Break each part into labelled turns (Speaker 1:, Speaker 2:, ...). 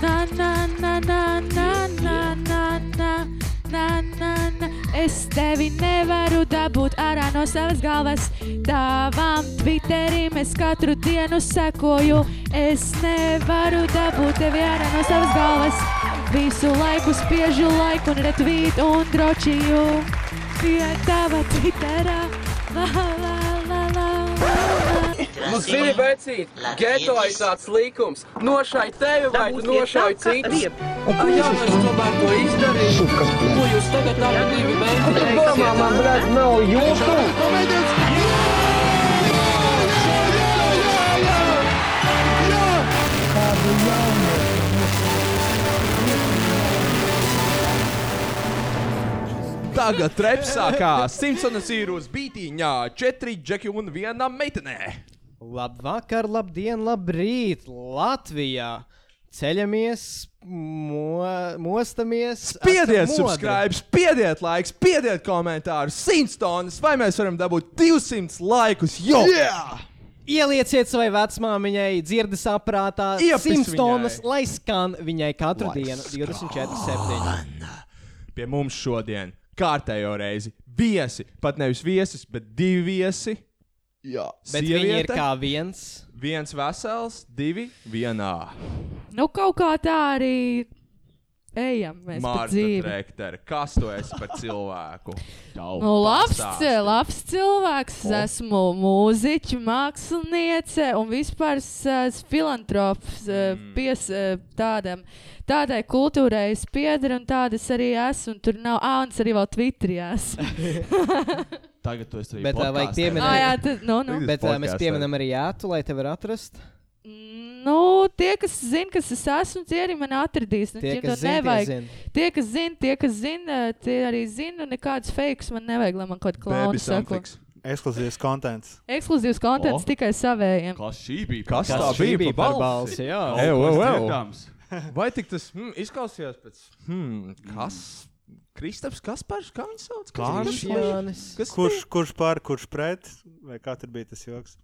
Speaker 1: Na, na, na, na, na, na, na, na, na, na, na. Es tevi nevaru dabūt ārā no savas galvas. Tavam Twitterim es katru dienu sekoju. Es nevaru dabūt tevi ārā no savas galvas. Visu laiku spiežu laiku un retvītu un drošīju. Pie tava Twitterā. La, la, la, la, la, la.
Speaker 2: Nu, zini, vecīt, geto ir tāds likums. Nošai tevi vai tu nošai citus. Ai, jā, es tomēr to izdarīju. Ko jūs tagad abi divi
Speaker 3: Domā, man,
Speaker 2: beigsiet?
Speaker 3: blēd, nav jūtu!
Speaker 4: Tagad reps sākās. Simpsons ir uz bītīņā, četri džeki un viena meitenē.
Speaker 5: Labvakar, labdien, labrīt! Latvijā ceļamies, mo mostamies.
Speaker 4: Piediet,
Speaker 5: esam modri.
Speaker 4: subscribe, piediet, laiks, piediet komentārus, simtstonas, vai mēs varam dabūt 200 laikus. Jo! Yeah!
Speaker 5: Ielieciet savai vecmāmiņai, dzirdes aprātā,
Speaker 4: Iepis
Speaker 5: 100 tonnas,
Speaker 4: viņai.
Speaker 5: lai skan viņai katru
Speaker 4: Lai
Speaker 5: dienu 24,7.
Speaker 4: Pie mums šodien, kārtējo reizi, viesi, pat nevis viesis, bet divi viesi. Jā,
Speaker 5: Bet viņi ir kā viens.
Speaker 4: viens vesels, divi vienā.
Speaker 1: Nu, kaut kā tā arī ejam. Mēs pa
Speaker 4: Mārta
Speaker 1: dzīvi.
Speaker 4: Trektere, kas tu esi par cilvēku?
Speaker 1: Nu, labs,
Speaker 4: Pastāsti. Oh.
Speaker 1: cil- labs cilvēks. Es esmu mūziķis, māksliniece un vispār s- s- filantrops. Mm. Pies, eh, tādam, tādai kultūrai es piederu un tādas arī esmu. un Tur nav āns arī vēl Twitterī. esmu.
Speaker 4: Tagad tu esi arī
Speaker 5: Bet, ā, vajag
Speaker 4: podkastē.
Speaker 5: pieminēt-
Speaker 1: Ā, jā, tad, nu, nu.
Speaker 4: Līdz-
Speaker 5: Bet uh, mēs
Speaker 4: podkastā.
Speaker 5: pieminam arī ētu, lai te varētu atrast.
Speaker 1: nu, tie, kas zina, kas es esmu, tie arī man atradīs. Nu,
Speaker 5: Tie,
Speaker 1: tiem to
Speaker 5: kas zina, tie
Speaker 1: nevajag.
Speaker 5: zina.
Speaker 1: Tie, kas zina, tie, kas zina, tie arī zina. un Nekādas fakes man nevajag, lai man kaut kāda klauna
Speaker 4: Baby
Speaker 1: sako.
Speaker 4: Samfiks.
Speaker 6: Ekskluzīvs konts.
Speaker 1: Ekskluzīvs konteksts
Speaker 7: O.
Speaker 1: tikai savējiem.
Speaker 7: Kas šī bija?
Speaker 4: Kas
Speaker 7: par
Speaker 4: tā
Speaker 7: balsi?
Speaker 4: bija
Speaker 5: bija
Speaker 4: par
Speaker 5: par balsi, jā.
Speaker 7: Kaut
Speaker 4: Ew,
Speaker 7: kas
Speaker 4: ew, ew.
Speaker 7: dzirdams.
Speaker 4: Vai tik tas hmm, izklausījās pēc? Hmm, kas? Kristaps Kaspars, kā viņš sauc?
Speaker 5: Viņš Jānis.
Speaker 4: Kas
Speaker 6: Kurš, kurš par, kurš pret? Vai kā tur bija tas joks?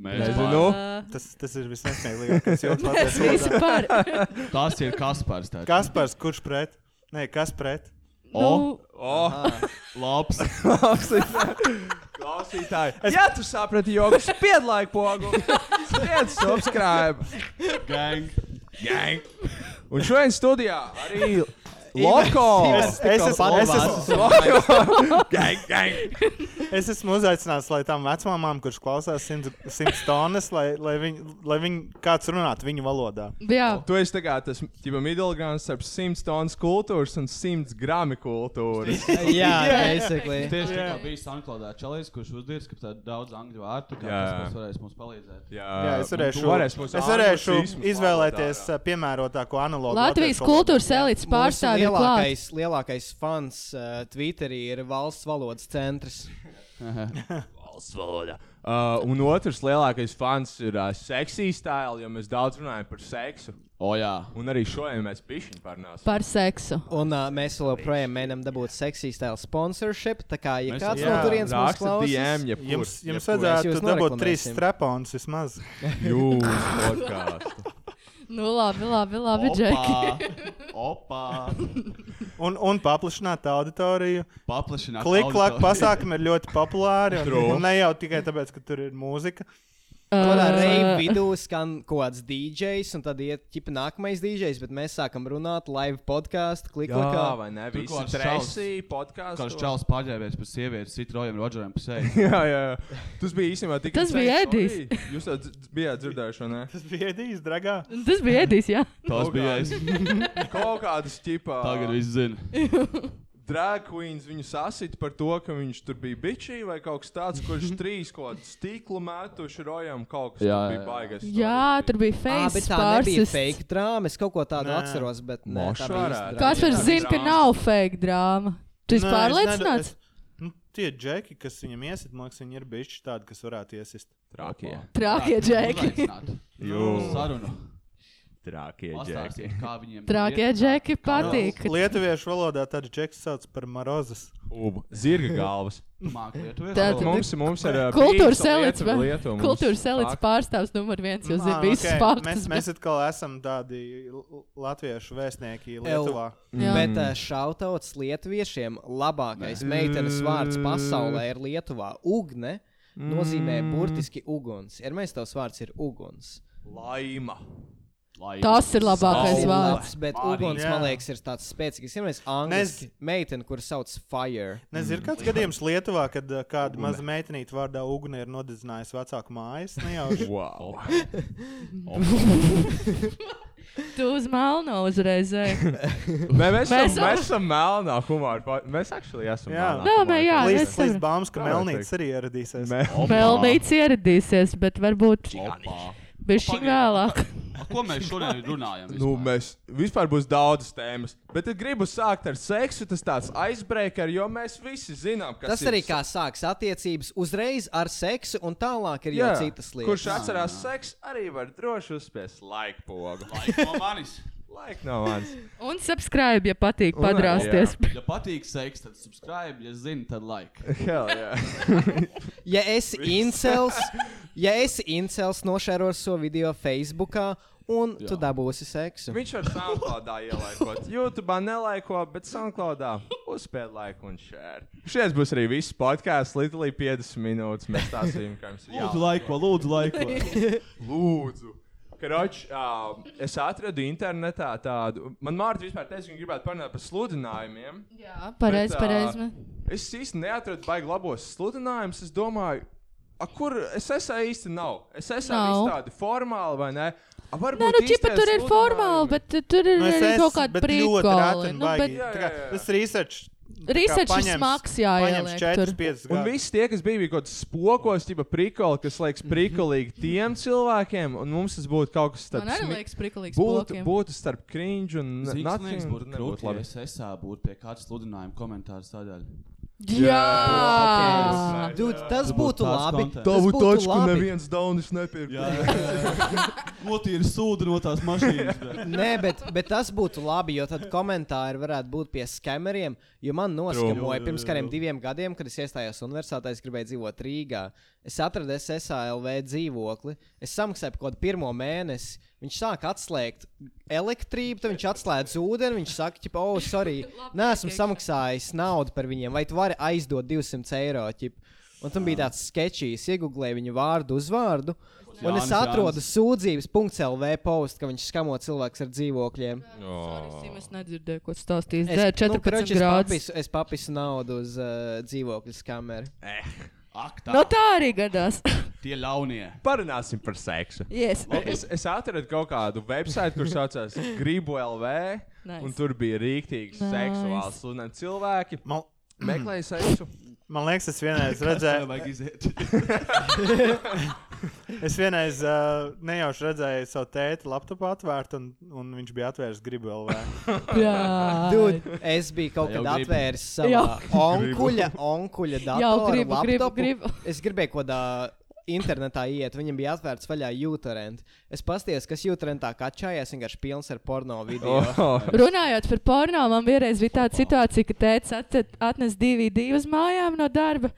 Speaker 7: Mēs
Speaker 4: Nezinu.
Speaker 1: Uh,
Speaker 6: Tas, tas ir visnesmīgākais joks.
Speaker 1: Mēs
Speaker 6: patiesībā.
Speaker 1: visi par.
Speaker 7: pār- Tas ir Kaspars. tāds.
Speaker 6: Kaspars, kurš pret? Nē, kas pret?
Speaker 1: Nu,
Speaker 4: Oh,
Speaker 7: Labs.
Speaker 4: klausītāji. klausītāji. Es... Ja tu saprati joks, spied laiku pogu. Spied subscribe.
Speaker 7: Gang.
Speaker 4: Gang. Un šodien studijā arī Loko.
Speaker 6: Es, es, esmu, es, esmu,
Speaker 4: Loko. Gang, gang.
Speaker 6: es esmu uzaicināts, lai tām vecmāmām, kurš klausās simts- simts tonnas, lai, lai viņi, lai viņi kāds runātu viņu valodā.
Speaker 1: jā,
Speaker 4: Tu esi tā kā tas ķipa middlegrounds starp 100 tonnas kultūras un 100 grami kultūras.
Speaker 5: Jā, basically.
Speaker 7: Tieši tā kā bija Sanklaudā Čelīs, kurš uzdzīvs, ka tā daudz angļu vārtu, kā
Speaker 4: Jā.
Speaker 7: tas varēs mums palīdzēt.
Speaker 4: Jā,
Speaker 6: Jā, es varēšu,
Speaker 4: varēs mūsu
Speaker 6: es varēšu
Speaker 4: anglicismus
Speaker 6: izvēlēties
Speaker 4: valodā,
Speaker 6: ā, piemērotāko analogu.
Speaker 1: Latvijas
Speaker 6: latviešu valodā.
Speaker 1: kultūras elites pārstāvja ir klāta.
Speaker 5: lielākais, lielākais fans uh, Twitterī ir valsts valodas centrs.
Speaker 4: valsts valodā. Uh, un otrs lielākais fans ir uh, seksīs stila, jo mēs daudz runājam par seksu.
Speaker 7: O, jā.
Speaker 4: Un arī šodien mēs pišķiņā parunāsim.
Speaker 1: Par seksu.
Speaker 5: Un uh, mēs vēl joprojām mēģinām dabūt seksiju stilu sponsorship. Tā kā, ja
Speaker 7: Mēs-
Speaker 5: kāds
Speaker 7: jā,
Speaker 5: no turienes mums klausās,
Speaker 4: DM, ja
Speaker 6: Jums, jums
Speaker 5: Mēs
Speaker 6: vajadzētu
Speaker 5: jūs
Speaker 6: dabūt trīs
Speaker 5: noreklamēsim.
Speaker 6: strapons vismaz.
Speaker 4: jūs podkāstu.
Speaker 1: Nu, labi, labi, labi, Džeki.
Speaker 7: Opā. Opā.
Speaker 6: Un, un paplašināt auditoriju.
Speaker 7: Paplašināt.
Speaker 6: Klik-klak
Speaker 7: auditoriju.
Speaker 6: pasākumi ir ļoti populāri. Un,
Speaker 4: True.
Speaker 6: un ne jau tikai tāpēc, ka tur ir mūzika.
Speaker 5: kādā
Speaker 1: Ā,
Speaker 5: reizē vidū skan kaut kāds DJs, un tad iet ķipa nākamais DJs, bet mēs sākam runāt live podkāstu,
Speaker 4: Jā,
Speaker 5: klikšķi.
Speaker 4: vai ne?
Speaker 7: Tur
Speaker 4: Visi
Speaker 7: kaut kāds
Speaker 4: trešie
Speaker 7: Kāds
Speaker 4: podkāstu.
Speaker 7: čels paģērbies par sievieti, sit rojam Rodžeram pa seju.
Speaker 4: Jā, jā, jā. Tas bija īstenībā tik.
Speaker 1: Tas bija Edijs.
Speaker 4: Jūs to dz- bijāt dzirdējuši, vai ne?
Speaker 6: Tas bija Edijs, dragā.
Speaker 1: Tas bija Edijs, jā.
Speaker 7: Tas bija es.
Speaker 4: Kaut kādas ķipā.
Speaker 7: Tagad viss zina.
Speaker 4: Drag queens viņu sasita par to, ka viņš tur bija bičī vai kaut kas tāds, kurš trīs kaut kādu stīklu mētuši rojām kaut kas.
Speaker 7: Jā,
Speaker 4: tur
Speaker 7: jā.
Speaker 4: bija baigais.
Speaker 1: Jā, tur bija
Speaker 5: Ah, bet
Speaker 1: face
Speaker 5: tā nebija
Speaker 1: pārsis.
Speaker 5: fake drāma. Es kaut ko tādu
Speaker 6: Nē.
Speaker 5: atceros, bet nē,
Speaker 4: Mošu
Speaker 5: tā bija
Speaker 4: varētu.
Speaker 5: īsta drāma.
Speaker 1: Kāds var
Speaker 4: Jā,
Speaker 1: zināt, ka
Speaker 4: drāma.
Speaker 1: nav fake drāma? Tu esi
Speaker 6: Nē,
Speaker 1: pārliecināts?
Speaker 6: Es, nedo- es, nu, tie džeki, kas viņam iesit, man liekas, viņi ir bijuši tādi, kas varētu iesist.
Speaker 4: Trakie.
Speaker 1: Trākie džeki.
Speaker 7: Uzaicināt. Nu,
Speaker 4: Jū,
Speaker 7: Sarunu.
Speaker 4: trakie džeki.
Speaker 7: Pastāstiet, kā viņiem.
Speaker 1: Trākie džeki
Speaker 6: Nu,
Speaker 1: patīk.
Speaker 6: Lietuviešu valodā tāds džeks sauc par marozas.
Speaker 4: ubu, zirga galvas.
Speaker 7: Māki lietuviešu
Speaker 1: Tā
Speaker 7: valodu.
Speaker 1: tad-
Speaker 4: Mums, mums ir ā,
Speaker 1: Kultūras
Speaker 4: pīksta lieta-
Speaker 1: elites, vai?
Speaker 4: lieta mums
Speaker 1: Kultūras elites
Speaker 4: sāk.
Speaker 1: pārstāvs numur viens jau
Speaker 6: Ah,
Speaker 1: zina visus
Speaker 6: ok.
Speaker 1: faktus.
Speaker 6: Mēs, mēs atkal esam tādi l- l- latviešu vēstnieki
Speaker 5: El.
Speaker 6: Lietuvā.
Speaker 1: Jā.
Speaker 5: Bet uh, šautauts Lietuviešiem labākais meitenes vārds pasaulē ir Lietuvā. Ugne nozīmē
Speaker 1: Mm.
Speaker 5: burtiski uguns. Ir mēs tavs vārds ir uguns.
Speaker 4: Laima.
Speaker 7: Lai-
Speaker 1: Tas ir labākais
Speaker 5: Tas ir
Speaker 1: vārds.
Speaker 5: labs, bet
Speaker 7: Marija.
Speaker 5: uguns, man
Speaker 6: Jā.
Speaker 5: liekas, ir tāds spēcīgs. Ir mēs angliski meitene, kur sauc fire.
Speaker 4: Mm.
Speaker 6: Nezinu, ir kāds gadījums Lietuvā, kad ā, kāda maza meitenīte vārdā Ugne ir nodedzinājusi vecāku mājas. Nu, Nejauši.
Speaker 4: Wow.
Speaker 1: Tu uz melno uzreiz. ej.
Speaker 4: Nē, mēs,
Speaker 1: Mēs-
Speaker 4: mēs, mēs esam melnā humorā. pa- Mēs actually esam.
Speaker 6: Jā.
Speaker 4: melnā
Speaker 1: Nē,
Speaker 4: humora.
Speaker 1: mē, jā,
Speaker 6: Līdz,
Speaker 1: es
Speaker 6: līdz
Speaker 1: saprotu.
Speaker 6: bāmas, ka
Speaker 4: Kā
Speaker 6: Melnīts
Speaker 4: teikt?
Speaker 6: arī ieradīsies.
Speaker 4: Mē-
Speaker 1: Pelnīts ieradīsies, bet varbūt
Speaker 7: Opā.
Speaker 1: bišķi
Speaker 7: Pagaidi.
Speaker 1: vēlāk.
Speaker 7: Ar Ko mēs šodien runājam?
Speaker 4: Nu,
Speaker 7: vispār?
Speaker 4: mēs vispār būs daudzas tēmas. Bet es gribu sākt ar seksu. Tas tāds aizbreaker, jo mēs visi zinām, kas
Speaker 5: Tas
Speaker 4: ir
Speaker 5: arī kā sāks attiecības uzreiz ar seksu, un tālāk ir jau citas lietas.
Speaker 4: Kurš atcerās seksu, arī var droši uzspiest laika pogu.
Speaker 7: Laik no manis.
Speaker 4: Laika nav mans.
Speaker 1: Un subscribe, ja patīk
Speaker 4: Un, jā.
Speaker 1: padrāsties.
Speaker 7: Ja patīk seks, tad subscribe, ja zini, tad like.
Speaker 4: Hell, jā.
Speaker 5: Ja es incels, ja es incels nošēros šo video Facebook, un Jā. tu dabūsi seksu.
Speaker 4: Viņš var SoundCloudā ielaikot. YouTube nelaiko, bet SoundCloudā uzspēlēt laiku un share. Šies būs arī viss podkāsts. Literally 50 minūtes mēs stāstījām, kā jums ir
Speaker 7: Lūdzu,
Speaker 4: jālaiko.
Speaker 7: laiko, lūdzu, laiko.
Speaker 4: Lūdzu. Kroč, uh, es atradu internetā tādu. Man Mārta vispār teica, ka viņa gribētu parunāt par sludinājumiem.
Speaker 1: Jā, pareizi,
Speaker 4: Bet, ā,
Speaker 1: pareizi.
Speaker 4: Es īsti neatradu baigi labos sludinājumus. Es domāju, a, kur es esmu īsti nav. Es esmu
Speaker 1: Nav.
Speaker 4: no. tādi formāli vai ne? A,
Speaker 1: Nē,
Speaker 4: varbūt
Speaker 1: nu, čipa
Speaker 4: īstie
Speaker 1: tur ir formāli,
Speaker 4: sludinājumi.
Speaker 1: bet eh, tur ir
Speaker 6: Nu, es
Speaker 1: arī
Speaker 6: esmu,
Speaker 1: kaut kāda
Speaker 6: bet ļoti reti
Speaker 1: prīkola.
Speaker 6: un
Speaker 1: Nu,
Speaker 6: baigi.
Speaker 1: bet
Speaker 6: Tā
Speaker 4: Jā,
Speaker 6: kā
Speaker 4: jā, jā.
Speaker 6: Tas research.
Speaker 1: Research ir smags, jā, ieliek tur.
Speaker 6: 4-5
Speaker 4: Un
Speaker 6: gadus.
Speaker 4: visi tie, kas bija, bija kaut kāds spokos, tipa prikola, kas liekas prikolīgi tiem cilvēkiem, un mums tas būtu kaut kas
Speaker 1: man
Speaker 4: tāds
Speaker 1: arī liekas prikolīgs.
Speaker 4: Būtu,
Speaker 1: blokiem.
Speaker 4: būtu starp cringe un
Speaker 7: Zinājums
Speaker 4: nothing,
Speaker 7: būtu
Speaker 4: tad
Speaker 7: grūti,
Speaker 4: nebūtu
Speaker 7: ja
Speaker 4: labi.
Speaker 7: es esā būtu pie kāda sludinājuma komentāra sadaļa.
Speaker 1: Jā!
Speaker 5: Dude, tas būtu
Speaker 7: tāds
Speaker 5: labi.
Speaker 7: konteksts.
Speaker 5: Tas būtu
Speaker 4: tipo,
Speaker 5: labi.
Speaker 4: daunis nepirka.
Speaker 7: Notīri sūdu no tās mašīnas. bļa.
Speaker 5: Nē, bet, bet tas būtu labi, jo tad komentāri varētu būt pie skameriem. Jo man noskaņoja pirms kādiem diviem gadiem, kad es iestājos universitātē, es gribēju dzīvot Rīgā. Es atradu SSLV dzīvokli, es samaksāju par kaut kādu pirmo mēnesi. Viņš sāk atslēgt elektrību, tad viņš atslēdz ūdeni. Viņš saka, ka, oh, sorry, nesmu samaksājis naudu par viņiem, vai tu vari aizdot 200 eiro. Ķip? Un tam bija tāds sketčīs, iegūlēju viņu vārdu uz vārdu. Un es
Speaker 7: Jānis,
Speaker 5: atrodu
Speaker 7: Jānis.
Speaker 5: sūdzības.lv postu, ka viņš skamo cilvēks ar dzīvokļiem.
Speaker 1: Sorry, Es nedzirdēju, ko stāstījis.
Speaker 5: Es-
Speaker 1: Dzēr
Speaker 5: nu,
Speaker 1: 14
Speaker 5: kroči, es
Speaker 1: grādus.
Speaker 5: papisu- Es papisu naudu uz uh, dzīvokļu skameru.
Speaker 7: Ak,
Speaker 1: No
Speaker 7: tā.
Speaker 1: tā arī gadās.
Speaker 7: Tie ļaunie.
Speaker 4: Parunāsim par seksu.
Speaker 1: yes.
Speaker 4: Es, es atradu kaut kādu websātu, kurš saucās Gribu LV, nice. un
Speaker 1: Nice.
Speaker 4: tur bija rīktīgi nice. seksuāls un cilvēki
Speaker 6: Man,
Speaker 4: meklēja seksu.
Speaker 6: man liekas, es vienreiz
Speaker 7: Tev
Speaker 6: redzēju,
Speaker 7: vajag iziet.
Speaker 6: es vienreiz uh, nejauši redzēju savu tēti laptopā atvērtu, un, un viņš bija atvērts gribu LV.
Speaker 1: Jā.
Speaker 5: Dude, es biju kaut
Speaker 7: Jau
Speaker 5: kad
Speaker 7: gribu.
Speaker 5: atvēris
Speaker 1: Jau.
Speaker 5: savā onkuļa, onkuļa
Speaker 1: Jau
Speaker 5: datoru,
Speaker 1: gribu, gribu,
Speaker 5: laptopu.
Speaker 1: gribu.
Speaker 5: Es gribēju kaut kādā internetā iet, viņam bija atvērts vaļā jūtarent. Es pastiesīju, kas jūtarentā kačājās, vienkārši pilns ar porno video. Oh.
Speaker 4: Oh.
Speaker 1: Runājot par porno, man vienreiz bija tāda situācija, ka tēvs at- atnesa DVD uz mājām no darba.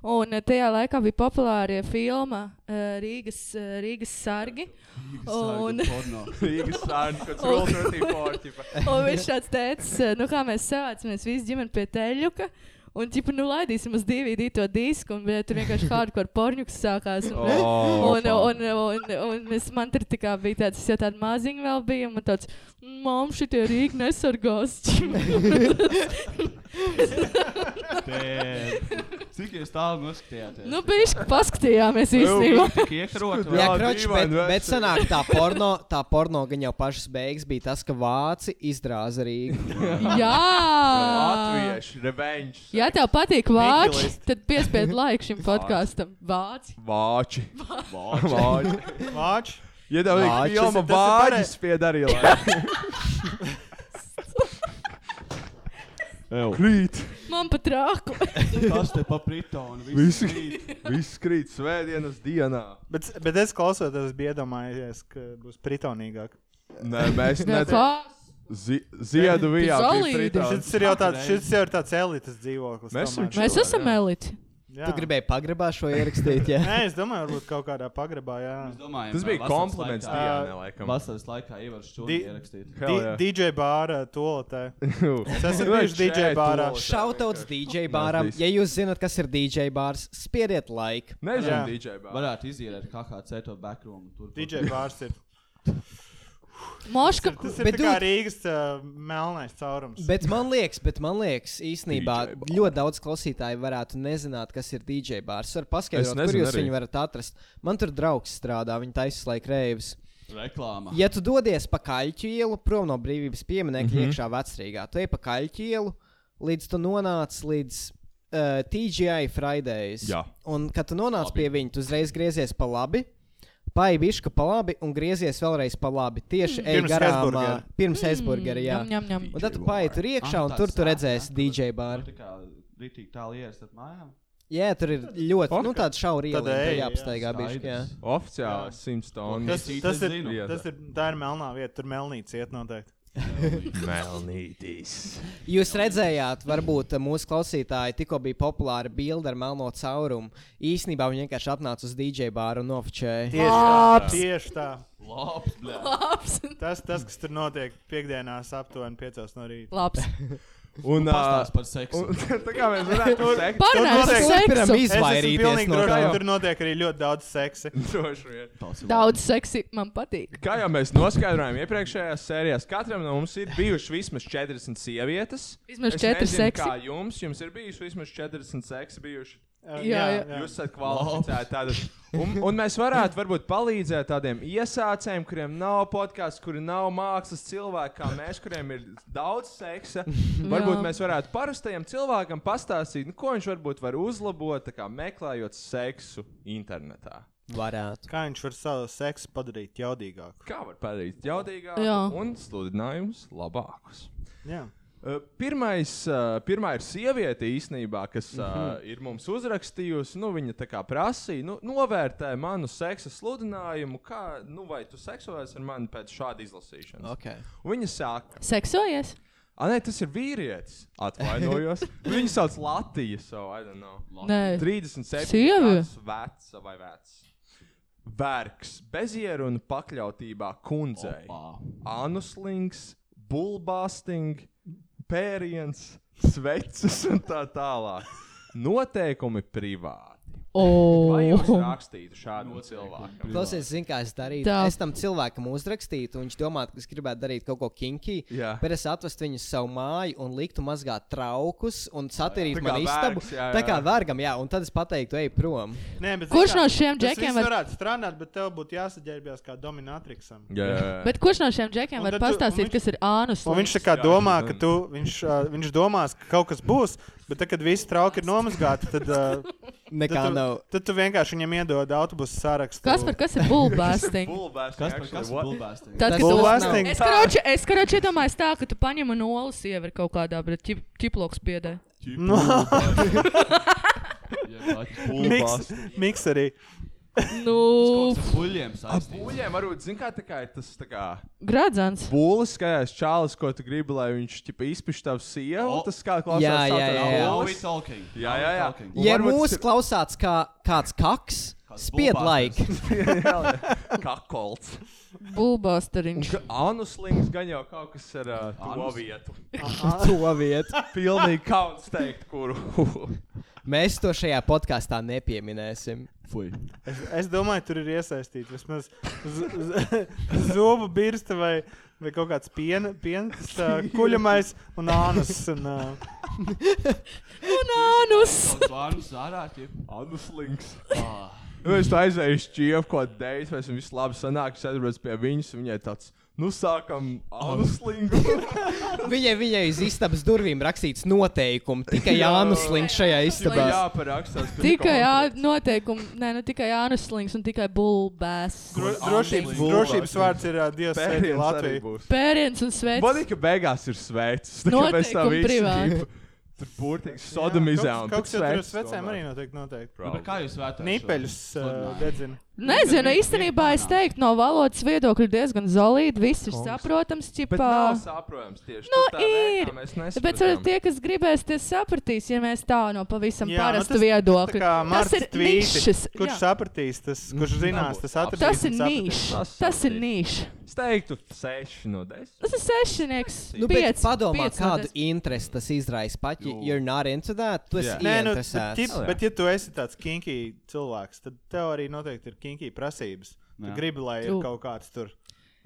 Speaker 1: Un eh, tajā laikā bija populāra filma eh, Rīgas, eh, Rīgas sargi. Un,
Speaker 4: Rīgas sārņi, kaut kāds rotatīvi.
Speaker 1: un viņš tāds teica, nu kā mēs savācamies visi ģimeni pie teļuka. Un, tipā, nu, laidīsim uz DVD to disku, un bļa, tur vienkārši hardcore porņuks sākās. Un,
Speaker 4: Oh,
Speaker 1: un, un, un, un, un es, man tur tā kā bija tāds, es jau tāda maziņa vēl biju, un man tāds, mom, šitie rīki nesargās.
Speaker 7: Cik jūs tālu noskatījāties?
Speaker 1: nu, bišķi paskatījāmies īstenībā.
Speaker 7: Tik iekarot, vai?
Speaker 5: Jā,
Speaker 4: Jā,
Speaker 5: kroči, bet,
Speaker 4: dīvaini veci.
Speaker 5: bet sanāk, tā porno, tā porno gan jau pašas beigas bija tas, ka vāci izdrāza Rīgu.
Speaker 1: Jā!
Speaker 4: Latviešu revenge.
Speaker 1: Ja tev patīk vāči,
Speaker 6: Nihilisti.
Speaker 1: tad piespied laiku šim podkāstam. Vāci.
Speaker 4: Vāči. Vāči.
Speaker 6: Vāč!
Speaker 4: Ja tev ir
Speaker 5: Vāčis,
Speaker 4: filma
Speaker 6: tas ir
Speaker 4: vāģis piedarīja,
Speaker 7: Ew.
Speaker 4: krīt,
Speaker 1: Man pat rāku.
Speaker 7: Tas te paprito un viss.
Speaker 4: Visi. viss krīt svētdienas dienā.
Speaker 6: Bet, bet es klausoties, bija iedomājies, ka būs pritonīgāk.
Speaker 4: Nē, mēs
Speaker 1: Nē,
Speaker 4: nedarām.
Speaker 1: Kas?
Speaker 4: Zi ziedu vijā bija
Speaker 1: Pizolīdi.
Speaker 4: fritās.
Speaker 6: Šis ir jau tāds, šis jau ir tāds elites dzīvoklis.
Speaker 4: Mēs esam
Speaker 6: tomēr.
Speaker 1: Mēs
Speaker 4: Čilā,
Speaker 1: esam
Speaker 4: jā.
Speaker 1: eliti.
Speaker 6: Jā.
Speaker 5: Tu gribēji pagrabā šo ierakstīt, jā?
Speaker 6: Nē, es domāju, varbūt kaut kādā pagrabā, jā.
Speaker 7: Domājam,
Speaker 4: Tas bija kompliments Dienai,
Speaker 7: Kā
Speaker 4: laikam.
Speaker 7: vasaras laikā Ivar Šķūni
Speaker 6: Di-
Speaker 7: ierakstīt.
Speaker 4: Hell, jā.
Speaker 6: Di- DJ bārā, toaletē.
Speaker 4: Es
Speaker 6: esmu bijuši DJ bārā.
Speaker 5: Šautauts DJ bāram.
Speaker 4: Nazdīs.
Speaker 5: Ja jūs zinat, kas ir DJ bārs, spiediet laiku.
Speaker 4: Nezinu,
Speaker 6: Jā.
Speaker 4: DJ bārā.
Speaker 7: Varētu izīrēt KHC to backroom. Tur,
Speaker 6: DJ bārs ir.
Speaker 1: Moška,
Speaker 6: Tas ir
Speaker 5: Bet
Speaker 6: bet, kā
Speaker 5: dude-
Speaker 6: Rīgas uh, melnais caurums.
Speaker 5: Bet man liekas, bet man liekas īstenībā
Speaker 4: DJ bars.
Speaker 5: ļoti daudz klausītāju varētu nezināt, kas ir DJ bārs. Var
Speaker 4: Es
Speaker 5: paskaidrot, kur
Speaker 4: nezinu
Speaker 5: jūs
Speaker 4: arī.
Speaker 5: viņu varat atrast. Man tur draugs strādā, viņa taisa laika reivas.
Speaker 7: Reklāma.
Speaker 5: Ja tu dodies pa kaļķu ielu, prom no brīvības pieminiekta, mm -hmm. iekšā vecrīgā, tu ej pa kaļķu ielu, līdz tu nonāc līdz uh, TGI Fridays.
Speaker 4: Jā.
Speaker 5: Un, kad tu nonāc
Speaker 7: Labi.
Speaker 5: labi. pie viņa, tu uzreiz griezies pa labi. Paibišķi pa labi un griezies vēlreiz pa labi. Tieši mm. ej
Speaker 6: Pirms
Speaker 5: garām
Speaker 6: Hesburgera.
Speaker 5: ā, pirms aizburgera. Jā,
Speaker 1: ņem, ņem,
Speaker 5: un
Speaker 1: ņem.
Speaker 5: tad tu paiet tur
Speaker 7: Ah,
Speaker 5: iekšā un tur tu redzēsi DJ bāru.
Speaker 7: nu, Tā kā rītīgi tālu ierast ar mājām.
Speaker 5: Jā, tur ir ļoti
Speaker 4: Ok.
Speaker 5: nu, tāds šauri
Speaker 6: Tad
Speaker 5: iela,
Speaker 6: ej,
Speaker 5: tur
Speaker 6: jā,
Speaker 5: jāapsteigā bišķi. Jā.
Speaker 7: Skaidrs.
Speaker 4: Oficiāli 100
Speaker 6: Tas,
Speaker 4: tonnas.
Speaker 7: es
Speaker 6: tas, ir,
Speaker 7: zinu.
Speaker 6: tas ir, tā ir melnā vieta, tur melnīca iet noteikti.
Speaker 4: Melnītīs.
Speaker 5: Jūs redzējāt, varbūt mūsu klausītāji tikko bija populāra bilde ar melno caurumu. Īsnībā viņi vienkārši atnāca uz DJ bāru un nofočēja.
Speaker 6: Tieši tā, tieši tā.
Speaker 7: Labs, blē.
Speaker 1: Labs.
Speaker 6: Tas, tas, kas tur notiek piekdienās aptuveni 5 no rīta.
Speaker 1: Labs.
Speaker 4: Un ā,
Speaker 7: Pastāst par seksu.
Speaker 4: un tā kā mēs varētu sekot
Speaker 1: Parunājam par
Speaker 5: Turpinam
Speaker 6: notiek-
Speaker 1: seksu.
Speaker 6: Es esmu
Speaker 5: izvairīties
Speaker 6: pilnīgi
Speaker 5: no
Speaker 6: drošs,
Speaker 5: tā.
Speaker 6: ka tur notiek arī ļoti daudz seksa.
Speaker 4: droši vien.
Speaker 1: Daudz seksi man patīk.
Speaker 4: Kā jau mēs noskaidrojām iepriekšējās sērijās, katram no mums ir bijušas vismaz 40 sievietes.
Speaker 1: Vismaz
Speaker 4: Es
Speaker 1: četri
Speaker 4: nezinu,
Speaker 1: seksi.
Speaker 4: Kā jums? Jums ir bijuši vismaz 40 seksi. Bijuši.
Speaker 1: Jā, jā.
Speaker 4: Jūs esat kvalificēti tādu. Un, un mēs varētu varbūt palīdzēt tādiem iesācējiem, kuriem nav podkāsts, kuri nav mākslas cilvēki, kā mēs, kuriem ir daudz seksa. Varbūt
Speaker 1: Jā.
Speaker 4: mēs varētu parastajam cilvēkam pastāstīt, nu, ko viņš varbūt var uzlabot, tā kā meklējot seksu internetā.
Speaker 5: Varētu.
Speaker 6: Kā viņš var savu seksu padarīt jaudīgāku?
Speaker 4: Kā var padarīt jaudīgāku
Speaker 1: Jā.
Speaker 4: un sludinājumus labākus?
Speaker 6: Jā,
Speaker 4: Uh, Pirmais, uh, pirmā ir sieviete īstenībā, kas mm -hmm. ir mums uzrakstījusi. Nu, viņa tā kā prasīja, nu, novērtē manu seksa sludinājumu, kā, nu, vai tu seksojies ar mani pēc šāda izlasīšanas.
Speaker 5: Okay.
Speaker 4: Un Viņa saka,
Speaker 1: Seksojies?
Speaker 4: ah, nē, tas ir vīrietis. Atvainojos. viņa sauc Latviju, so I don't know.
Speaker 1: Nē.
Speaker 4: 37.
Speaker 1: Sievi?
Speaker 4: gadus veca vai vecs. Vergs, bezierunu pakļautībā kundzei. anuslings, bulbāsting, pēriens, sveces un tā tālāk. Noteikumi privāti.
Speaker 5: Oh.
Speaker 4: Vai
Speaker 1: O.
Speaker 4: jūs rakstītu šādu cilvēku?
Speaker 5: Klausies, zini, kā es darīju.
Speaker 1: Tā.
Speaker 5: Es tam cilvēkam uzrakstītu, un viņš domātu, ka es gribētu darīt kaut ko kinky.
Speaker 4: Jā.
Speaker 5: Bet es atvestu viņu uz savu māju un liktu mazgāt traukus un satīrīt
Speaker 4: Tā kā
Speaker 5: manu istabu.
Speaker 4: vergs, jā,
Speaker 5: Tā
Speaker 4: jā.
Speaker 5: kā vergam, jā, un tad es pateiktu, ej prom.
Speaker 6: Nē, bet,
Speaker 1: Kurš
Speaker 6: zini kā,
Speaker 1: no šiem
Speaker 6: tas
Speaker 1: džekiem
Speaker 6: viss
Speaker 1: var-
Speaker 6: varētu strādāt, bet tev būtu jāsaģērbjas kā dominatrixam.
Speaker 4: Jā, jā, jā.
Speaker 1: Bet kurš no šiem džekiem
Speaker 6: Un
Speaker 1: var
Speaker 6: tad tu-
Speaker 1: pastāstīt,
Speaker 6: un viņš-
Speaker 1: kas ir ānus?
Speaker 6: Un viņš tā kā
Speaker 4: Jā,
Speaker 6: domā,
Speaker 4: jā.
Speaker 6: ka tu, viņš, uh, viņš domās, ka kaut kas būs, bet tad, kad visi trauki ir nomazgāti, tad, uh,
Speaker 5: Nekā
Speaker 6: tad, tu,
Speaker 5: nav.
Speaker 6: tad tu vienkārši viņam iedod autobusu sarakstu.
Speaker 1: Kas par kas ir bulbāsting?
Speaker 7: Kas par kas ir bulbāsting?
Speaker 1: Tad, kad
Speaker 5: Tas
Speaker 1: tu
Speaker 5: nav-
Speaker 6: Bulbāsting.
Speaker 1: Es karoči, es karoči iedomājos tā, ka tu paņem un olas iever kaut kādā, bet ķip- ķiploks piedē.
Speaker 6: Miks,
Speaker 4: Bulbāsting.
Speaker 6: miks arī.
Speaker 1: Nu,
Speaker 7: Puļiem saistīts.
Speaker 4: Puļiem varbūt, zin kā, tā kā ir tas tā kā
Speaker 1: gradzans.
Speaker 4: būlis, kā jās čālis, ko tu gribi, lai viņš, tipa, izpišķi tavu sievu,
Speaker 7: O.
Speaker 4: tas kā klausās
Speaker 5: Jā,
Speaker 4: tā
Speaker 5: jā,
Speaker 4: kā
Speaker 5: jā, jā.
Speaker 7: Now we
Speaker 4: būlis.
Speaker 7: talking.
Speaker 4: Jā,
Speaker 7: Now
Speaker 4: jā,
Speaker 7: we
Speaker 4: jā.
Speaker 7: talking.
Speaker 4: Un
Speaker 5: Ja
Speaker 4: varbūt tas
Speaker 5: mūs
Speaker 4: ir-
Speaker 5: klausās kā kāds kaks,
Speaker 7: Kāds
Speaker 5: spied laiku.
Speaker 7: bulbāsters.
Speaker 4: Kakolts. Un
Speaker 1: Bulbāsteriņš.
Speaker 4: ka anuslings gan jau kaut kas ar uh, to vietu.
Speaker 5: To vietu.
Speaker 4: Pilnīgi kauns teikt, kuru.
Speaker 5: Mēs to šajā podkāstā nepieminēsim.
Speaker 7: Fuj.
Speaker 6: Es domāju, tur ir iesaistīta vismaz z- z- zobu birsta vai, vai kaut kāds piena, piena uh, kuļamais un ānas. Un, uh,
Speaker 1: Un ānus!
Speaker 7: Kaut zvārnus ārā, Nu, ķip.
Speaker 4: Anuslings.
Speaker 6: Ah.
Speaker 7: Ā.
Speaker 4: Nu, es tā aizēju uz čiepu, ko deju, mēs visi labi sanākām, sadarbojamies pie viņas. un Viņai tāds, nu, sākam, anuslingu.
Speaker 5: Viņai, viņai uz istabas durvīm rakstīts noteikumi. Tikai
Speaker 4: Jā.
Speaker 5: Jānis Links šajā istabā.
Speaker 4: jā, parakstās.
Speaker 1: Tikai ā- noteikumi, nē, nu tikai ānuslings un tikai bulbās.
Speaker 6: dro, drošības,
Speaker 4: Bulbārs.
Speaker 6: drošības vārds ir uh, Dievs, sēdi
Speaker 4: pēdējais
Speaker 6: Latviju.
Speaker 4: arī būs.
Speaker 1: Pēriens un sveicis.
Speaker 4: Manī, ka beigās ir sveicis. Tā kā mēs tā
Speaker 1: Noteikumi
Speaker 4: visi
Speaker 1: privāti.
Speaker 4: ģipu- Tur burtiski sodomizē un
Speaker 6: Kaut kas jau
Speaker 4: pēc
Speaker 6: tur
Speaker 4: sveces
Speaker 6: uz vecēm
Speaker 4: tomēr.
Speaker 6: arī noteikti. noteikti.
Speaker 7: Nu, bet kā jūs vērtējat? šo
Speaker 6: Nipeļus uh,
Speaker 7: sludinājumu?
Speaker 6: dedzina.
Speaker 1: Nezinu, īstenībā es teiktu, no valodas viedokļa diezgan zelīti. Viss ir saprotams,
Speaker 4: Bet nav
Speaker 1: čipā.
Speaker 4: saprotams tieši
Speaker 1: Nu,
Speaker 4: tur tā veidā
Speaker 1: ir.
Speaker 4: mēs
Speaker 1: Bet
Speaker 4: nesapratām.
Speaker 1: varbūt tie, kas gribēs, tie sapratīs, ja mēs tā no pavisam
Speaker 6: Jā,
Speaker 1: jā,
Speaker 6: nu
Speaker 1: parasta
Speaker 6: tas-
Speaker 1: nu viedokļa.
Speaker 6: Tā kā
Speaker 1: Tas
Speaker 6: Marta
Speaker 1: ir
Speaker 6: tvīti,
Speaker 1: nišas. jā.
Speaker 6: kurš sapratīs, tas, kurš
Speaker 4: Mm.
Speaker 6: zinās, tas atradīs.
Speaker 1: Tas ir
Speaker 6: un sapratīs.
Speaker 1: nīšs.
Speaker 4: Tas
Speaker 1: Tas ir
Speaker 4: sapratīs.
Speaker 1: nīšs.
Speaker 4: Es teiktu, 6 no 10.
Speaker 1: Tas ir sešnieks.
Speaker 5: Nu, bet
Speaker 1: piec,
Speaker 5: padomā,
Speaker 1: piec
Speaker 5: kādu interesi tas izraisa pat, ja you're not into that, tu esi
Speaker 4: Jā.
Speaker 6: Nē, nu, bet, tip,
Speaker 5: ieinteresēts.
Speaker 4: Oh, jā.
Speaker 6: bet, ja tu esi tāds kinky cilvēks, tad tev arī noteikti ir kinky prasības. Tu
Speaker 7: Jā.
Speaker 6: gribi, lai ir
Speaker 1: Tu.
Speaker 6: kaut kāds tur,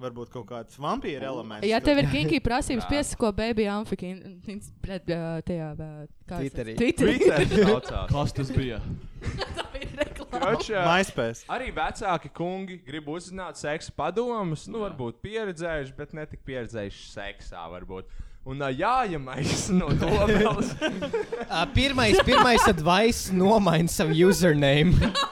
Speaker 6: varbūt kaut kāds vampīra elements.
Speaker 1: Ja
Speaker 6: tur.
Speaker 1: tev ir kinky prasības, piesako baby amfiki, in- in- pret, uh, tajā, uh, kā es
Speaker 5: Twitterī.
Speaker 1: teicu, Twitterī.
Speaker 4: Twitter saucās.
Speaker 7: Kas tas bija?
Speaker 1: Tā bija reklāma.
Speaker 4: Kroč, ā,
Speaker 6: MySpace.
Speaker 4: Arī vecāki kungi grib uzzināt seksa padomus, nu, varbūt pieredzējuši, bet ne tik pieredzējuši seksā. Varbūt. Un ā, jājamais no domas.
Speaker 5: Ā, Ah, Pirmais, pirmais advice nomaina savu username.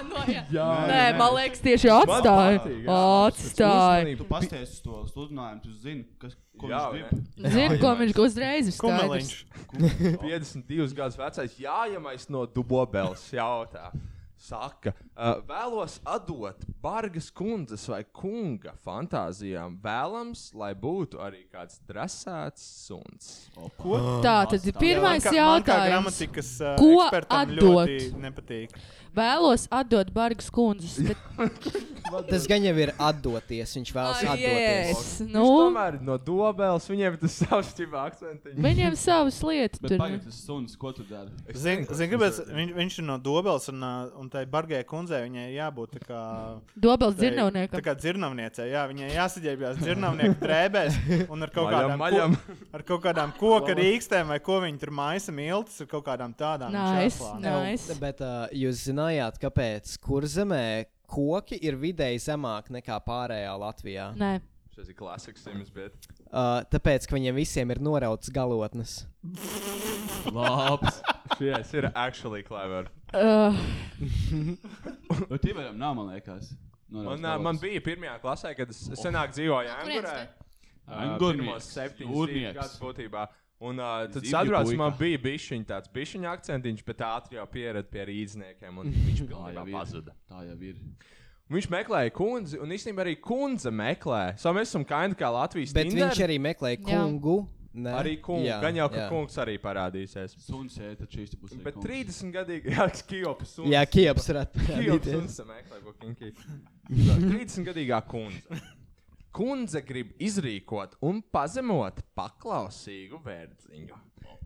Speaker 1: No, jā. Nē, man liekas, tieši atstāja.
Speaker 4: patīk, jā.
Speaker 1: Atstāja.
Speaker 7: Tu pasties uz to sludinājumu, tu zini, kas, ko
Speaker 4: Jā,
Speaker 7: viņš
Speaker 4: jā.
Speaker 7: grib.
Speaker 1: Zinu, ko viņš uzreiz ir
Speaker 6: Kumeliņš.
Speaker 1: skaidrs.
Speaker 4: 52 gadus vecais jājamais no Dubobels jautā. Saka, uh, vēlos atdot bargas kundzes vai kunga fantāzijām. Vēlams, lai būtu arī kāds drasēts suns.
Speaker 1: Tā tad ir pirmais
Speaker 6: Man kā
Speaker 1: jautājums.
Speaker 6: gramatikas uh,
Speaker 1: Ko
Speaker 6: ekspertam
Speaker 1: atdot?
Speaker 6: ļoti nepatīk.
Speaker 1: Vēlos atdot Bargas kundzes. bet-
Speaker 5: Tas gan jau ir atdoties, viņš vēlas
Speaker 1: Ai,
Speaker 5: atdoties.
Speaker 1: jēs,
Speaker 4: Nu?
Speaker 1: Nu,
Speaker 4: Tomēr no Dubobels viņiem ir tas savs ķipa akcents.
Speaker 1: viņiem savas lietas
Speaker 7: Bet
Speaker 1: tur.
Speaker 7: pagaidi, tas suns, ko tu dari?
Speaker 6: Zini, zin, kāpēc viņ, viņš ir no Dobels un, uh, un tai bargai kundzei viņai jābūt tā kā.
Speaker 1: Dobels
Speaker 6: tai- Tā
Speaker 1: dzirnavniekam.
Speaker 6: kā dzirnavniecei, jā, viņai jāsaģērbjas dzirnavnieku drēbēs un ar kaut kādām ko-
Speaker 4: maļam.
Speaker 6: ar kaut kādām koku rīkstēm vai ko viņi tur maisa miltus ar kaut kādām tādām.
Speaker 1: Nice,
Speaker 6: čēslām.
Speaker 1: nice.
Speaker 5: Bet uh, jūs zinājāt, kāpēc kurzemē koki ir vidēji zemāk nekā pārējā Latvijā?
Speaker 1: Nē.
Speaker 4: Šis ir klasisks sims, bet
Speaker 5: Uh, tāpēc, ka viņiem visiem ir norauts galotnes.
Speaker 7: Labs.
Speaker 4: šis ir actually clever.
Speaker 1: Uh,
Speaker 7: Bet tie varam nav, man liekas.
Speaker 4: Man, uh, man bija pirmā klasē, kad es es senāk dzīvoju Anglijā.
Speaker 7: Angurnieks.
Speaker 4: Gurnieks. Būtībā. Un uh, tad
Speaker 7: Zivju
Speaker 4: saprāts,
Speaker 7: puika.
Speaker 4: man bija bišķiņa tāds bišķiņa akcentiņš, bet ātri jau pierad pie rīzniekiem, un viņš
Speaker 7: Tā
Speaker 4: pilnībā
Speaker 7: jau ir.
Speaker 4: pazuda.
Speaker 7: Tā jau ir.
Speaker 4: Un Viņš meklēja kundzi, un īstenībā arī kundze meklē. So mēs esam kaini kā Latvijas
Speaker 5: Bet
Speaker 4: Tinder.
Speaker 5: viņš arī meklēja
Speaker 1: Jā.
Speaker 5: kungu. Nē?
Speaker 4: Arī kungs,
Speaker 5: Jā,
Speaker 4: gan jau ka
Speaker 5: jā.
Speaker 4: kungs arī parādīsies.
Speaker 7: Suns ēta taču īsti būs.
Speaker 4: Bet 30 gadīgi, jā, Kjopas.
Speaker 5: Jā, Kieps varētu parādīties.
Speaker 4: Kjopsons. 30 gadīgā kundze. Kundze grib izrīkot un pazemot paklausīgu vērdziņu.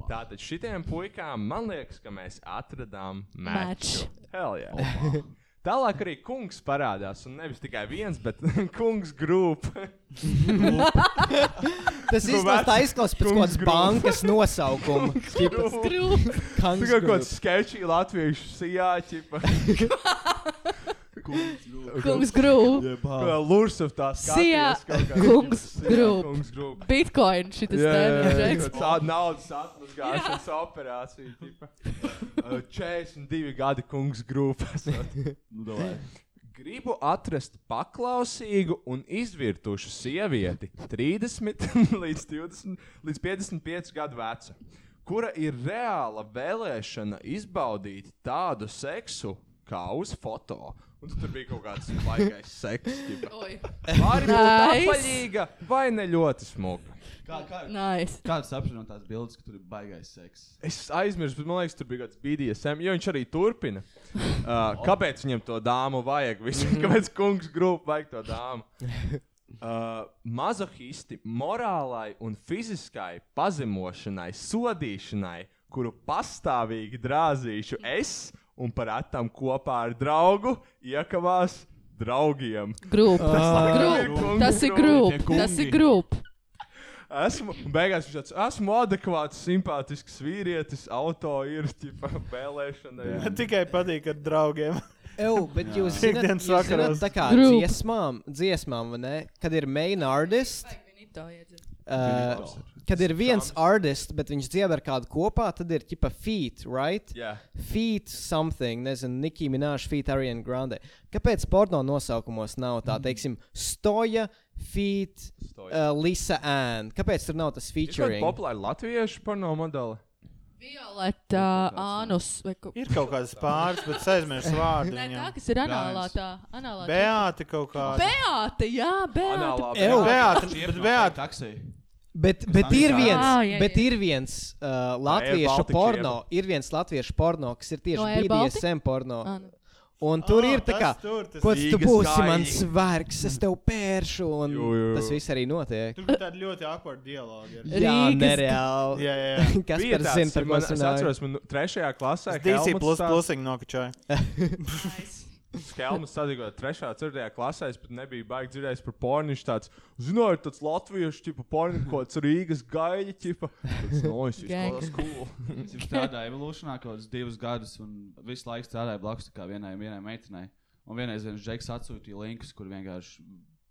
Speaker 4: Tātad šitiem puikām man liekas, ka mēs atradām meču. Hell yeah. Tālāk arī kungs parādās, un nevis tikai viens, bet kungs grupa.
Speaker 5: Tas
Speaker 4: vec-
Speaker 5: īstenībā izklausās pēc
Speaker 4: kungs
Speaker 5: kaut kādas
Speaker 4: grūti.
Speaker 5: bankas nosaukuma. Tipas Kungs
Speaker 4: Tā kā
Speaker 5: grūti.
Speaker 4: kaut kāds sketčī latviešu sijāķi.
Speaker 1: kungs grūti.
Speaker 4: Lūrs of tās.
Speaker 1: Sijā-
Speaker 4: skaties kaut kā.
Speaker 1: kungs
Speaker 4: Sijā
Speaker 1: grup.
Speaker 4: Kungs grupa.
Speaker 1: Bitcoin šitas tēmas.
Speaker 4: tāda naudas atmazgāšanas operācija. tipa. Uh, 42 gadi kungs grupas. Gribu atrast paklausīgu un izvirtušu sievieti, 30 līdz, 20, līdz 55 gadu veca, kura ir reāla vēlēšana izbaudīt tādu seksu kā uz foto. Un tur bija kaut kāds baisais seks. tipa.
Speaker 1: Oi,
Speaker 4: Var būt
Speaker 1: Nice.
Speaker 4: apaļīga vai ne ļoti smuka.
Speaker 7: Kāds
Speaker 1: Nice.
Speaker 7: apzinās tās bildes, ka tur ir baigais seks?
Speaker 4: Es aizmirsu, bet man liekas, tur bija kāds BDSM, jo viņš arī turpina. Uh, kāpēc viņam to dāmu vajag? Vispār, kāpēc kungs grupa vajag to dāmu? Uh, mazohisti morālai un fiziskai pazemošanai, sodīšanai, kuru pastāvīgi drāzīšu es un parātam kopā ar draugu iekavās draugiem.
Speaker 1: Grup.
Speaker 6: Ah,
Speaker 4: ir
Speaker 1: Grup.
Speaker 4: kungs
Speaker 1: Tas ir
Speaker 4: grup,
Speaker 1: grup.
Speaker 7: tie kungi.
Speaker 1: Tas ir grup.
Speaker 4: Esmu, un beigās viņš tāds, esmu adekvāts, simpātisks vīrietis, auto ir ģipa vēlēšanai.
Speaker 6: Man Tikai patīk ar draugiem.
Speaker 5: Ew, bet jūs zināt,
Speaker 6: Ikdienas
Speaker 5: jūs zināt,
Speaker 6: vakaros.
Speaker 5: tā kā
Speaker 1: Group.
Speaker 5: dziesmām, dziesmām, vai ne? Kad ir main artist, uh, kad ir viens artist, bet viņš dzied ar kādu kopā, tad ir tipa feet, right?
Speaker 4: Jā.
Speaker 5: Feet something, nezinu, Nikki Minaj, feet Ariana Grande. Kāpēc porno nosaukumos nav
Speaker 1: Mhm.
Speaker 5: tā, teiksim, stoja, feet,
Speaker 4: Stoja.
Speaker 5: uh, Lisa Ann? Kāpēc tur nav tas
Speaker 4: Ir kāda
Speaker 5: featuring?
Speaker 4: populāra latviešu porno modeli.
Speaker 1: Violeta, Anus vai kaut kas
Speaker 6: Ir kaut kādas pāris, bet es aizmirsu vārdu.
Speaker 1: tāds. Tā,
Speaker 6: viņam.
Speaker 1: kas ir anālā, tā anālā.
Speaker 6: Beāte kaut kāda.
Speaker 1: Beāte, jā, Beāte.
Speaker 4: Anālā
Speaker 5: Ew.
Speaker 6: Beāte,
Speaker 7: Šie
Speaker 6: bet
Speaker 7: nav
Speaker 6: Beāte.
Speaker 7: taksī.
Speaker 5: Bet, bet ir
Speaker 7: Ā,
Speaker 5: viens,
Speaker 1: Ah, jā, jā.
Speaker 5: bet ir viens uh, latviešu
Speaker 4: Baltic
Speaker 5: porno, ir viens latviešu porno, kas ir tieši
Speaker 1: No Air Baltic?
Speaker 5: BDSM porno.
Speaker 1: Ah, nu.
Speaker 5: Un tur
Speaker 4: Ah,
Speaker 6: Ā,
Speaker 5: ir tā
Speaker 6: tas
Speaker 5: kā,
Speaker 6: tur, tas
Speaker 5: ko tu
Speaker 4: Rīgas
Speaker 5: būsi
Speaker 4: kājīgi.
Speaker 5: mans vergs, es tev pēršu, un
Speaker 4: Jū, jū, jū.
Speaker 5: tas viss arī notiek.
Speaker 6: Tur bija tāda ļoti akvārda dialoga. ar-
Speaker 5: Jā,
Speaker 1: Rīgas-
Speaker 5: nereāli.
Speaker 6: Jā, jā, jā.
Speaker 5: Kas
Speaker 4: Bija
Speaker 5: par
Speaker 4: tāds,
Speaker 5: zinu, par
Speaker 4: man-
Speaker 5: ko es
Speaker 4: es
Speaker 5: runāju?
Speaker 4: atceros, man trešajā klasē
Speaker 6: Es DC
Speaker 4: Helmuts
Speaker 6: plus
Speaker 4: tā-
Speaker 6: plusiņu nokačāju.
Speaker 4: Skelmas sadzīvoja 3. un 4. klasē, es pat nebiju baigi dzirdējis par pornu. Viņš tāds, zināja, tāds latviešu tipa pornu, ko tas Rīgas gaļa tipa. Tas nojas,
Speaker 1: Gang.
Speaker 4: tas cool.
Speaker 7: Es jau strādāju evolūcijā kaut kādus divus gadus, un visu laiku strādāju blakus tā kā vienai, vienai meitenei. Un vienreiz viens džeks atsūtīja linkus, kur vienkārši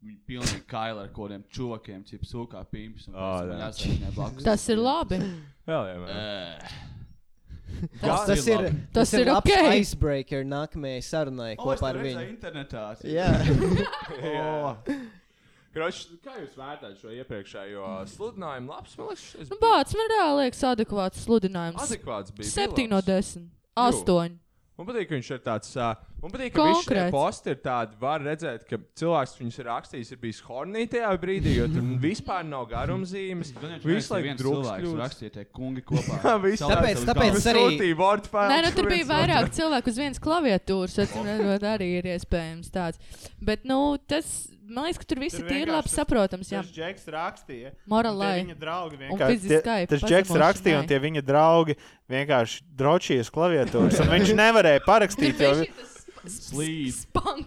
Speaker 7: viņi pilnīgi kaila ar kādiem čokiem, cip sūkā pīmpus. Un
Speaker 4: Ā,
Speaker 7: pēc tam
Speaker 4: jā.
Speaker 7: jāsaka viņai blakus.
Speaker 1: Tas ir labi.
Speaker 4: Jā, jā, jā.
Speaker 5: Uh,
Speaker 7: Ē.
Speaker 5: Tas, tas ir,
Speaker 7: labi.
Speaker 5: tas ir labs
Speaker 1: ok.
Speaker 5: icebreaker nākamajai sarunai
Speaker 7: O, es
Speaker 5: kopā ar
Speaker 7: to redzēju
Speaker 5: viņu.
Speaker 7: internetā. cip.
Speaker 5: Jā,
Speaker 4: Kroč, kā jūs vērtējat šo iepriekšējo uh, sludinājumu? Labs, man liekas, es...
Speaker 1: Nu, bāts man reāli liekas adekvāts sludinājums.
Speaker 4: adekvāts bija. bija
Speaker 1: 7 no
Speaker 4: labs.
Speaker 1: 10. 8.
Speaker 4: Man patīk, ka viņš ir tāds. ā, Man patīk, ka viņš šeit
Speaker 1: Konkrēts.
Speaker 4: posti ir tādi. Var redzēt, ka cilvēks viņus ir rakstījis, ir bijis hornī tajā brīdī, jo tur vispār nav garumzīmes.
Speaker 7: Gan jau
Speaker 4: Visu
Speaker 7: četri,
Speaker 4: laiku
Speaker 7: viens
Speaker 4: drūks
Speaker 7: cilvēks
Speaker 4: kļūst.
Speaker 7: rakstīja tie kungi kopā.
Speaker 4: Jā, viss
Speaker 7: Cilvēks
Speaker 5: Tāpēc-
Speaker 7: uz
Speaker 5: tāpēc
Speaker 7: galvas.
Speaker 5: Es arī-
Speaker 4: Sūtīja Word file.
Speaker 1: Nē, nu, tur bija vairāk cilvēku uz vienas klaviatūras. Atcīm redzot, arī ir iespējams tāds. Bet, nu, tas man liekas, ka tur viss
Speaker 6: Tur
Speaker 1: ir tīri
Speaker 6: vienkārši
Speaker 1: labi
Speaker 6: tas-
Speaker 1: saprotams. Jā,
Speaker 6: Tas Džeks rakstīja. Un tie
Speaker 1: morālai.
Speaker 6: Viņa draugi
Speaker 1: fiziskai
Speaker 6: vienkārši. tie- Tas Džeks
Speaker 1: pazemošanai.
Speaker 6: rakstīja, un tie viņa draugi vienkārši drošījies klaviatūras. un Viņš nevarēja parakstīt, jo,
Speaker 7: Slīd.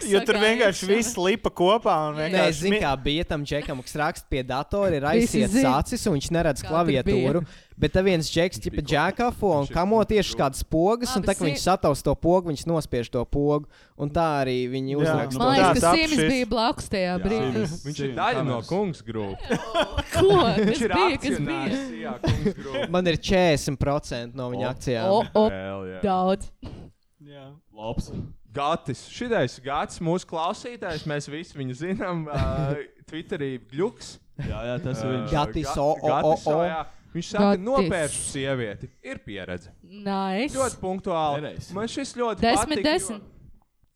Speaker 6: jo tur vienkārši viss lipa kopā. un
Speaker 5: Nē,
Speaker 6: vienkārši mi-
Speaker 5: zinu, kā bija tam čekam, kas raksta pie datora, ir
Speaker 1: Visi
Speaker 5: aiziet
Speaker 1: zin.
Speaker 5: sācis un viņš neredz
Speaker 1: Kā tur
Speaker 5: klaviatūru. Bet tad viens čeks, tipa džekafo un kamo tieši kādas pogas, un
Speaker 1: Abi
Speaker 5: tā kā viņš
Speaker 1: zin.
Speaker 5: sataus to pogu, viņš nospiež to pogu, un tā arī viņi
Speaker 6: Jā,
Speaker 5: uzraksta.
Speaker 6: nu,
Speaker 1: Man liekas,
Speaker 6: Tā
Speaker 1: ka
Speaker 6: tap
Speaker 1: Sims
Speaker 6: šis.
Speaker 1: bija blakus tajā brīdī.
Speaker 4: Viņš ir daļa no kungas grupas.
Speaker 1: Ko? Kas
Speaker 4: Viņš ir
Speaker 1: bija? Kas bija?
Speaker 4: akcionārs. Jā, kungas grupa.
Speaker 5: Man ir 40% no viņa
Speaker 4: O.
Speaker 5: akcijām.
Speaker 1: O, o,
Speaker 4: Vēl, jā.
Speaker 1: daudz.
Speaker 6: Jā.
Speaker 7: Labs.
Speaker 4: Gatis, šitais gads, mūsu klausītājs, mēs visi viņu zinām. Uh, Twitterī gluks.
Speaker 7: Jā, jā, tas ir viņš.
Speaker 5: Gatis, o, o, o,
Speaker 4: Gatis,
Speaker 5: o.
Speaker 4: jā. Viņš saka,
Speaker 1: Gatis.
Speaker 4: nopēršu sievieti. Ir pieredze.
Speaker 1: Nice.
Speaker 4: Ļoti punktuāli.
Speaker 7: Nereiz.
Speaker 4: Man šis ļoti
Speaker 1: Desmit,
Speaker 4: patīk.
Speaker 1: desmit.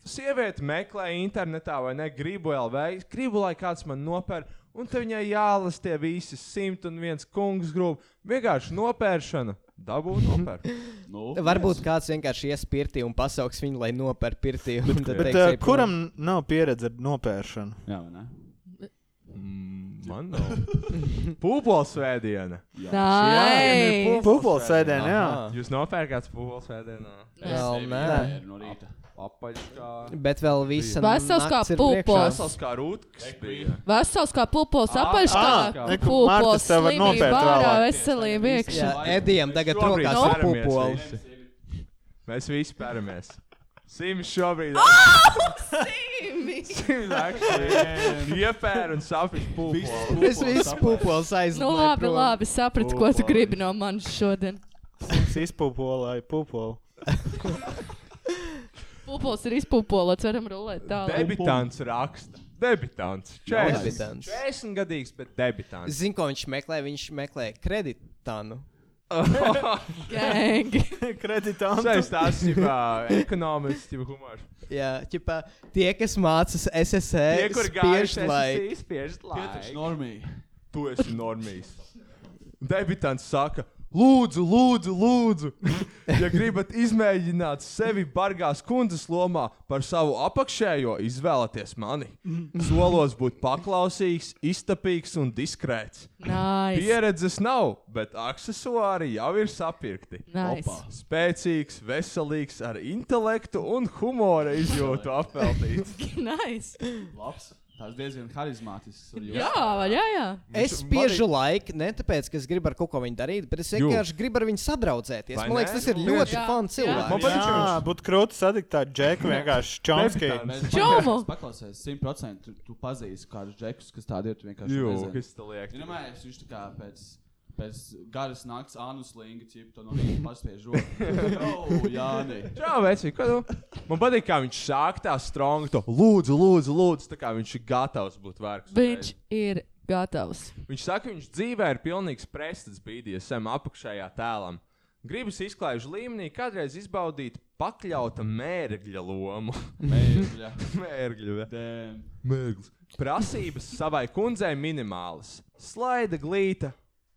Speaker 4: Sieviete meklē internetā, vai ne? Gribu LV, gribu, lai kāds man nopērk. Un te viņai jālas tie visi 101 kungs grūti. Vienkārši nopēršana. Dabū nopērk.
Speaker 7: Nu,
Speaker 5: Varbūt kāds vienkārši ies pirtī un pasauks viņu, lai nopērk pirtī. un tad
Speaker 6: Bet
Speaker 5: teiks,
Speaker 6: uh,
Speaker 5: "Ej prom."
Speaker 6: kuram nav pieredze ar nopēršanu?
Speaker 7: Jā, vai ne?
Speaker 4: Man nav. Pūpols svētdiena.
Speaker 1: Nice.
Speaker 6: Pupols sēdēnē, jā.
Speaker 5: Aha.
Speaker 4: Jūs nopērkat pūpols svētdienā.
Speaker 5: Vēl nē.
Speaker 7: Nē, no rīta.
Speaker 4: Apaļšā.
Speaker 5: Bet vēl visa
Speaker 1: Vesels kā
Speaker 5: nakts ir
Speaker 1: pupols.
Speaker 5: priekšā.
Speaker 4: Pasaules kā rūtkas bija.
Speaker 1: Vesels kā pupols
Speaker 6: ā,
Speaker 1: apaļškā.
Speaker 6: neku, Martas tev var nopērt
Speaker 1: ārā,
Speaker 6: vēlāk.
Speaker 1: veselība iekšā.
Speaker 5: Jā, Edijam tagad
Speaker 4: Šobrīd
Speaker 5: rokās ir
Speaker 4: peramies
Speaker 5: pupols.
Speaker 4: visi. Mēs visi peramies. Sims šobrīd ir iepērta un sapiņš pūpols.
Speaker 5: Es visu pupols aizlieku.
Speaker 1: Nu labi, labi, sapratu, ko tu gribi no manis šodien.
Speaker 6: Es izpupolēju pupolu.
Speaker 1: Pupols ir izpūpolots, varam rulēt tālāk.
Speaker 4: Debitants raksta. Debitants.
Speaker 5: Debitants.
Speaker 4: 40. 40 gadīgs, bet debitants.
Speaker 5: Zinu, ko viņš meklē. Viņš meklē kreditānu.
Speaker 1: Gang.
Speaker 6: Kreditants.
Speaker 4: Šais tās ir ekonomists, jau humors.
Speaker 5: Jā, ķipā, tie, kas mācās SSE,
Speaker 4: Tie,
Speaker 5: E,
Speaker 4: kur
Speaker 5: spiež,
Speaker 4: gājuši, E.
Speaker 5: lai
Speaker 4: es spiežu
Speaker 7: Pietiks,
Speaker 4: laiku.
Speaker 7: normīgi.
Speaker 4: Tu esi normīgs. Debitants saka, lūdzu, lūdzu, lūdzu. Ja gribat izmēģināt sevi bargās kundzes lomā par savu apakšējo, izvēlieties mani. Solos būt paklausīgs, iztapīgs un diskrēts.
Speaker 1: Nice.
Speaker 4: Pieredzes nav, bet aksesuāri jau ir sapirkti.
Speaker 1: Nice.
Speaker 4: Spēcīgs, veselīgs, ar intelektu un humora izjūtu apveltīts.
Speaker 1: nice.
Speaker 7: Labs. Tas diezgan harizmātisks. ar jūs.
Speaker 1: Jā, vai jā, jā.
Speaker 5: es spiežu laiku, ne tāpēc, ka es gribu ar kaut ko viņu darīt, bet es
Speaker 4: Jū.
Speaker 5: vienkārši gribu ar viņu sadraudzēties.
Speaker 4: Vai
Speaker 5: Man liekas,
Speaker 4: ne?
Speaker 5: tas ir
Speaker 4: Nu,
Speaker 5: ļoti
Speaker 1: jā.
Speaker 5: fun
Speaker 4: Man
Speaker 5: cilvēks.
Speaker 4: patīk, ka viņš-
Speaker 6: Jā, būtu krūti sadikt tādu džeku vienkārši čomskiju.
Speaker 7: Mēs
Speaker 1: Čomu!
Speaker 7: paklausīsimies, paklausīsimies, simt procenti. Tu, tu pazīsti kādus džekus, kas tādi ir. Tu vienkārši
Speaker 4: Jū,
Speaker 7: nezini.
Speaker 4: kas te liek?
Speaker 7: Iedomājieties, viņš tā kā pēc, pēc garas naktas anuslīga, cip to no rīta paspiež roku. Jā, nē.
Speaker 4: Jā, vecīt, ko tu? Man patīk, kā viņš sāk tā strongi, to lūdzu, lūdzu, lūdzu. Tā kā viņš ir gatavs būt vērts.
Speaker 1: Viņš ir gatavs.
Speaker 4: Viņš saka, ka viņš dzīvē ir pilnīgs prestats BDSM apakšējā tēlam. Gribas izklaižu līmenī kādreiz izbaudīt pakļauta mērgļa lomu.
Speaker 7: Mēģinājums.
Speaker 4: Mērgļu, ve. Mērglis. Prasības savai kundzei minimālas. Slaida glīta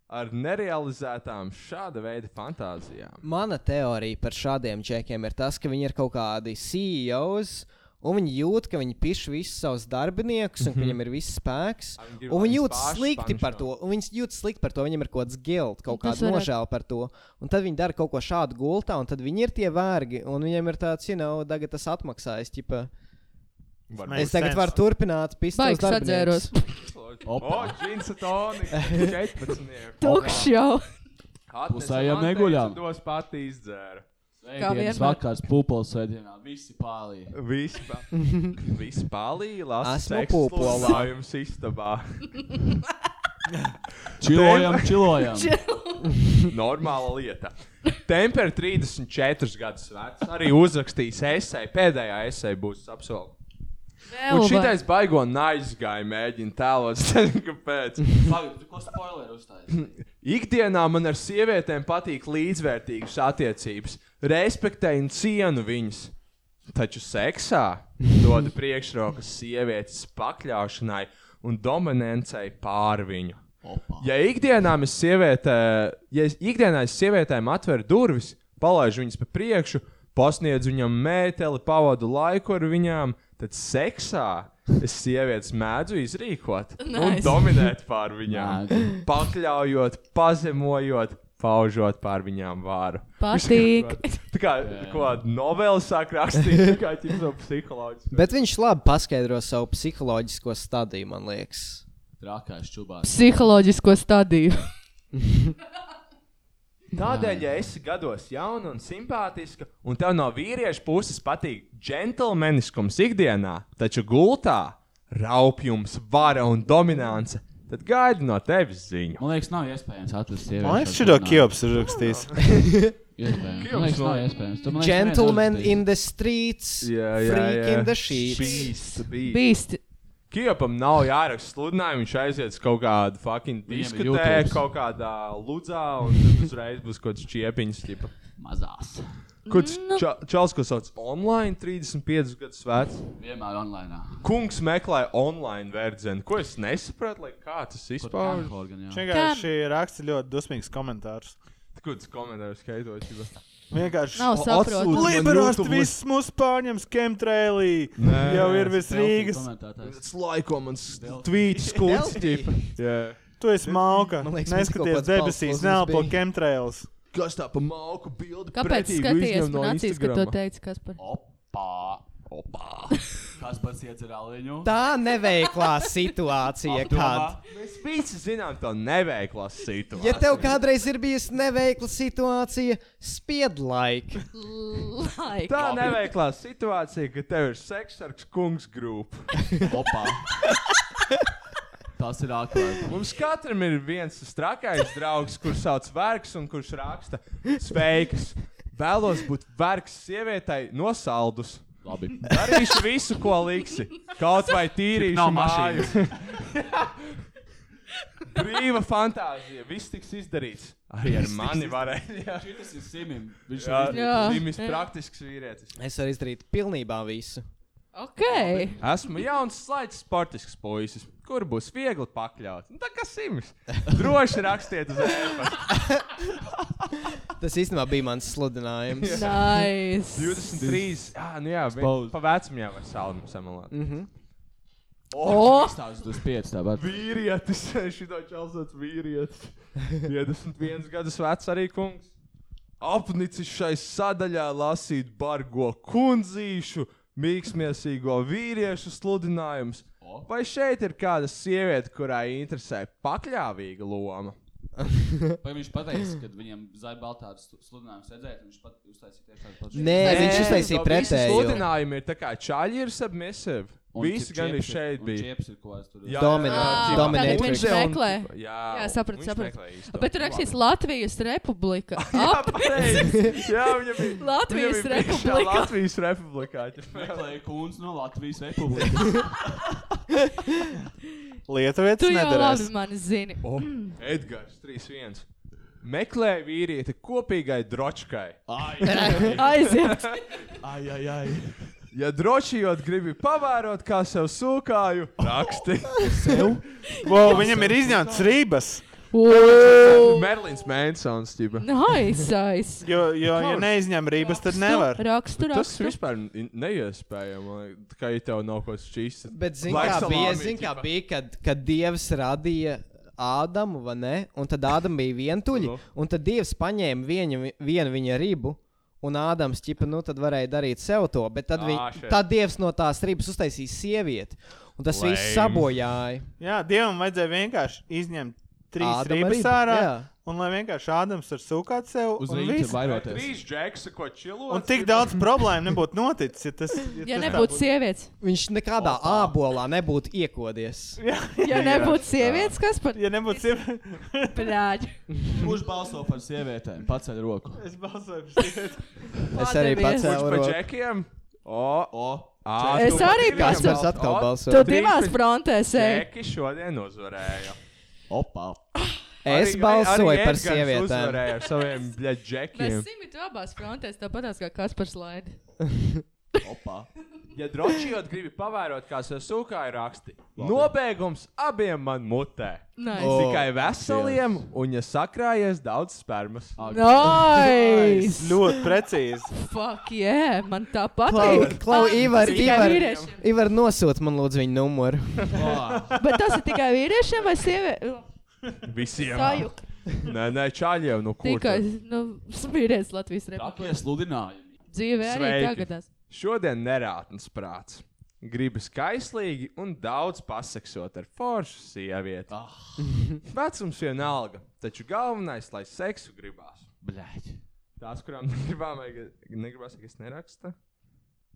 Speaker 4: ar nerealizētām šāda veida fantāzijām.
Speaker 5: Mana teorija par šādiem čekiem ir tas, ka viņi ir kaut kādi CEOs. Un viņi jūt, ka viņi piš visus savus darbiniekus, un
Speaker 4: Mhm.
Speaker 5: ka viņam ir viss spēks.
Speaker 4: Viņi grib,
Speaker 5: Un
Speaker 4: lai
Speaker 5: viņi
Speaker 4: viņus
Speaker 5: jūtas
Speaker 4: paši
Speaker 5: slikti par
Speaker 4: pančo.
Speaker 5: to. un Viņi jūtas slikti par to. Viņam ir kaut kāds guilt, kaut
Speaker 1: Tas
Speaker 5: kāda
Speaker 1: varētu-
Speaker 5: nožēla par to. Un tad viņi dara kaut ko šādu gultā, un tad viņi ir tie vērgi. Un viņiem ir tāds, jau know, tagad tas atmaksājas. Ķipa,
Speaker 4: Varbūt.
Speaker 5: es tagad
Speaker 6: sense.
Speaker 5: varu turpināt,
Speaker 1: Baigs
Speaker 5: pistolēt.
Speaker 1: atdzēros.
Speaker 4: O, džins un tonika. 14.
Speaker 1: Tukšs jau.
Speaker 7: Pusējām neguļām.
Speaker 4: Dos pati izdzēra.
Speaker 1: Kā
Speaker 7: Sēdienas
Speaker 1: vienmēr.
Speaker 7: vakars, pupols sēdienā, visi pārī.
Speaker 4: Vispār. Vispār līnijas.
Speaker 5: Esmu pupola.
Speaker 4: Lājums istabā.
Speaker 7: Čilojam, čilojam.
Speaker 4: Normāla lieta. Temper 34 gadus vecs. Arī uzrakstījis esēju. Pēdējā esēja būs apsolīta. Un šitais baigo naizgāja, mēģina tēlot, zini, kāpēc.
Speaker 7: Pagaidu, tu ko spoileri uzstājies?
Speaker 4: Ikdienā man ar sievietēm patīk līdzvērtīgas attiecības, respektēju un cienu viņas. Taču seksā dodu priekšrokas sievietes pakļaušanai un dominancei pār viņu. Ja ikdienā es sievietē, ja es ikdienā es sievietēm atveru durvis, palaidu viņas pa priekšu, pasniedzu viņam mēteli, pavadu laiku ar viņām, tad seksā es sievietes mēdzu izrīkot un
Speaker 1: Nice.
Speaker 4: dominēt pār viņām
Speaker 7: Nē,
Speaker 4: pakļaujot, pazemojot, paužot pār viņām vāru.
Speaker 1: Patīk.
Speaker 4: Tā kā kāda novela sāk rakstīt, kā ķipa psiholoģis.
Speaker 5: Bet viņš labi paskaidro savu psiholoģisko stadiju, man liekas.
Speaker 7: Trakais čubārs.
Speaker 1: Psiholoģisko stadiju.
Speaker 4: Tādēļ, ja esi gados jauna un simpātiska, un tev no vīrieša puses patīk džentlmeniskums ikdienā, taču gultā raupjums, vara un dominance, tad gaidi no tevis ziņu.
Speaker 7: Man liekas, nav iespējams atrast sievieti.
Speaker 6: Man liekas, šito Kjops ir rakstījis.
Speaker 7: Iespējams. Man liekas, nav iespējams. Tu, man liekas,
Speaker 5: Gentlemen
Speaker 7: neviens
Speaker 5: in the streets,
Speaker 4: Jā, jā,
Speaker 5: freak
Speaker 4: jā.
Speaker 5: in the sheets.
Speaker 4: Beast, beast.
Speaker 1: Bīsti.
Speaker 4: Kijopam nav jāraksta sludinājumi, viņš aizies kaut kādu fucking
Speaker 7: Viņam ir
Speaker 4: diskutē,
Speaker 7: YouTubes.
Speaker 4: kaut kādā ludzā, un tad uzreiz būs kaut kāds čiepiņš. tipa.
Speaker 7: uzrakstījis. Mazās.
Speaker 4: Kurš
Speaker 5: Nu.
Speaker 4: ča- čels, ko sauc online, 35 gadus vecs?
Speaker 7: Vienmēr online.
Speaker 4: Kungs meklē online verdzenu, ko es nesapratu, lai kā tas izpaužas.
Speaker 6: Viņš
Speaker 7: Pāri.
Speaker 6: vienkārši raksta ļoti dusmīgs komentārs.
Speaker 4: Kurš komentējis skaitotību?
Speaker 6: Vienkārši.
Speaker 1: Nav saprotu.
Speaker 6: Liberālisti viss mūs pārņems, Kemtrailī. Jau ir viss Rīgas.
Speaker 4: Tas laiko mans tvīts skūts.
Speaker 6: Tu esi malka.
Speaker 5: Man liekas, mums kaut
Speaker 6: Neskaties
Speaker 5: kāds
Speaker 6: debesīs,
Speaker 5: balss
Speaker 6: neelpo
Speaker 5: bija.
Speaker 6: Kemtrails.
Speaker 4: Kas tā pa malku bildi?
Speaker 1: Kāpēc
Speaker 4: pretīgu
Speaker 1: skaties
Speaker 4: izņem no
Speaker 1: man acīs, kad to
Speaker 4: Instagrama?
Speaker 1: teici, kas par?
Speaker 7: Opa! Opa! Kas pats iedzer aliņu?
Speaker 5: Tā neveiklā situācija, kāda.
Speaker 4: Mēs visi zinām to neveiklas situāciju.
Speaker 5: Ja tev kādreiz ir bijusi neveikla situācija, spied laika.
Speaker 1: Laika.
Speaker 4: Tā neveiklā situācija, ka tev ir seksa ar kungs grupu.
Speaker 7: Opa! Tas ir ārkārtīgi.
Speaker 4: Mums katram ir viens tas trakais draugs, kurš sauc vergs un kurš raksta sveiks. Vēlos būt vergs sievietai nosaldus.
Speaker 7: Labi.
Speaker 4: Darīšu visu, ko liksi. Kaut vai tīrīšu
Speaker 7: nav
Speaker 4: māju. Brīva fantāzija. Viss tiks izdarīts. Arī ar mani varēja.
Speaker 7: Šis ir simim. Viņš
Speaker 4: Jā,
Speaker 7: ir.
Speaker 1: Jā.
Speaker 4: Viņš ir praktisks vīrietis.
Speaker 5: Es varu izdarīt pilnībā visu.
Speaker 1: Ok.
Speaker 4: Esmu jauns, slaids, sportisks puisis, kur būs viegli pakļaut. Nu, Tā kā sims. Droši rakstiet uz e-pasta.
Speaker 5: Tas īstenībā bija mans sludinājums.
Speaker 1: Nice.
Speaker 4: 23. Jā, nu jā, vi-
Speaker 7: Exposed.
Speaker 4: pa vecumam jau var saldumu samalāt. Mm.
Speaker 1: O,
Speaker 7: Stāsts 25. tāpat.
Speaker 4: Vīrietis, šito čelsats vīrietis. 21 gadus vecs arī kungs. Apnicis šai sadaļā lasīt bargo kundzīšu, mīksmiesīgo vīriešu sludinājumus. Vai šeit ir kāda sieviete, kurai interesē pakļāvīga loma?
Speaker 7: Vai viņš pateica, ka viņam zaļbaltā sludinājums redzēt, viņš pat uztaisīja tieši tādu pašu?
Speaker 5: Nē, viņš
Speaker 4: nu, no
Speaker 5: iztaisīja
Speaker 4: Visi
Speaker 5: pretēju.
Speaker 4: sludinājumi ir tā kā čaļi ir submissive. Visi gan arī šeit bija.
Speaker 7: Čieps ir ko es tur.
Speaker 4: Jā,
Speaker 5: Domina-
Speaker 4: jā, jā.
Speaker 5: dominatrix.
Speaker 4: Un-
Speaker 5: Viņš
Speaker 1: Ah. meklē.
Speaker 4: Jā,
Speaker 1: Jā, sapratu,
Speaker 4: viņš
Speaker 1: sapratu.
Speaker 4: meklē īsto.
Speaker 1: bet tur rakstīs Latvijas republika.
Speaker 4: Jā,
Speaker 1: Ap,
Speaker 4: pareizi. Jā, viņam bija.
Speaker 1: Latvijas
Speaker 4: viņam bija priekšā
Speaker 1: republika.
Speaker 4: Latvijas republikā.
Speaker 7: Meklēja kundzi no Latvijas republikas.
Speaker 6: Lietuvietis
Speaker 1: Tu jau
Speaker 6: nedarēs.
Speaker 1: labi mani zini.
Speaker 4: Edgars 3.1. meklēja vīrieti kopīgai droškai.
Speaker 1: Aiziet!
Speaker 7: Ai, ai, ai.
Speaker 4: Ja drošījot, gribi pavērot, kā sev sūkāju, raksti.
Speaker 6: Wow, viņam ir izņemts rības.
Speaker 4: Merlins Mansons, ģipa.
Speaker 1: Nu, Naisais!
Speaker 6: Jo, jo ja neizņem rības, tad nevar.
Speaker 1: Nu, Rakstu,
Speaker 4: Tas
Speaker 1: rakstu.
Speaker 4: vispār in- neiespējami. man liek- Tā kā ja tev nav ko šķīst. tad
Speaker 5: Bet,
Speaker 4: laik
Speaker 5: zināmā mērā, bija,
Speaker 4: salāmī,
Speaker 5: zin, kā
Speaker 4: ķipa.
Speaker 5: bija kad, kad Dievs radīja Ādamu, vai ne? Un tad Ādams bija vientuļš, un tad Dievs paņēma vienu, vienu viņa ribu. Un Ādams ķipa, nu tad varēja darīt sev to, bet tad, viņ,
Speaker 4: Ā, šeit.
Speaker 5: tad Dievs no tās ribas uztaisīja sievieti. Un tas Lame. viss
Speaker 4: Lame.
Speaker 5: sabojāja.
Speaker 6: Jā, dievam vajadzēja vienkārši izņemt trīs
Speaker 5: Ādama ribu,
Speaker 6: rības ārā.
Speaker 5: jā.
Speaker 6: Un lai vienkārši Ādams var sūkāt sev.
Speaker 7: Uz
Speaker 6: un
Speaker 7: rīta
Speaker 6: viss.
Speaker 7: vairoties.
Speaker 4: Trīs džeksa, ko čilo.
Speaker 6: Un tik daudz problēmu nebūtu noticis, ja tas
Speaker 1: Ja nebūtu sievietes,
Speaker 5: Viņš nekādā ābolā nebūtu iekodies.
Speaker 1: ja nebūtu sievietes, kas par
Speaker 6: Ja nebūtu sieva,
Speaker 1: plāķi?
Speaker 7: Kurš balso par sievietēm? Paceļ roku.
Speaker 6: es balsoju par sievieti.
Speaker 5: Es arī
Speaker 1: Padevies.
Speaker 5: pats
Speaker 4: Kurš par
Speaker 5: esmu.
Speaker 4: džekiem? O,
Speaker 7: O,
Speaker 4: ā,
Speaker 1: Es
Speaker 4: tu
Speaker 1: arī
Speaker 4: pat-
Speaker 1: pats-
Speaker 5: Kaspars
Speaker 4: O,
Speaker 5: atkal
Speaker 1: Tu
Speaker 5: balso.
Speaker 1: divās frontēs ej.
Speaker 4: Džeki šodien uzvarēja.
Speaker 7: opa.
Speaker 5: Es
Speaker 4: Arī- arī
Speaker 5: balsoju par
Speaker 4: Edgars
Speaker 5: sievietēm.
Speaker 4: Uzvarēja ar saviem bļa,
Speaker 1: Mēs
Speaker 4: džekiem.
Speaker 1: simit abās frontēs, tāpatās kā Kaspars laid.
Speaker 7: opa.
Speaker 4: Ja drošījot, gribi pavērot, kā sev sūkāja raksti. Nobeigums abiem man mutē.
Speaker 1: Nais!
Speaker 5: O,
Speaker 4: Tikai veseliem, un ja sakrājies daudz spermas.
Speaker 1: Nais!
Speaker 6: Ļoti precīzi.
Speaker 1: Fuck, yeah, man tā
Speaker 5: Klau,
Speaker 1: patīk.
Speaker 5: klau Ivar,
Speaker 1: Tikai
Speaker 5: Ivar,
Speaker 1: vīriešiem.
Speaker 5: Ivar nosūta man lūdzu viņa numuru.
Speaker 7: Ā,
Speaker 1: Bet tas ir tikai vīriešiem vai sievietēm?
Speaker 4: Visiem.
Speaker 1: Sajuk.
Speaker 4: Nē, nē, čāļiem, nu kur.
Speaker 1: Tikai,
Speaker 4: tad?
Speaker 1: nu, smīries Latvijas republikā.
Speaker 7: Tāpēc sludinājumi.
Speaker 1: Dzīvē arī
Speaker 4: Sveiki.
Speaker 1: tagadās.
Speaker 4: Šodien nerātnes prāts. Gribu skaislīgi un daudz paseksot ar foršu sievieti.
Speaker 7: Ah.
Speaker 4: Vecums vienalga, taču galvenais, lai seksu gribās.
Speaker 7: Bļaļ.
Speaker 4: Tās, kurām negribām, vai negribās, ka es nerakstu,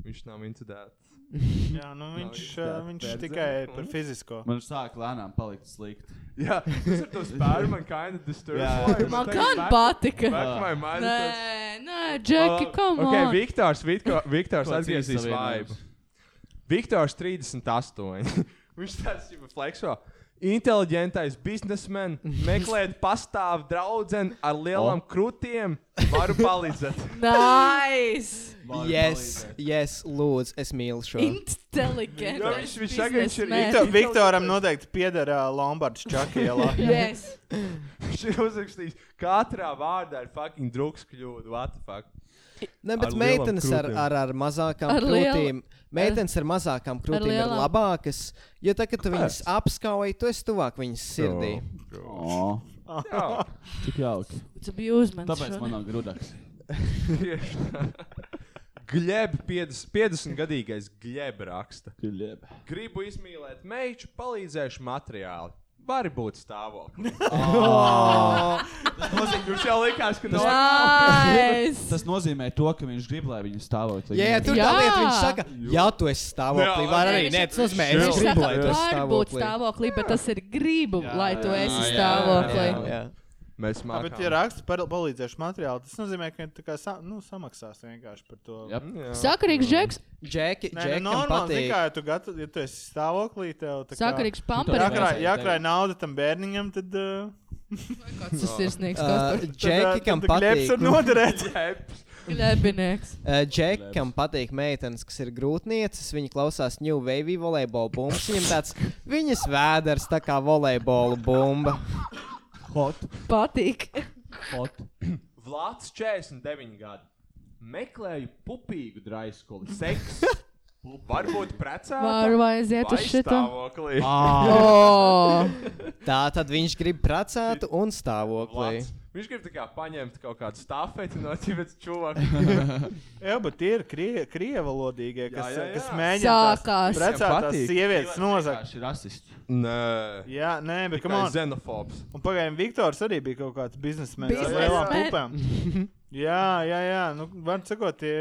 Speaker 4: viņš nav incidents.
Speaker 6: Jā, nu viņš,
Speaker 4: Nav
Speaker 6: ā,
Speaker 4: izdarīts
Speaker 6: viņš
Speaker 4: verdzeni.
Speaker 6: tikai par fizisko.
Speaker 7: Man sāk lēnām palikt slikti.
Speaker 4: Jā, tas ir tas pāri man kind of disturbs.
Speaker 7: Jā.
Speaker 4: Why?
Speaker 1: Man
Speaker 4: tagad
Speaker 1: gan
Speaker 4: back-
Speaker 1: patika.
Speaker 4: back my mind
Speaker 1: Nē,
Speaker 4: tas-
Speaker 1: nē, Džeki, kam?
Speaker 4: Ok, Viktors, Vitko, Viktors
Speaker 7: Ko
Speaker 4: atgriezīs
Speaker 7: cīsavienojums?
Speaker 4: vaibu. Viktors 38. Viņš tāds jau flexo. Inteliģentais biznesmenis, meklējot pastāvu draugu ar lielām krūtīm, varu palīdzēt.
Speaker 1: Nais!
Speaker 5: Yes, yes, lūdzu, es mīlu šo.
Speaker 1: Inteligents.
Speaker 4: Jo viņš- viņš saka, viņš ir
Speaker 6: Viktor, Viktoram noteikti pieder ā, Lombards Čakielā.
Speaker 1: Yes.
Speaker 4: Viņš ir uzrakstījis, ka katrā vārdā ir fucking drugs kļūda. What the fuck?
Speaker 5: Ne, bet
Speaker 4: Ar
Speaker 5: ar
Speaker 4: lielām
Speaker 5: meitenes ar,
Speaker 4: krūtīm.
Speaker 5: ar, ar mazākām
Speaker 1: Ar
Speaker 5: ar
Speaker 1: liel-
Speaker 5: krūtīm. Meitenes ar mazākām krūtīm ir
Speaker 1: lielām.
Speaker 5: labākas, jo tad, kad tu viņas apskauj, tu esi tuvāk viņas sirdī.
Speaker 7: O,
Speaker 4: Jā,
Speaker 7: tik jauki.
Speaker 1: It's abusement.
Speaker 7: Tāpēc
Speaker 1: šodien.
Speaker 7: man nav grūdaks.
Speaker 4: tieši tā. Gleb 50-gadīgais gleb raksta.
Speaker 7: Gļieb.
Speaker 4: Gribu izmīlēt meitu, palīdzēšu materiāli. Vari būt stāvoklis. Viņš jau likās, ka tas ir.
Speaker 1: Nais!
Speaker 7: Tas nozīmē to, ka viņš grib, lai viņa stāvot.
Speaker 5: Jā, jā, tur
Speaker 1: Jā.
Speaker 5: tā lieta viņš saka, ja tu esi stāvoklī,
Speaker 4: Jā,
Speaker 5: var
Speaker 1: jā,
Speaker 5: arī
Speaker 1: viņš-
Speaker 5: nē, tas nozīmē,
Speaker 1: Viņš
Speaker 5: es gribu, lai
Speaker 1: saka,
Speaker 5: tu
Speaker 1: var
Speaker 5: esi
Speaker 1: būt
Speaker 5: stāvoklī.
Speaker 1: stāvoklī, bet tas ir gribu, lai tu esi
Speaker 7: jā,
Speaker 5: Jā,
Speaker 1: stāvoklī.
Speaker 5: jā.
Speaker 4: Mēs
Speaker 6: Jā, bet, ja raksts par palīdzēšu materiālu, tas nozīmē, ka tu kā, sa, nu, samaksās vienkārši par to.
Speaker 7: Jā.
Speaker 1: Sakarīgs džeks,
Speaker 5: Džeki,
Speaker 6: Nē,
Speaker 5: Džekam
Speaker 6: nu, normāli,
Speaker 5: patīk.
Speaker 6: zini kā, ja tu, gatav, ja tu esi stāvoklī, tev tā kā
Speaker 1: sakarīgs
Speaker 7: Tā
Speaker 1: pamperis.
Speaker 7: kā-
Speaker 6: jākrāj, jākrāj nauda tam bērniņam, tad. Uh,
Speaker 1: Tas ir sirsnīgs
Speaker 5: Uh,
Speaker 1: kostos.
Speaker 5: Džeki, kam patīk.
Speaker 6: ir noderēt.
Speaker 1: Glebinieks.
Speaker 5: Uh, Džeki, kam patīk meitenes, kas ir grūtnieces, viņi klausās New Wave volejbola bumbas. Viņam tāds viņas vēders tā kā volejbola bumba.
Speaker 7: Hot,
Speaker 1: Patīk.
Speaker 7: hot.
Speaker 4: Vlads 49 gadi. Meklēju pupīgu draiskuli. Seks. Varbūt precēta.
Speaker 1: Varu vai aiziet uz šito?
Speaker 4: stāvoklī.
Speaker 1: Oh.
Speaker 5: Tā tad viņš grib precētu un stāvoklī.
Speaker 4: Vlads. Viņš grib tā kā paņemt kaut kādu stāfeti no ķivetes čūvaka.
Speaker 6: Jā, bet tie ir krie, krievalodīgie, kas, jā, jā,
Speaker 4: jā,
Speaker 6: jā. kas
Speaker 4: jā.
Speaker 6: mēģina
Speaker 1: Sākās.
Speaker 6: precētās
Speaker 4: Patīk.
Speaker 6: sievietes nozagt.
Speaker 7: Tas ir rasists.
Speaker 4: Nē.
Speaker 6: Jā, nē, bet kam
Speaker 4: Kā
Speaker 6: on?
Speaker 4: xenofobs.
Speaker 6: Un pagaidām, Viktors arī bija kaut kāds biznesmenis ar
Speaker 1: Biznesmen.
Speaker 6: lielām pupēm. Jā, jā, jā, nu, var sakot, tie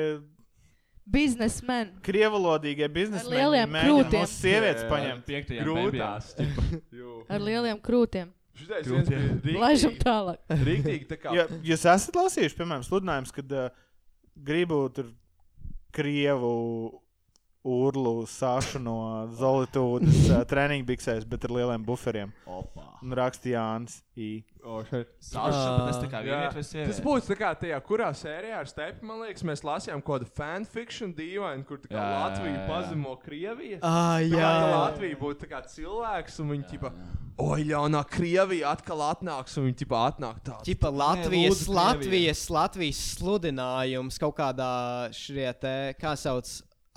Speaker 1: Biznesmen.
Speaker 6: krievalodīgie biznesmeni
Speaker 1: lieliem
Speaker 6: mēģina
Speaker 1: krūtīm.
Speaker 6: mūsu sievietes paņemt.
Speaker 7: piektajā
Speaker 4: Grūtās. Jū.
Speaker 1: Ar lieliem krūtīm.
Speaker 4: Šitais viens bija
Speaker 1: Laižam
Speaker 4: riktīgi-
Speaker 1: tālāk.
Speaker 4: riktīgi tā kā
Speaker 6: Ja, jūs esat eh, lasījuši, piemēram, sludinājumus, kad uh, gribu tur krievu Urlu sāšu no Zolītūdas uh, treniņa biksēs, bet ar lieliem buferiem.
Speaker 7: Opa.
Speaker 6: Un rakstīja Jānis I.
Speaker 7: Sāšu, bet es tā kā
Speaker 4: Jā.
Speaker 7: vienīgais
Speaker 4: Tas būtu tā kā tajā, kurā sērijā ar stepu, man liekas, mēs lasījām kaut kādu fanfikšanu dīvainu, kur tā kā
Speaker 7: Jā,
Speaker 4: Latvija
Speaker 7: jā, jā.
Speaker 4: pazemo Krieviju.
Speaker 5: Ah,
Speaker 4: Jā,
Speaker 5: jā.
Speaker 4: jā. Latvija būtu tā kā cilvēks, un viņi tipā, oi, jaunā Krievija atkal atnāks, un viņi tipā atnāk tāds.
Speaker 5: Čipa Latvijas,
Speaker 7: lūdzu, Krievija.
Speaker 5: Latvijas, Latvijas sludinājums kaut kādā šajā te, kā sauc,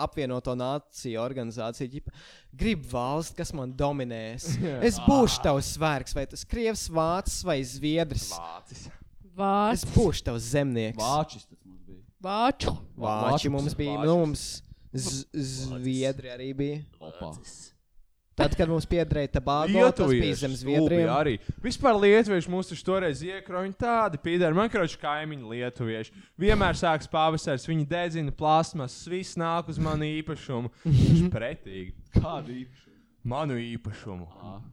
Speaker 5: apvienoto nāciju organizācija. Ķipa, Grib valsts, kas man dominēs. Es būšu tavs svērks, vai tas krievs, vācis vai zviedrs.
Speaker 4: Vācis.
Speaker 5: Es
Speaker 1: Vārds,
Speaker 5: būšu tavs zemnieks.
Speaker 7: Vāčis tas mums bija.
Speaker 1: vārču.
Speaker 5: Vāči mums bija,
Speaker 7: Vāčis.
Speaker 5: nu, mums z- zviedri arī bija.
Speaker 7: Opa.
Speaker 5: Tad, kad mums piedrēja tabāko, tas bija
Speaker 4: Lietuvieši,
Speaker 5: zem
Speaker 4: zviedri
Speaker 5: zviedriem.
Speaker 4: arī. Vispār lietuvieši mūs taču toreiz iekroņoja tādi pīdari, man kroči kaimiņi lietuvieši. Vienmēr sāks pavasars, viņi dedzina plasmas, viss nāk uz manu īpašumu. Viņš pretīgi.
Speaker 7: Kāda īpaša?
Speaker 4: Manu īpašumu.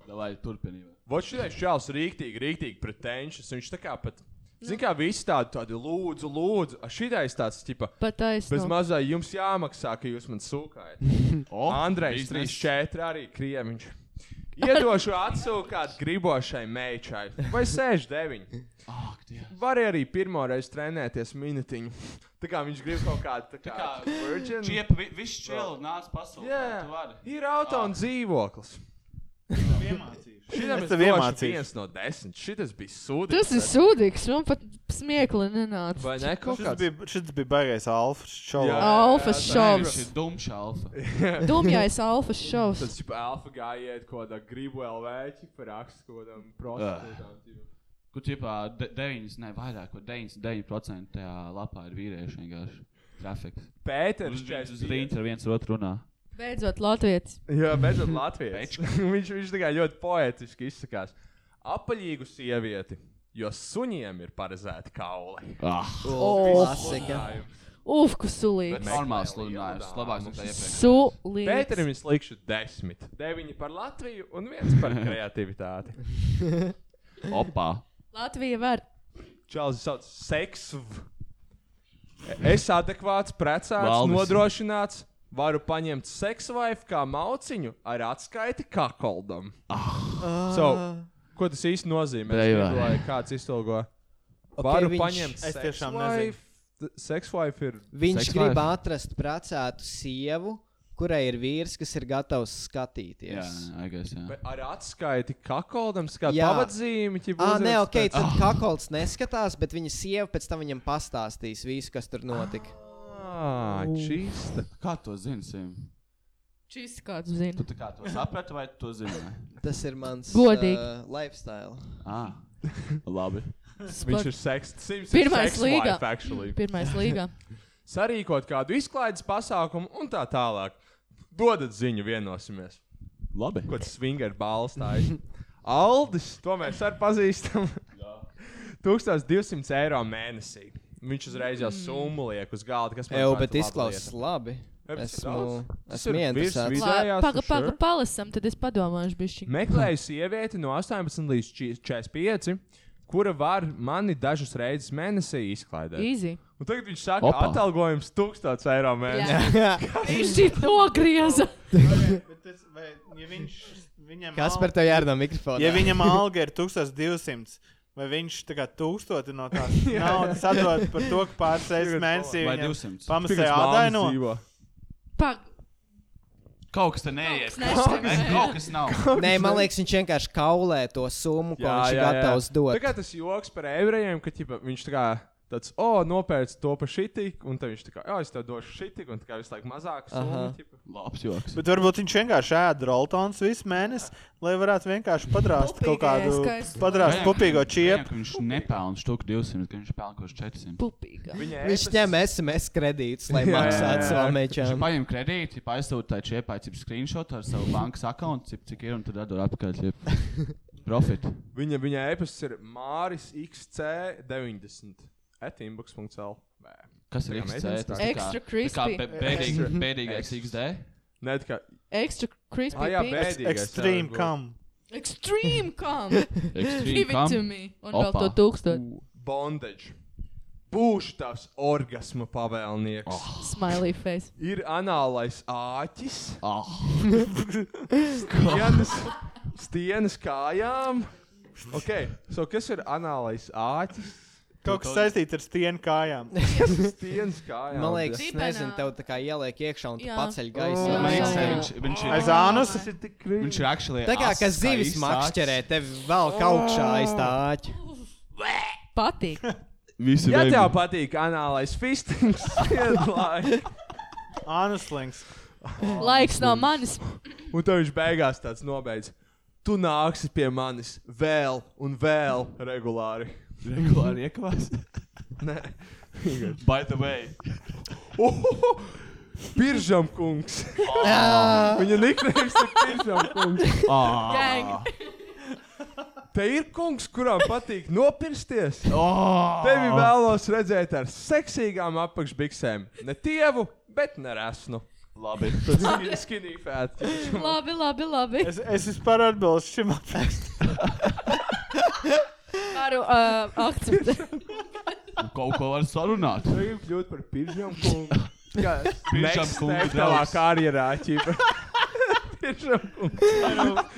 Speaker 7: Davai, turpinība.
Speaker 4: Vots šis čels rīktīgi, rīktīgi pretentious. Viņš tā kā pat, zin kā visi tādi, tādi lūdzu, lūdzu. A šitais tāds, tipa, bez
Speaker 1: Pataisnība.
Speaker 4: mazā jums jāmaksā, ka jūs man sūkājat.
Speaker 7: O,
Speaker 4: Andrejs
Speaker 7: biznes.
Speaker 4: 34 arī krieviņš. Iedošu atsūkāt gribošai meitai. Vai 69?
Speaker 7: Ak, Dievs.
Speaker 4: Varēja arī pirmoreiz trenēties minūtiņu. Tā kā viņš grib kaut kādu tādu kā
Speaker 7: kā
Speaker 4: virgin.
Speaker 7: Čiepa, vi- viss čēlis nāca pasaulē.
Speaker 4: Jā.
Speaker 7: tu vari.
Speaker 4: Ir auto un dzīvoklis. Šitam
Speaker 6: Es
Speaker 4: es
Speaker 6: tev
Speaker 4: došu
Speaker 6: iemācīšu.
Speaker 4: viens no desmit. Šitas bija sūdīgs.
Speaker 1: Tas ir sūdīgs, man pat smiekli nenāca.
Speaker 4: Vai ne kaut
Speaker 6: Šis
Speaker 4: kāds?
Speaker 6: bija, šis bija baigais Alfs
Speaker 4: Jā.
Speaker 6: Čalovs.
Speaker 1: Alfas
Speaker 4: tā
Speaker 1: šovs.
Speaker 7: Viņš ir dumšs alfa.
Speaker 1: Dumjais alfas šovs.
Speaker 4: Tas jau alfa gājiet, ko da gribu LV, ķipa rakstu, ko tam prostitūtām.
Speaker 7: Kur tipā de- 9, ne vairāk, ko 99% tajā lapā ir vīrieši vienkārši. Trafiks.
Speaker 4: Pēters
Speaker 7: Uz,
Speaker 4: četrdesmit
Speaker 7: uz rīņķa ar viens otru runā.
Speaker 1: Beidzot, Latvijas.
Speaker 4: Jā, beidzot Latvijas. viņš, viņš tā kā ļoti poetiski izsakās. Apaļīgu sievieti, jo suņiem ir paredzēti kauli.
Speaker 7: Ah,
Speaker 5: Klasika.
Speaker 1: Uf, kas sulīgs.
Speaker 7: normāls sludinājums. Labāks nekā iepriekš.
Speaker 1: Sulīgs.
Speaker 4: Pēterim ir slikšu desmit. Deviņi par Latviju un viens par kreativitāti.
Speaker 7: Opa.
Speaker 1: Latvija var.
Speaker 4: Čālijs sauc seksu. Es adekvāts, precēts,
Speaker 7: Valdis.
Speaker 4: Valdis. nodrošināts. Varu paņemt seksu vaifu kā mauciņu ar atskaiti kakoldam. Ah. So, ko tas īsti nozīmē? Es
Speaker 7: Brīvā.
Speaker 4: nedomāju, Kāds iztolgo? Varu
Speaker 5: viņš-
Speaker 4: viņš... paņemt
Speaker 6: Es tiešām
Speaker 4: Seksuālife ir.
Speaker 5: Viņš
Speaker 7: Sex
Speaker 5: grib
Speaker 7: life.
Speaker 5: atrast precētu sievu, kurai ir vīrs, kas ir gatavs skatīties.
Speaker 7: Jā, I guess, jā.
Speaker 4: Be- Ar atskaiti kakoldam, kā
Speaker 5: Jā.
Speaker 4: pavadzīmi. ķip,
Speaker 5: Ah, nē,
Speaker 4: uzrakst
Speaker 5: ok, tad oh. Kakols neskatās, bet viņa sieva pēc tam viņam pastāstīs visu, kas tur notika.
Speaker 4: Ā, čista.
Speaker 7: Kā to zini? Sim?
Speaker 1: Šis kāds
Speaker 7: Tu
Speaker 1: zina.
Speaker 7: tā kā to saprati vai tu to zini?
Speaker 5: Tas ir mans
Speaker 1: Godīgi.
Speaker 5: Uh, lifestyle.
Speaker 7: Ah, labi.
Speaker 4: Viņš ir sekss.
Speaker 1: Pirmais līga.
Speaker 4: Actually.
Speaker 1: Pirmais līgā.
Speaker 4: sarīkot kādu izklaides pasākumu un tā tālāk. Dodat ziņu, vienosimies.
Speaker 7: Labi.
Speaker 4: Ko tas swinger balss tā ir? Aldis, to mēs arī pazīstam. 1200 eiro mēnesī. Viņš uzreiz jau summu liek uz galda, kas man
Speaker 5: Eju,
Speaker 4: šķiet
Speaker 5: bet
Speaker 4: laba
Speaker 5: izklausās labi.
Speaker 4: Jā, bet tas ir
Speaker 5: Esmu,
Speaker 4: daudz. Tas ir
Speaker 5: esmu
Speaker 4: virs
Speaker 5: interesēts.
Speaker 4: vid-
Speaker 1: Pagaidām,
Speaker 4: Izējās, for
Speaker 1: pagaidām,
Speaker 4: sure.
Speaker 1: palasam, tad es padomāšu, bišķi.
Speaker 4: lieta. Meklēju sievieti no 18 līdz 45, kura var mani dažas reizes mēnesī izklaidēt.
Speaker 1: Easy.
Speaker 4: Un tagad viņš saka, ka
Speaker 7: Opa.
Speaker 4: atalgojums 1000 eiro mēnesī.
Speaker 1: Viņš ir nogrieza.
Speaker 5: Kas par tevi jārunā mikrofonā?
Speaker 6: Ja viņam alga ir 1200, vai viņš tā kā 1000 no tās naudas atdod par to, ka pāris reizes mēnesī
Speaker 7: Vai
Speaker 6: viņam
Speaker 7: 200?
Speaker 4: Tikai uz
Speaker 6: pamatā
Speaker 4: māmas
Speaker 6: atdaino?
Speaker 4: dzīvo.
Speaker 1: Pag...
Speaker 7: Kaut kas te neies.
Speaker 1: Kaut kas neies.
Speaker 7: Kaut kas nav.
Speaker 5: Nē, man liekas, viņš vienkārši kaulē to summu, ko viņš ir gatavs
Speaker 4: Tā
Speaker 5: dot.
Speaker 4: kā tas joks par ebrejiem, ka ķipa, viņš tā kā tāds, o, oh, nopērts to par šitik, un tad viņš tā kā, jā, es tev došu šitik, un tā kā visu laiku mazāk
Speaker 5: Aha.
Speaker 4: summu.
Speaker 7: Labs joks.
Speaker 6: Bet varbūt viņš vienkārši ēda roltons visu mēnesi, lai varētu vienkārši padrāst kaut kādu
Speaker 1: Pupīgais, skaists.
Speaker 6: padrāst kopīgo
Speaker 7: Vajag,
Speaker 6: čiepu.
Speaker 7: ka Viņš nepelna štuku 200, ka viņš pelna kaut ko 400.
Speaker 1: Pupīga.
Speaker 4: Viņa
Speaker 5: Viņš ņem e- SMS kredītus, lai
Speaker 4: Jā, jā,
Speaker 5: maksātu
Speaker 4: jā.
Speaker 5: savam
Speaker 7: Viņš
Speaker 5: mečam.
Speaker 7: paņem kredītu, ja aizsūta tā čiepa, cik screenshot ar savu bankas kontu, cik, cik ir un tad atdod atpakaļ. ķip. Profit.
Speaker 4: Viņa, viņa e-pasts ir Māris XC90. Etinbox.cl.
Speaker 7: Kas ir
Speaker 4: Tā kā
Speaker 7: XC? Tas
Speaker 4: meitenes tā.
Speaker 7: tā kā-
Speaker 1: Extra
Speaker 7: tā kā
Speaker 1: crispy.
Speaker 7: be- bēdīgi-
Speaker 4: Extra.
Speaker 7: Bēdīgais
Speaker 4: Extra.
Speaker 7: XD.
Speaker 4: Nē, tā kā.
Speaker 1: Extra crispy.
Speaker 4: Ah, jā,
Speaker 1: pink.
Speaker 4: bēdīgais.
Speaker 6: Extreme kam.
Speaker 1: Extreme come. Give
Speaker 7: Extreme
Speaker 1: it to
Speaker 7: kam.
Speaker 1: me. Un vēl
Speaker 7: Opa.
Speaker 1: to tūkstot.
Speaker 4: Bondage. Būšu tās orgasma pavēlnieks. Oh.
Speaker 1: Ah. Smiley face.
Speaker 4: Ir anālais āķis,
Speaker 7: Ah,
Speaker 4: stienas, stienas kājām. Okay, so kas ir anālais āķis?
Speaker 6: Kaut kas saistīts ar stienu kājām.
Speaker 4: Stienas kājām.
Speaker 5: Man liekas,
Speaker 1: Dibenā.
Speaker 5: nezinu, tev tā kā ieliek iekšā un tu
Speaker 1: Jā.
Speaker 5: paceļ
Speaker 6: Oh,
Speaker 5: gaisā.
Speaker 6: man
Speaker 7: Makes
Speaker 6: jā,
Speaker 7: sense.
Speaker 6: jā.
Speaker 7: viņš, viņš ir.
Speaker 6: Aiz ānus.
Speaker 4: tas ir tik grūti.
Speaker 7: Viņš ir actually.
Speaker 5: Tā kā
Speaker 7: ass,
Speaker 5: kas zivis
Speaker 7: īsts
Speaker 5: makšķerē,
Speaker 7: āķis.
Speaker 5: tev vēl kaut kā aizstāķi.
Speaker 1: Patīk.
Speaker 7: Visi
Speaker 4: Ja
Speaker 7: baby.
Speaker 4: tev patīk anālais fistings, tad
Speaker 6: Anuslings.
Speaker 1: Laiks no manis.
Speaker 4: Un tad viņš beigās tāds nobeidz. Tu nāksi pie manis vēl un vēl regulāri.
Speaker 7: regulāri iekavās.
Speaker 4: Nē,
Speaker 7: By the way,
Speaker 4: Ohoho! Piržam kungs. Viņa niknējums ir piržam kungs.
Speaker 7: ah,
Speaker 1: Gang.
Speaker 4: Te ir kungs, kuram patīk nopirsties.
Speaker 7: ah,
Speaker 4: Tevi vēlos redzēt ar seksīgām apakšbiksēm. Ne tievu, bet neresnu.
Speaker 7: labi.
Speaker 4: Tas ir skinīgi fēts.
Speaker 1: Labi, labi, labi.
Speaker 6: Es, es vispār atbilstu šim aprakstam.
Speaker 1: Varu uh, akceptēt.
Speaker 7: Kaut ko var sarunāt.
Speaker 4: Gribu kļūt par piržam kungu. Kā
Speaker 7: Piržam
Speaker 4: next
Speaker 7: kungu
Speaker 4: step tavā
Speaker 7: draugs.
Speaker 4: karjerā, ķipa. piržam kungs.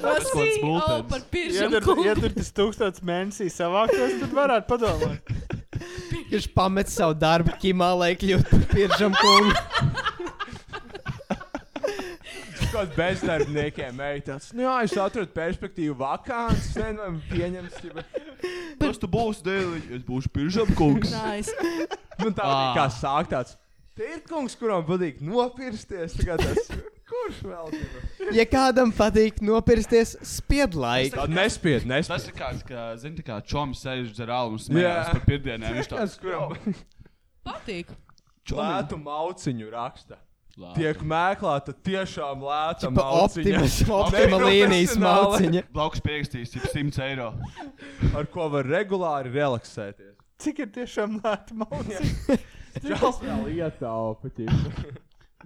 Speaker 7: Tas
Speaker 1: Prasīju, o, par
Speaker 6: Ja
Speaker 1: piržam
Speaker 6: tur, ja
Speaker 1: kungu.
Speaker 6: tur tas tūkstots mēnesī savāktos, tad varētu padomāt.
Speaker 5: Viņš pamet savu darbu, kimā, lai kļūtu par piržam kungu.
Speaker 4: Kaut bezdarbniekiem meitās. Nu jā, es atradu perspektīvu vakāns. Nezinu, pieņems. ķipa.
Speaker 7: Kas tu būsi dēļ? Es būšu piržam kungs.
Speaker 1: Nice.
Speaker 4: Nu tā
Speaker 7: Ā.
Speaker 4: kā sāk tāds. Te ir kungs, kuram patīk nopirsties. Tā kā Tas, kurš vēl? ķipa?
Speaker 5: Ja kādam patīk nopirsties, spied laiku.
Speaker 4: Tad nespied, nespied.
Speaker 7: Tas ir kāds, kā, zini, tā kā čoms sēž uz rālu un
Speaker 4: Jā.
Speaker 7: smējās par pirdienēm. Viņš
Speaker 4: Tas,
Speaker 7: tāds
Speaker 4: kuram
Speaker 1: Patīk.
Speaker 4: lētu mauciņu raksta.
Speaker 7: Lā.
Speaker 4: Tiek mēklāta tiešām lēta
Speaker 5: Pa
Speaker 4: mauciņa.
Speaker 5: optimas, optima līnijas
Speaker 4: Neprofesionāli.
Speaker 5: mauciņa.
Speaker 7: Blakus pierakstījis jau 100 eiro.
Speaker 4: ar ko var regulāri relaksēties.
Speaker 6: Cik ir tiešām lēta mauciņa?
Speaker 4: Tas vēl ietaupa.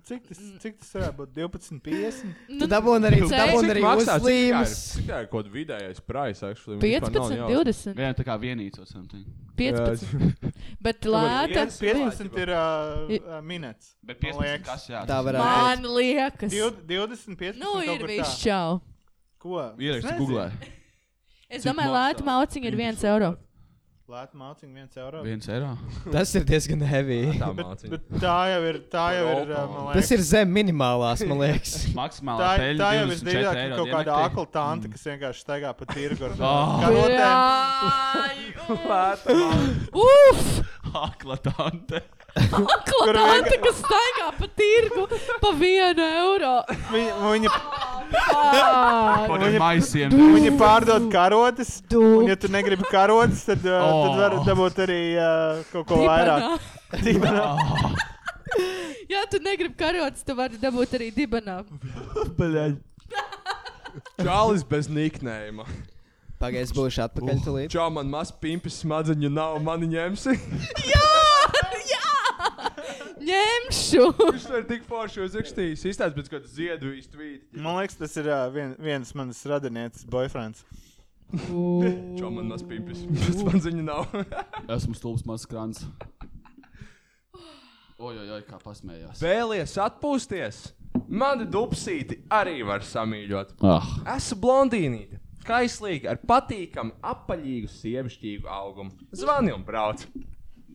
Speaker 6: Cik tas, cik tas varētu būt? 12,50?
Speaker 1: Nu,
Speaker 5: Tu dabūni arī,
Speaker 1: Cik
Speaker 5: dabūni arī uzlīmes.
Speaker 4: Tikai kaut kāds vidējais price. Actually,
Speaker 1: 15, 20,
Speaker 7: Gan tā kā vienīts or something.
Speaker 1: 15. Bet lēta.
Speaker 6: 15 ir uh, minēts.
Speaker 7: Bet 15 kas jā.
Speaker 5: Tā varētu.
Speaker 1: Man liekas.
Speaker 6: 20, 15.
Speaker 1: Nu ir viss
Speaker 6: viņš.
Speaker 1: čau.
Speaker 6: Ko?
Speaker 7: Ieraksti Google.
Speaker 1: Es
Speaker 7: Cik
Speaker 1: domāju,
Speaker 7: maksā?
Speaker 1: lēta mauciņa ir 1 eiro.
Speaker 6: Lēta mauciņa 1 eiro.
Speaker 7: 1 eiro.
Speaker 5: Tas ir diezgan heavy.
Speaker 6: Bet, bet tā jau ir. Tā jau ir. ā, man
Speaker 5: Tas
Speaker 6: liekas,
Speaker 5: ir zem minimālās, man liekas.
Speaker 7: Maksimālā
Speaker 6: Tā,
Speaker 7: peļņa
Speaker 6: tā jau ir
Speaker 7: 24
Speaker 6: drīzāk
Speaker 7: eiro
Speaker 6: kaut kāda
Speaker 7: diennaktī.
Speaker 6: akla tante, kas vienkārši staigā pa tirgu. ar
Speaker 7: Ah.
Speaker 6: karotēm.
Speaker 1: Uf!
Speaker 7: Akla tante.
Speaker 6: Kur
Speaker 1: Klāta,
Speaker 6: vienkār-
Speaker 1: kas staigā pa tirgu pa vienu eiro.
Speaker 6: Viņa, viņa,
Speaker 1: Ā,
Speaker 7: Kaut
Speaker 6: Viņa-
Speaker 7: kā maisiem.
Speaker 6: viņa pārdod karotes. Un, ja tu negribi karotes, tad, uh,
Speaker 7: Oh.
Speaker 6: tad var dabūt arī uh, kaut ko vairāk.
Speaker 1: dibenā.
Speaker 6: Dibenā.
Speaker 1: Ja tu negribi karotes, tu vari dabūt arī dibenā.
Speaker 4: Čālis bez niknējuma.
Speaker 5: Pagaidies, būšu atpakaļ tulīt.
Speaker 4: Čau, man maz pimpis smadzeņu nav, mani ņemsi.
Speaker 1: Ņemšu!
Speaker 4: Viņš to ir tik forši uzrakstījis. Izstāsts pēc kāda ziedu īstvīti.
Speaker 6: Man liekas, tas ir uh, vien, viens manas radinieces boyfriends.
Speaker 4: Čau, man maz pimpis smadzeņu nav.
Speaker 7: Esmu stulbs mazs krāns. Ojoj, kā pasmējās.
Speaker 4: Vēlies atpūsties? Mani dupsīti arī var samīļot.
Speaker 7: Ah,
Speaker 4: Esmu blondīnīte, kaislīga, ar patīkamu, apaļīgu, sievišķīgu augumu. Zvani un brauc.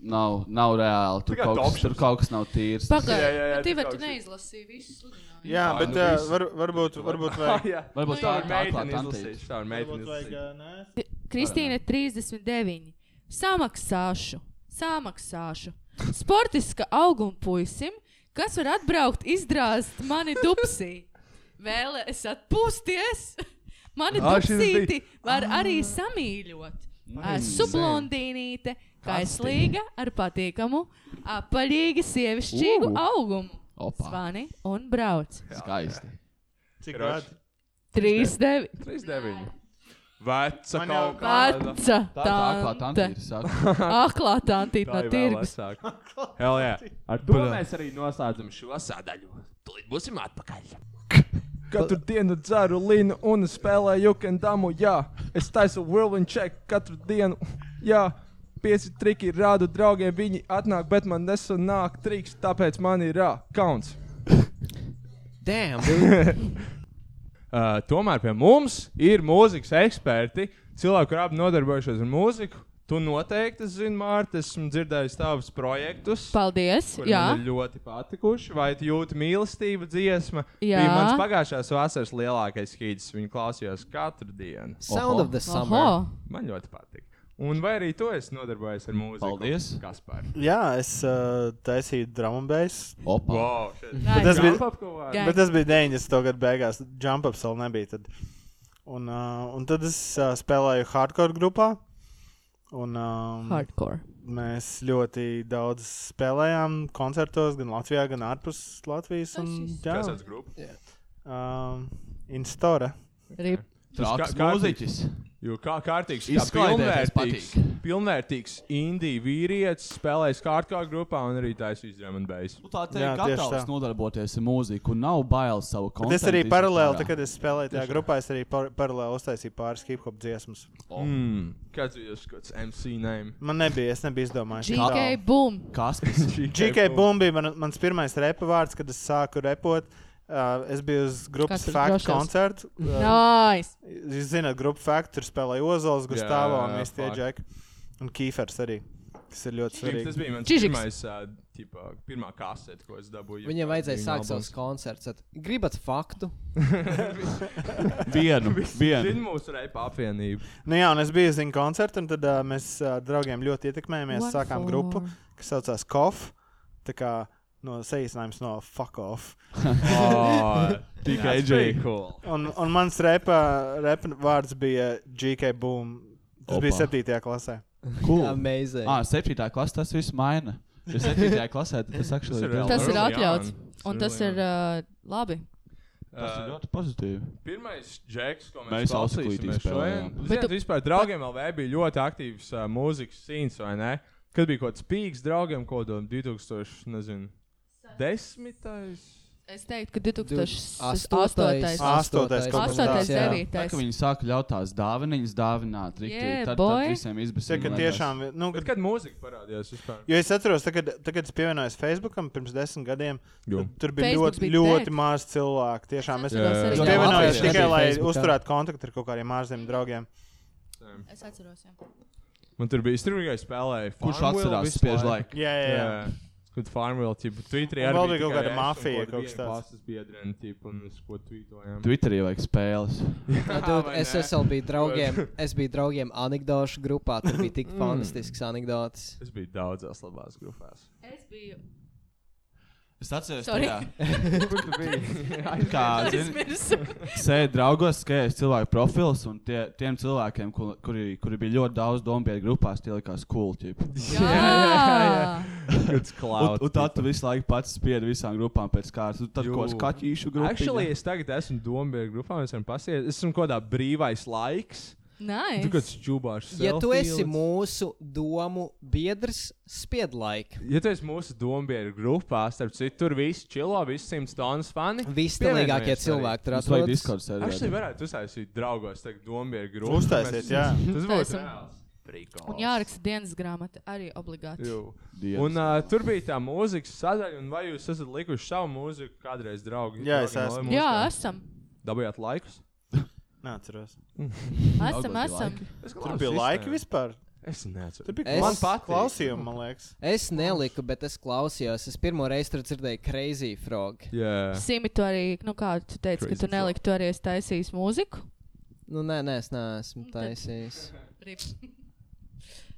Speaker 7: nav, nav reāli. Tur
Speaker 4: Tikai
Speaker 7: kaut, kas,
Speaker 4: topšas.
Speaker 7: tur kaut kas nav tīrs.
Speaker 4: Jā, jā, jā,
Speaker 1: Pagaid,
Speaker 4: tā
Speaker 1: Tīver, tu
Speaker 4: kā-
Speaker 1: neizlasīji visu sludinājumu.
Speaker 6: Jā,
Speaker 4: Ai,
Speaker 6: bet
Speaker 4: nu
Speaker 6: uh,
Speaker 4: viss.
Speaker 6: var, varbūt, varbūt
Speaker 4: Ah,
Speaker 6: vajag.
Speaker 4: jā.
Speaker 7: Varbūt
Speaker 1: Nu,
Speaker 7: tā
Speaker 1: jā.
Speaker 7: ir
Speaker 4: Tā ir
Speaker 7: meitene
Speaker 4: meitene
Speaker 7: izlasīt.
Speaker 4: izlasījusi. Tā ir meitene
Speaker 6: Varbūt vajag
Speaker 4: izlasījusi.
Speaker 6: uh, nē.
Speaker 1: Kristīne 39. Samaksāšu, samaksāšu. Sportiska auguma puisim, kas var atbraukt, izdrāzt mani dupsī. Vēlēs atpūsties. Mani
Speaker 4: Ā, šis
Speaker 1: dupsīti
Speaker 4: bija-
Speaker 1: var arī samīļot. Esmu
Speaker 7: Nice.
Speaker 1: blondīnīte, kaislīga, ar patīkamu, apaļīgu, sievišķīgu
Speaker 7: Uh.
Speaker 1: augumu.
Speaker 7: Opa,
Speaker 1: Zvani un brauc.
Speaker 7: skaisti.
Speaker 6: Cik
Speaker 4: Kroč.
Speaker 6: gadi?
Speaker 1: 3, 9.
Speaker 4: 39. Veca
Speaker 6: Man jau-
Speaker 4: kaut kāda.
Speaker 1: Veca!
Speaker 7: Tā ir tā akla
Speaker 1: tante. Ah,
Speaker 7: tante. ir, saka.
Speaker 1: Aklā tantīte no tirgus.
Speaker 4: Hell, jā. Ar to mēs arī noslēdzam šo sadaļu. Tūlīt būsim atpakaļ. Katru dienu dzeru līnu un spēlēju jukendamu. Jā, es taisu whirlwind check katru dienu. Jā, pieci triki rādu draugiem. Viņi atnāk, bet man nesanāk triks, tāpēc man ir rā, kauns.
Speaker 5: Damn, dude.
Speaker 4: Uh, tomēr pie mums ir mūzikas eksperti, cilvēki, kuriem abi nodarbojušies ar mūziku. Tu noteikti zini, Mārta, esmu dzirdējis tavus projektus.
Speaker 1: Paldies!
Speaker 4: kuri
Speaker 1: Jā,
Speaker 4: man ir ļoti patikuši. Vai tu jūti mīlestību dziesmu?
Speaker 1: Jā.
Speaker 4: bija mans pagājušās vasaras lielākais hīts. Viņu klausījos katru dienu.
Speaker 5: Sound of the Summer.
Speaker 1: Oho.
Speaker 4: Man ļoti patīk. Un vai arī tu esi nodarbojies ar mūziku?
Speaker 7: Paldies.
Speaker 4: Kas par
Speaker 6: Jā, es uh, taisīju drāmas.
Speaker 7: Opa.
Speaker 1: Nice.
Speaker 6: tas bija-
Speaker 1: Gan.
Speaker 6: Bet tas bija 90. gada beigās. Jump ups vēl nebija. Tad. Un, uh, un tad es uh, spēlēju hardcore grupā. Un, um,
Speaker 1: Hardcore.
Speaker 6: mēs ļoti daudz spēlējām koncertos, gan Latvijā, gan ārpus Latvijas. Un, jā,
Speaker 4: Kas tas grupa?
Speaker 6: um, Instora.
Speaker 1: Rip.
Speaker 7: Traks
Speaker 4: kā- kārtības.
Speaker 7: mūziķis.
Speaker 4: Jo kā kārtīgs, kā
Speaker 7: Izklaidēties
Speaker 4: pilnvērtīgs, pilnvērtīgs indiju vīrietis spēlēs kārtā grupā un arī taisīs drum and bass.
Speaker 7: Nu, tā te
Speaker 6: Jā,
Speaker 7: ir
Speaker 6: tieši
Speaker 7: gatavs
Speaker 6: tā.
Speaker 7: nodarboties ar mūziku un nav bailes savu
Speaker 6: Bet
Speaker 7: koncertu.
Speaker 6: es arī paralēli, tā, kad es spēlēju tajā grupā, es arī par, paralēli uztaisīju pāris hip hop dziesmas.
Speaker 4: Mm. Kāds ir jūsu kāds MC name?
Speaker 6: Man nebija, es nebiju izdomājis. ka tā.
Speaker 1: GK Boom.
Speaker 7: Kas tas ir?
Speaker 6: GK Bumbi bija man, mans pirmais repa vārds, kad es sāku repot. Uh, es biju uz grupas
Speaker 1: Kas ir
Speaker 6: Fact
Speaker 1: drošais?
Speaker 6: koncertu. Uh,
Speaker 1: Nice.
Speaker 6: jūs zināt, grupa Fact tur spēlēja Ozols, Gustavo un
Speaker 4: Jā,
Speaker 6: visi tie
Speaker 4: fuck.
Speaker 6: džeki. Un Kīfers arī, kas ir ļoti
Speaker 4: Tas
Speaker 6: svarīgi.
Speaker 4: bija mans
Speaker 1: Čižiks.
Speaker 4: pirmais, uh, tipā, pirmā kasete, ko es dabūju.
Speaker 5: Viņam vajadzēja
Speaker 4: Viņa
Speaker 5: sākt
Speaker 4: albums.
Speaker 5: savus koncerts. ar, Gribat faktu?
Speaker 7: Vienu,
Speaker 4: Zinu
Speaker 7: vienu.
Speaker 4: mūsu reipa apvienību.
Speaker 6: Nu jā, un es biju uz viņu koncertu, un tad uh, mēs uh, draugiem ļoti ietekmējāmies.
Speaker 1: What
Speaker 6: sākām
Speaker 1: for?
Speaker 6: grupu, kas saucās Kof. Tā kā no sejas no Fuck Off.
Speaker 4: Tikai
Speaker 7: pretty
Speaker 4: cool.
Speaker 6: Un, un mans repa, repa vārds bija GK Boom. Tas
Speaker 7: Opa.
Speaker 6: Opa. bija 7. klasē.
Speaker 7: Cool.
Speaker 5: Amazing.
Speaker 7: Ah, septītā klasē tas viss maina. Ja septītajā klasē tad tas
Speaker 4: Tas ir
Speaker 7: akšķelīgi.
Speaker 4: vēl-
Speaker 1: Tas ir
Speaker 4: Early
Speaker 1: atļauts.
Speaker 4: on.
Speaker 1: Un tas ir
Speaker 4: Early
Speaker 1: uh, labi.
Speaker 7: Tas ir
Speaker 4: Uh,
Speaker 7: ļoti pozitīvi.
Speaker 4: Pirmais džeks, ko
Speaker 7: Mēs
Speaker 4: mēs klausījāmies
Speaker 7: ausklītī
Speaker 4: šodien.
Speaker 7: spēlējām.
Speaker 1: Bet
Speaker 4: Bet
Speaker 1: tu-
Speaker 4: vispār draugiem LV bija ļoti aktīvs uh, mūzikas scīns, vai ne? Kad bija kaut kāds pīks draugiem, ko dod 2000, nezinu, desmitais.
Speaker 1: Es teiktu, ka 2008.
Speaker 5: Astotais.
Speaker 6: Astotais kaut kas
Speaker 1: Astotais,
Speaker 6: tāds, jā.
Speaker 1: devītais.
Speaker 7: Tā, ka viņi sāka ļaut tās dāvaniņas dāvināt,
Speaker 1: Yeah,
Speaker 7: riktīgi. Tad,
Speaker 1: boy.
Speaker 7: tad visiem izbēs.
Speaker 6: Tā kā tiešām, nu,
Speaker 4: Bet kad mūzika parādījās vispār?
Speaker 6: Jo es atceros, tā, kad, tā, kad es pievienojos Facebookam pirms desmit gadiem,
Speaker 4: Jo.
Speaker 6: tad tur bija
Speaker 1: Facebooks
Speaker 6: ļoti,
Speaker 1: bija
Speaker 6: bija ļoti
Speaker 1: dead.
Speaker 6: maz cilvēku. Tiešām es,
Speaker 1: Es atceros
Speaker 4: Jā, jā,
Speaker 6: es
Speaker 4: jā.
Speaker 6: pievienojos
Speaker 5: Latvijas
Speaker 6: tikai,
Speaker 5: arī
Speaker 6: lai
Speaker 5: Facebookā.
Speaker 6: uzturētu kontaktu ar kaut kādiem ārzemju draugiem.
Speaker 1: Es atceros, jā.
Speaker 4: Man tur bija strūklīgi spēlēja.
Speaker 7: Kurš
Speaker 4: Farmville
Speaker 7: atcerās
Speaker 4: vispār.
Speaker 7: spiež laiku?
Speaker 6: Jā, jā, jā.
Speaker 4: Jā. Kad Farmville, tipu, Twitterī arī
Speaker 6: Un vēl bija kaut
Speaker 4: tikai es
Speaker 6: kāda
Speaker 4: un
Speaker 6: mafija,
Speaker 4: kādi
Speaker 6: kaut
Speaker 4: vieni
Speaker 6: kas tāds.
Speaker 4: klases biedreni, tipu, un uz ko tweetojām.
Speaker 7: Twitterī vajag spēles.
Speaker 5: Nu, dude,
Speaker 4: vai
Speaker 5: Es
Speaker 4: ne?
Speaker 5: esmu bijis draugiem, es biju draugiem anekdošu grupā. Tur bija tik fantastisks anekdotes.
Speaker 4: Es biju daudzās labās grupās.
Speaker 1: Es biju.
Speaker 7: Es atceros,
Speaker 1: Sorry.
Speaker 7: ka
Speaker 1: Es
Speaker 7: kāds
Speaker 1: mirsu.
Speaker 7: sēž draugos, skatoties cilvēku profils, un tie, tiem cilvēkiem, ku- kuri, kuri bija ļoti daudz domāti grupās, tie likās cool. Ķip.
Speaker 1: Jā.
Speaker 4: Kāds
Speaker 7: Un,
Speaker 4: klauds.
Speaker 7: un tad tu visu laiku pats spiedi visām grupām pēc kārtas. Un Tad
Speaker 4: Jū.
Speaker 7: kaut kāds kaķīšu
Speaker 4: Actually,
Speaker 7: grupā.
Speaker 4: es tagad esmu Dombieru grupā, mēs varam pasiet. Es esmu kaut kādā brīvais laiks. Tu kāds
Speaker 1: Nice.
Speaker 4: čubārs.
Speaker 5: Ja tu esi
Speaker 4: selfie
Speaker 5: mūsu domu biedrs, spied laika.
Speaker 4: liec. Ja tu esi mūsu Dombieru grupā, starp citu, tur visi čilo, visi simts tonnas fani.
Speaker 5: Visnelīgākie
Speaker 4: Pievienojies
Speaker 5: cilvēki tur
Speaker 7: Tas vajag
Speaker 5: atrodas.
Speaker 7: Discord
Speaker 4: Actually,
Speaker 7: serveri.
Speaker 4: varētu uztaisīt draugos tagad Dombieru grupu.
Speaker 6: Uztaisiet,
Speaker 4: Mēs-
Speaker 6: jā.
Speaker 4: Tas būtu
Speaker 1: Uztaisam.
Speaker 4: reāls. Prikols.
Speaker 1: Un jāraksta dienas grāmata arī obligāti.
Speaker 4: Jū. Un uh, tur bija tā mūzikas sadaļa, un vai jūs esat likuši savu mūziku kādreiz, draugi?
Speaker 6: Jā, es
Speaker 4: Draugiem,
Speaker 6: esmu.
Speaker 4: lai mūsu
Speaker 1: Jā,
Speaker 4: kā-
Speaker 1: esam.
Speaker 4: Dabūjāt laikus?
Speaker 6: Neatceros.
Speaker 7: Algos
Speaker 1: Esam,
Speaker 7: bija
Speaker 1: esam.
Speaker 7: laiki.
Speaker 4: Es
Speaker 6: Tur bija laika vispār.
Speaker 4: Es
Speaker 6: Tur
Speaker 4: neatceru.
Speaker 6: bija
Speaker 5: Es-
Speaker 6: es... man
Speaker 5: Man
Speaker 6: pat klausījums, man liekas.
Speaker 5: Es neliku, bet es klausījos. Es pirmo reizi tur dzirdēju Crazy Frog.
Speaker 4: Jā.
Speaker 1: Simi, tu arī, nu kā tu teici, ka
Speaker 4: Crazy
Speaker 1: tu neliki, tu arī esi taisījis mūziku.
Speaker 5: Nu, nē, nē, es neesmu taisījis.
Speaker 1: Rip.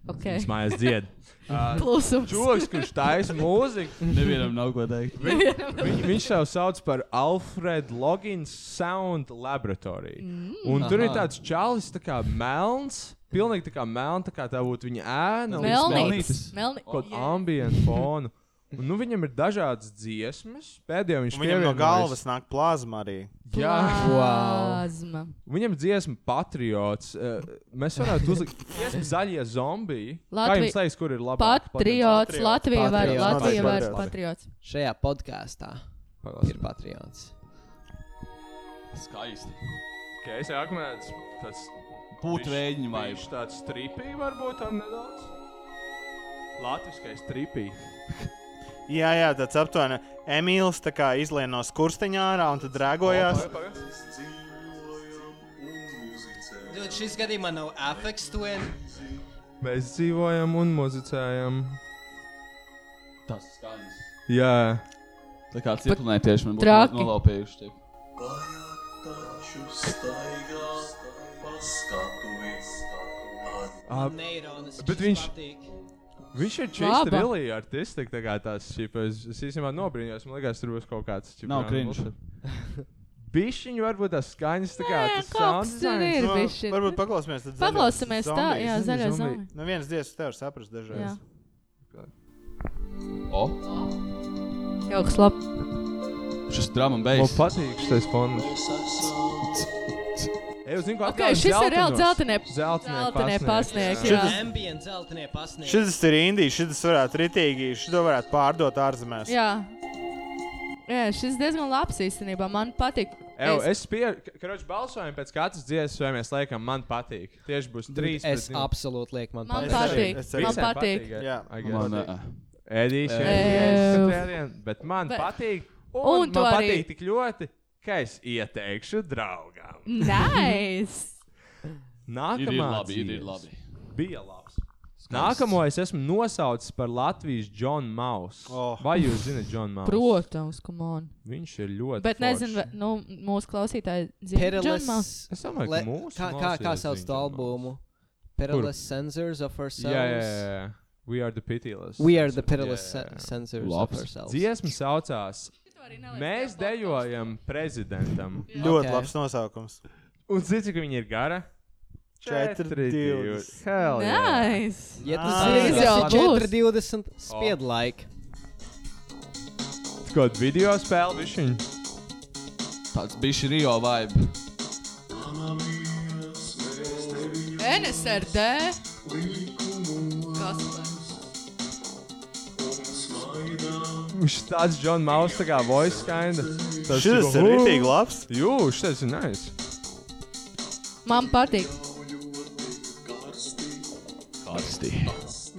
Speaker 1: Ok.
Speaker 4: Mājas dzied. Ā,
Speaker 1: Klusums.
Speaker 4: Čūlis, kurš taisa mūziku,
Speaker 7: Nevienam nav ko teikt.
Speaker 4: viņ, viņš sev sauc par Alfred Logins Sound Laboratory. Mm. Un tur ir
Speaker 5: Aha.
Speaker 4: tāds čalis, tā kā melns, pilnīgi tā kā melns, tā kā tā būtu viņa ēna. un
Speaker 1: Melnīgs. Oh,
Speaker 7: Melnītis.
Speaker 1: Melnīgs.
Speaker 4: Kaut kāda ambienta fona. Un, nu, viņam ir dažādas dziesmas. Pēdējā viņš
Speaker 6: Un Viņam no
Speaker 4: pievienojas-
Speaker 6: galvas nāk plazma arī.
Speaker 4: Jā,
Speaker 1: Plazma.
Speaker 4: viņam dziesma patriots. eh, Mēs varētu uzlikt dziesmu zaļie zombiji. Kā
Speaker 1: Latvi-
Speaker 4: jums teiks, kur ir labāk?
Speaker 1: Patriots.
Speaker 6: Patriots.
Speaker 1: Latvija var.
Speaker 5: Patriots.
Speaker 1: Latvija var.
Speaker 6: Patriots.
Speaker 1: Patriots.
Speaker 5: Šajā podkāstā
Speaker 4: Pagaidām.
Speaker 5: ir patriots.
Speaker 7: Skaisti.
Speaker 4: Okay, es jākumēdz. Tas
Speaker 7: Pūtu vēģiņu vai
Speaker 4: Viņš tāds stripī varbūt ar nedaudz. Latvijas stripī.
Speaker 6: Jā, jā, tāds aptuveni. Emīls tā kā izlien no skursteņa ārā un tad drēgojās.
Speaker 5: Dude, šis gadījumā nav afekts twin.
Speaker 4: Mēs dzīvojam un muzicējam.
Speaker 7: Tas skaņas.
Speaker 4: Jā,
Speaker 7: Tā kā ciklonē tieši man būtu
Speaker 1: Traki.
Speaker 7: no- nolaupījuši. tie.
Speaker 4: Ā,
Speaker 5: Neironas.
Speaker 4: Bet
Speaker 5: šis
Speaker 4: viņš-
Speaker 5: patīk.
Speaker 4: viņš ir
Speaker 1: Laba.
Speaker 4: čīsta really artists. tā kā tās šipas. Es īstenībā nobrīnījos, man liekas, tur būs kaut kāds čip.
Speaker 7: Nav cringe.
Speaker 4: Bišķiņu varbūt tās skaņas tā kā
Speaker 1: Nē,
Speaker 4: tas
Speaker 1: kaut kas
Speaker 4: sound
Speaker 1: tur
Speaker 4: designs.
Speaker 1: ir
Speaker 6: Nu,
Speaker 1: bišķi.
Speaker 6: Varbūt paklausīsimies. tad zaļo
Speaker 1: Paklausāmies tā,
Speaker 6: zombijas.
Speaker 1: jā,
Speaker 4: Zini,
Speaker 1: zaļā
Speaker 4: zombiju.
Speaker 1: zona.
Speaker 6: Nu, viens dievs tev var saprast dažreiz.
Speaker 7: O,
Speaker 1: Jau kas labi.
Speaker 7: šis drāmas
Speaker 4: Man
Speaker 7: beigas.
Speaker 4: patīk šis fons. Ej, zinu, ko
Speaker 1: Ok, šis ir reāli dzeltenie-
Speaker 4: Zeltenie
Speaker 1: dzeltenie pasnieks, jā.
Speaker 4: Šis-
Speaker 5: Ambient zeltenie pasniedz.
Speaker 6: Šis ir indīgs, šis varētu ritīgi, šis varētu pārdot ārzemēs.
Speaker 1: Jā. Jā, šis diezgan labs īstenībā. Man patīk.
Speaker 4: Eju, es pierādīju, ka krāšņā balsojam pēc katras dziesmas, vai mēs laikam man patīk. Tieši būs trīs.
Speaker 5: Es
Speaker 4: pret divi.
Speaker 5: absolūti lieku man
Speaker 1: Man
Speaker 6: Es
Speaker 5: patīk.
Speaker 6: pat-
Speaker 1: patīk.
Speaker 6: arī, es arī.
Speaker 1: Man
Speaker 4: Visiem
Speaker 1: patīk.
Speaker 4: eh?
Speaker 6: Jā.
Speaker 4: I guess.
Speaker 7: Man, eh, ā,
Speaker 4: Edijs jau
Speaker 1: Ew.
Speaker 4: ir. Bet man
Speaker 1: Bet-
Speaker 4: bet... patīk.
Speaker 1: Ehm. Un
Speaker 4: Un, un
Speaker 1: tu
Speaker 4: man
Speaker 1: arī.
Speaker 4: patīk tik ļoti, ka es ieteikšu draugam.
Speaker 1: Nice!
Speaker 7: ir, ir
Speaker 4: Nākamā
Speaker 7: labi, ir, ir
Speaker 4: dziesma
Speaker 7: labi.
Speaker 4: bija labs. Nākamo es esmu nosaucis par Latvijas Johnu Mausu.
Speaker 6: Oh.
Speaker 4: Vai jūs zinat, John Maus?
Speaker 1: Protams, come on.
Speaker 4: Viņš ir ļoti.
Speaker 1: Bet nezinu, vai
Speaker 4: foršs.
Speaker 1: nu, mūsu klausītāji zina, John Mouse.
Speaker 5: Perilis.
Speaker 4: Es domāju,
Speaker 5: Le-
Speaker 4: ka mūsu
Speaker 5: Kā, kā, kā
Speaker 4: klausītājs
Speaker 5: sauc
Speaker 4: zina
Speaker 5: to
Speaker 4: John
Speaker 5: albumu? Perilous Sensors of Ourselves.
Speaker 4: Jā, jā, jā, jā. We are the pitiless.
Speaker 5: We are the Perilous
Speaker 4: Jā, jā, jā.
Speaker 5: Sensors
Speaker 7: Labs.
Speaker 5: of Ourselves.
Speaker 4: Dziesma saucās Mēs dejojam prezidentam.
Speaker 6: Ļoti
Speaker 5: Ok.
Speaker 6: labs nosaukums.
Speaker 4: Un zini, cik viņa ir gara? divi.
Speaker 6: Četri divdesmit.
Speaker 4: Hell yeah.
Speaker 1: Nice!
Speaker 5: Ja tu
Speaker 6: Ah.
Speaker 5: zini,
Speaker 1: Drīz
Speaker 5: kas
Speaker 1: jau
Speaker 5: ir
Speaker 1: būs.
Speaker 5: 420
Speaker 4: Oh.
Speaker 5: spied laika.
Speaker 4: Tas kaut video spēle bišķiņ.
Speaker 7: Tāds bija Rio vibe.
Speaker 1: NSRD! Kas tas?
Speaker 4: Viņš tāds John Mouse tā kā voice kinda. Tas
Speaker 6: Šis ir ritīgi labs.
Speaker 4: Jū, šis ir nice.
Speaker 1: Man patīk.
Speaker 7: Karsti.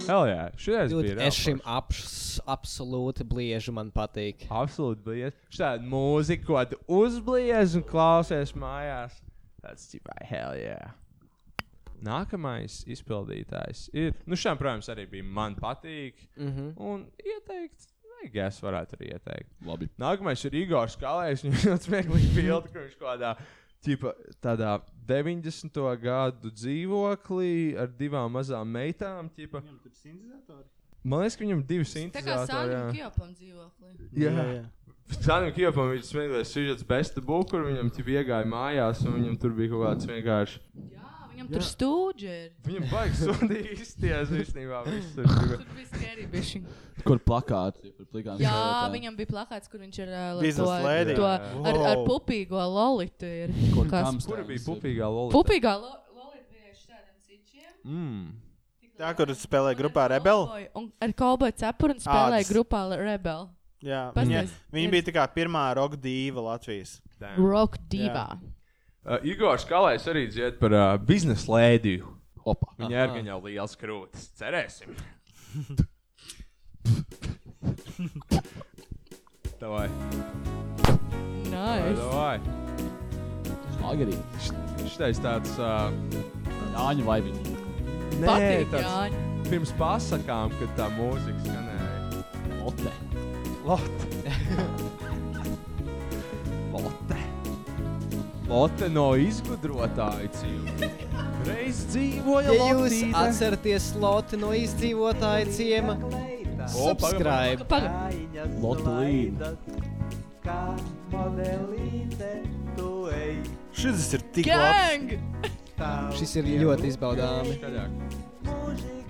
Speaker 4: Hell yeah. Šis
Speaker 5: Dude,
Speaker 4: bija.
Speaker 5: Es
Speaker 4: reāli
Speaker 5: šim
Speaker 4: forši.
Speaker 5: apš- absolūti blieži man patīk.
Speaker 4: Absolūti bliez. Šāda mūzika, ko tu uzbliez un klausies mājās. Tas tipā hell yeah. Nākamais izpildītājs ir. Nu, šām, protams, arī bija man patīk. Mm -hmm. Un ieteikt, vai es varētu arī ieteikt.
Speaker 7: Labi.
Speaker 4: Nākamais ir Igors Kalējs. Viņš ļoti smieklīgi bildi, ka viņš kaut kādā ķipa, tādā 90. gadu dzīvoklī ar divām mazām meitām. Ķipa. Man liekas, ka viņam ir divi
Speaker 1: Tā kā Sānam
Speaker 4: simti.
Speaker 1: Kjopam dzīvoklī.
Speaker 4: Sanam Kjopam ir smieklīgs sižets besta būk, kur viņam ķipa iegāja mājās un viņam tur bija kaut kāds vienkārši.
Speaker 1: Jā, viņam tur stūģi ir.
Speaker 4: Viņam baigs sundīgi izties īstenībā. viss tur, ķipa.
Speaker 1: Tur bija scary bišķiņ.
Speaker 7: Kur plakāti? Kur plakāti?
Speaker 1: Jā, viņam bija plakāts, kur viņš ir uh, ar
Speaker 6: Business
Speaker 1: to,
Speaker 6: lady.
Speaker 1: to
Speaker 6: Jā.
Speaker 1: ar, ar
Speaker 6: Wow.
Speaker 1: pupīgo lolitu. Ir. Kas?
Speaker 4: Kura bija pupīgā lolita?
Speaker 1: Pupīgā lo, lolita bija ar šādiem cičiem.
Speaker 4: Mm.
Speaker 6: Tā, kur tu spēlēji grupā
Speaker 1: Ar
Speaker 6: Rebel?
Speaker 1: cowboy- Un ar kolboju cepuru un spēlēja
Speaker 6: Ādas.
Speaker 1: grupā Rebel.
Speaker 6: Jā, viņa,
Speaker 1: Pasniedz.
Speaker 6: viņa bija tā kā pirmā roka dīva Latvijas.
Speaker 4: Damn.
Speaker 1: Rock divā.
Speaker 4: Uh, Igors Kalējs arī dzied par uh, biznesa lēdiju.
Speaker 7: Opa.
Speaker 4: Viņa ir gan jau liels krūtis. Cerēsim. Davai,
Speaker 1: Nice.
Speaker 4: davai.
Speaker 7: Agri.
Speaker 4: Šitais tāds uh,
Speaker 7: Jāņa vibe.
Speaker 4: nē,
Speaker 1: Patīk,
Speaker 4: tāds
Speaker 1: Jāņa.
Speaker 4: pirms pasakām, kad tā mūzika skanēja.
Speaker 7: Lotte.
Speaker 4: Lotte. Lotte. Lotte no izgudrotāju dzīves. Reiz dzīvoja
Speaker 5: Ja jūs
Speaker 4: Lotīte.
Speaker 5: atceraties sloti no izdzīvotāja ciema,
Speaker 4: O, pagaidi,
Speaker 5: subscribe.
Speaker 1: Paga-
Speaker 7: Lotte līnija.
Speaker 6: Šis ir tik labs.
Speaker 1: Gang!
Speaker 5: Šis ir ļoti izbaudāms.
Speaker 4: Skaļāk.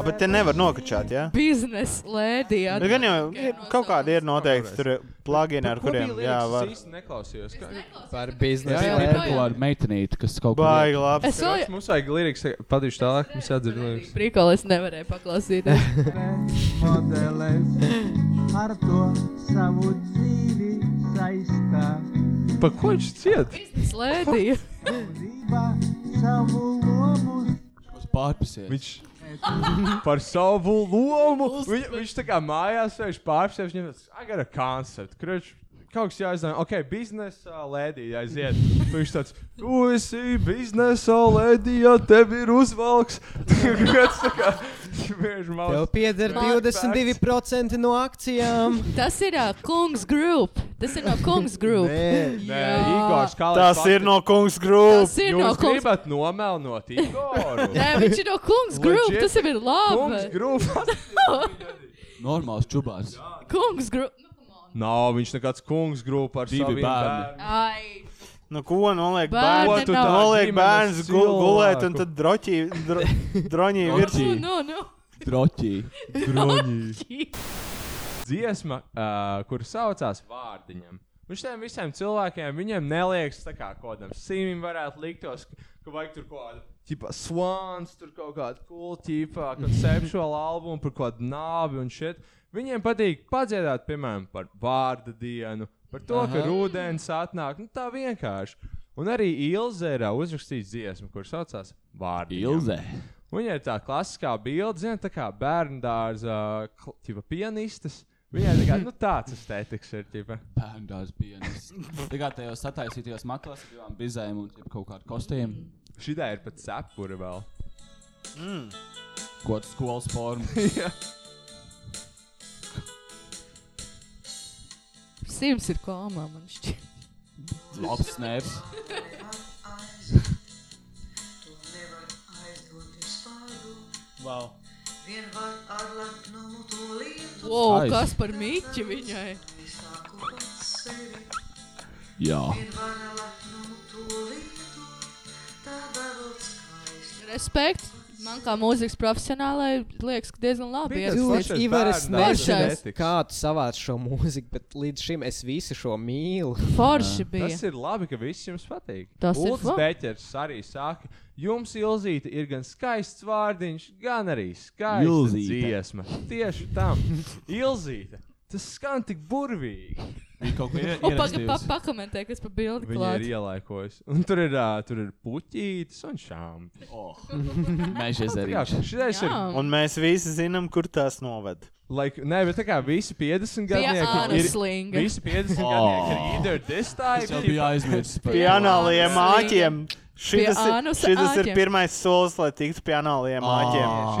Speaker 6: A, bet te nevar nokačāt, jā?
Speaker 1: Biznes lēdī.
Speaker 6: Bet gan jau ir, kaut kādi ir noteikti tur plugini, ar
Speaker 4: Ko bija
Speaker 6: kuriem
Speaker 4: līnijas?
Speaker 6: jā, var.
Speaker 4: Es īsti neklausījos. Kā,
Speaker 5: Par
Speaker 7: Jā,
Speaker 5: biznesu.
Speaker 7: jā,
Speaker 1: jā.
Speaker 7: ir kaut kāda meitenīte, kas kaut ko.
Speaker 6: Baigi labs.
Speaker 1: Es vēl
Speaker 4: mums vajag liriks, patīšu tālāk, mums jādzird liriks.
Speaker 1: Prikoli es nevarēju paklausīties.
Speaker 8: modelēs, ar to savu dzīvi saistā.
Speaker 4: Pa ko viņš ciet?
Speaker 1: Slēdīja.
Speaker 7: Uz pārpusē.
Speaker 4: Viņš par savu lomu. Viņ, viņš tā kā mājās sēž pārpusē, viņam tas agara koncepts. Kruč, kaut kas jāizdara. Ok, biznesa lēdija aiziet. Viņš tāds, tu esi biznesa lēdija, tev ir uzvalks. Kāds tā kā, vienkārši
Speaker 5: Tev
Speaker 4: mācās.
Speaker 5: pieder
Speaker 4: Fun
Speaker 5: 22% no akcijām.
Speaker 1: Tas ir uh, Kungs Group. Tas ir no Kungs Group.
Speaker 4: Nē,
Speaker 1: Jā.
Speaker 4: Igors, kā lai
Speaker 6: Tas
Speaker 4: pati-
Speaker 6: ir no kungs grūts.
Speaker 1: Tas ir no
Speaker 4: Jūs
Speaker 1: Kungs
Speaker 4: gribat nomelnot Igoru?
Speaker 1: Nē, viņš ir no Kungs Group.
Speaker 4: Legit.
Speaker 1: Tas jau ir
Speaker 4: Kungs,
Speaker 1: labi.
Speaker 4: grūti.
Speaker 7: Normāls čubās.
Speaker 1: Kungs Group. Nu, come on.
Speaker 4: Nav viņš nekāds kungs grupa ar
Speaker 7: Divi
Speaker 4: saviem
Speaker 7: bērni.
Speaker 4: bērniem.
Speaker 1: Ai,
Speaker 6: Nu, ko noliek
Speaker 1: Bērni
Speaker 6: bērns?
Speaker 1: Ko tu nav. tā
Speaker 6: Noliek
Speaker 4: ģimenes
Speaker 6: bērns gu- gulēt, un
Speaker 4: cilvēku?
Speaker 6: tad droķī, dro, droņī virsū.
Speaker 1: nu,
Speaker 7: Droķī.
Speaker 1: nu, nu.
Speaker 7: Droķī.
Speaker 4: dziesma, uh, kuras saucās Vārdiņam. Viņš tiem visiem cilvēkiem, viņiem neliekas, tā kā kaut kādam simim varētu liktos, ka, ka vajag tur kaut kādu. Tipā swans, tur kaut kāda kultīva, konceptuāla albuma par kaut kādu nāvi un šit. Viņiem patīk padziedāt, piemēram, par vārdu dienu, par to, Aha. ka rudens atnāk. Nu, tā vienkārši. Un arī Ilze ir uzrakstījusi dziesmu, kuras saucās Vārdiņam.
Speaker 7: Ilze.
Speaker 4: Viņai ir tā klasiskā bilde, zina, tā kā bērnu dārza kl- tipa pianistes. Viņai tā kā, nu, tāds estētikas ir. Tipa.
Speaker 7: Pērndās pienes. Tagad tajos sataisītajos matos ar divām bizēm un jeb kaut kādu kostīmu.
Speaker 4: Šitā ir pat cepura vēl.
Speaker 7: Kaut kādu skolas formu.
Speaker 1: Sims ir komā, man šķiet.
Speaker 7: Labs snaps.
Speaker 6: Wow.
Speaker 1: Wow,
Speaker 7: Aiz.
Speaker 1: kas par mīķi viņai?
Speaker 7: Jā.
Speaker 1: Respekt. Man kā mūzikas profesionālai liekas, ka diezgan labi.
Speaker 4: Bija Tas
Speaker 5: Jūs,
Speaker 1: ierakstīts.
Speaker 4: pašais
Speaker 5: Ivaris,
Speaker 4: bērnu
Speaker 1: Pašais.
Speaker 5: nezinu,
Speaker 4: estētikas.
Speaker 5: kā tu savāc šo mūziku, bet līdz šim es visu šo mīlu.
Speaker 1: Forši
Speaker 4: Tas
Speaker 1: bija.
Speaker 4: ir labi, ka viss jums patīk.
Speaker 1: Tas ir
Speaker 4: Ulds
Speaker 1: labi.
Speaker 4: Beķers arī saka, jums Ilzīte ir gan skaists vārdiņš, gan arī skaista
Speaker 7: Ilzīte.
Speaker 4: dziesma. Tieši tam. Ilzīte. Tas skan tik burvīgi.
Speaker 7: Viņa kaut ko
Speaker 1: Un pagaidi, Nu, pa,
Speaker 7: ierakstījusi.
Speaker 1: pakomentē, kas par bildi
Speaker 4: Viņa ir
Speaker 1: klāts.
Speaker 4: ielaikojusi. Un tur ir, uh, tur ir puķītis un šādi.
Speaker 7: Oh. Mēžas arī.
Speaker 4: Jā, šis ir
Speaker 1: Jā.
Speaker 6: Un mēs visi zinām, kur tās noved.
Speaker 4: Like, nē, bet tā kā visi 50
Speaker 1: Pie
Speaker 4: gadnieki ir.
Speaker 1: Anaslinga.
Speaker 4: Visi 50
Speaker 7: Oh.
Speaker 4: gadnieki ir either this
Speaker 7: Es jau
Speaker 4: time.
Speaker 7: biju aizmirsis par
Speaker 6: Pie anāliem
Speaker 1: Ānslīga.
Speaker 6: āķiem. Šis ir,
Speaker 1: anusa
Speaker 6: šitas ir
Speaker 1: āķiem.
Speaker 6: pirmais solis, lai tiktu pie anāliem
Speaker 7: Ah.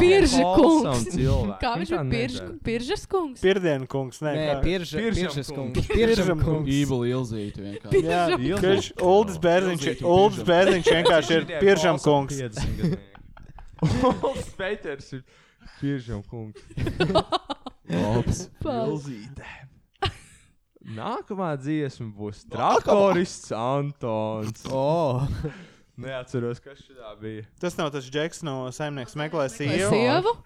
Speaker 6: āķiem.
Speaker 1: Pirža
Speaker 4: Wholesome
Speaker 1: kungs.
Speaker 4: cilvēki.
Speaker 1: Kā viņš
Speaker 4: Viņš tā
Speaker 1: ir pirža,
Speaker 4: nedara.
Speaker 1: piržas kungs?
Speaker 6: Pirdienu kungs, nē,
Speaker 5: Nē,
Speaker 6: kā-
Speaker 5: pirža,
Speaker 4: Piržam
Speaker 5: piržas
Speaker 4: kungs.
Speaker 5: kungs. Piržam
Speaker 6: Piržam
Speaker 5: kungs.
Speaker 7: Ību Ilzīti vienkārši.
Speaker 6: Jā,
Speaker 4: Ilzi.
Speaker 6: kurš Ulds Bērziņš,
Speaker 7: Ilzīti
Speaker 6: Ulds
Speaker 7: piržam.
Speaker 6: Bērziņš vienkārši ir piržam kungs.
Speaker 4: Spēķers ir piržam kungs.
Speaker 7: Labs.
Speaker 4: Pilzīte. Nākamā dziesma būs traktorists Antons.
Speaker 5: O,
Speaker 4: Neatceros, kas šitā bija.
Speaker 6: Tas nav tas džeks no saimnieks meklē
Speaker 1: Vai
Speaker 6: E sievu.
Speaker 1: sievu?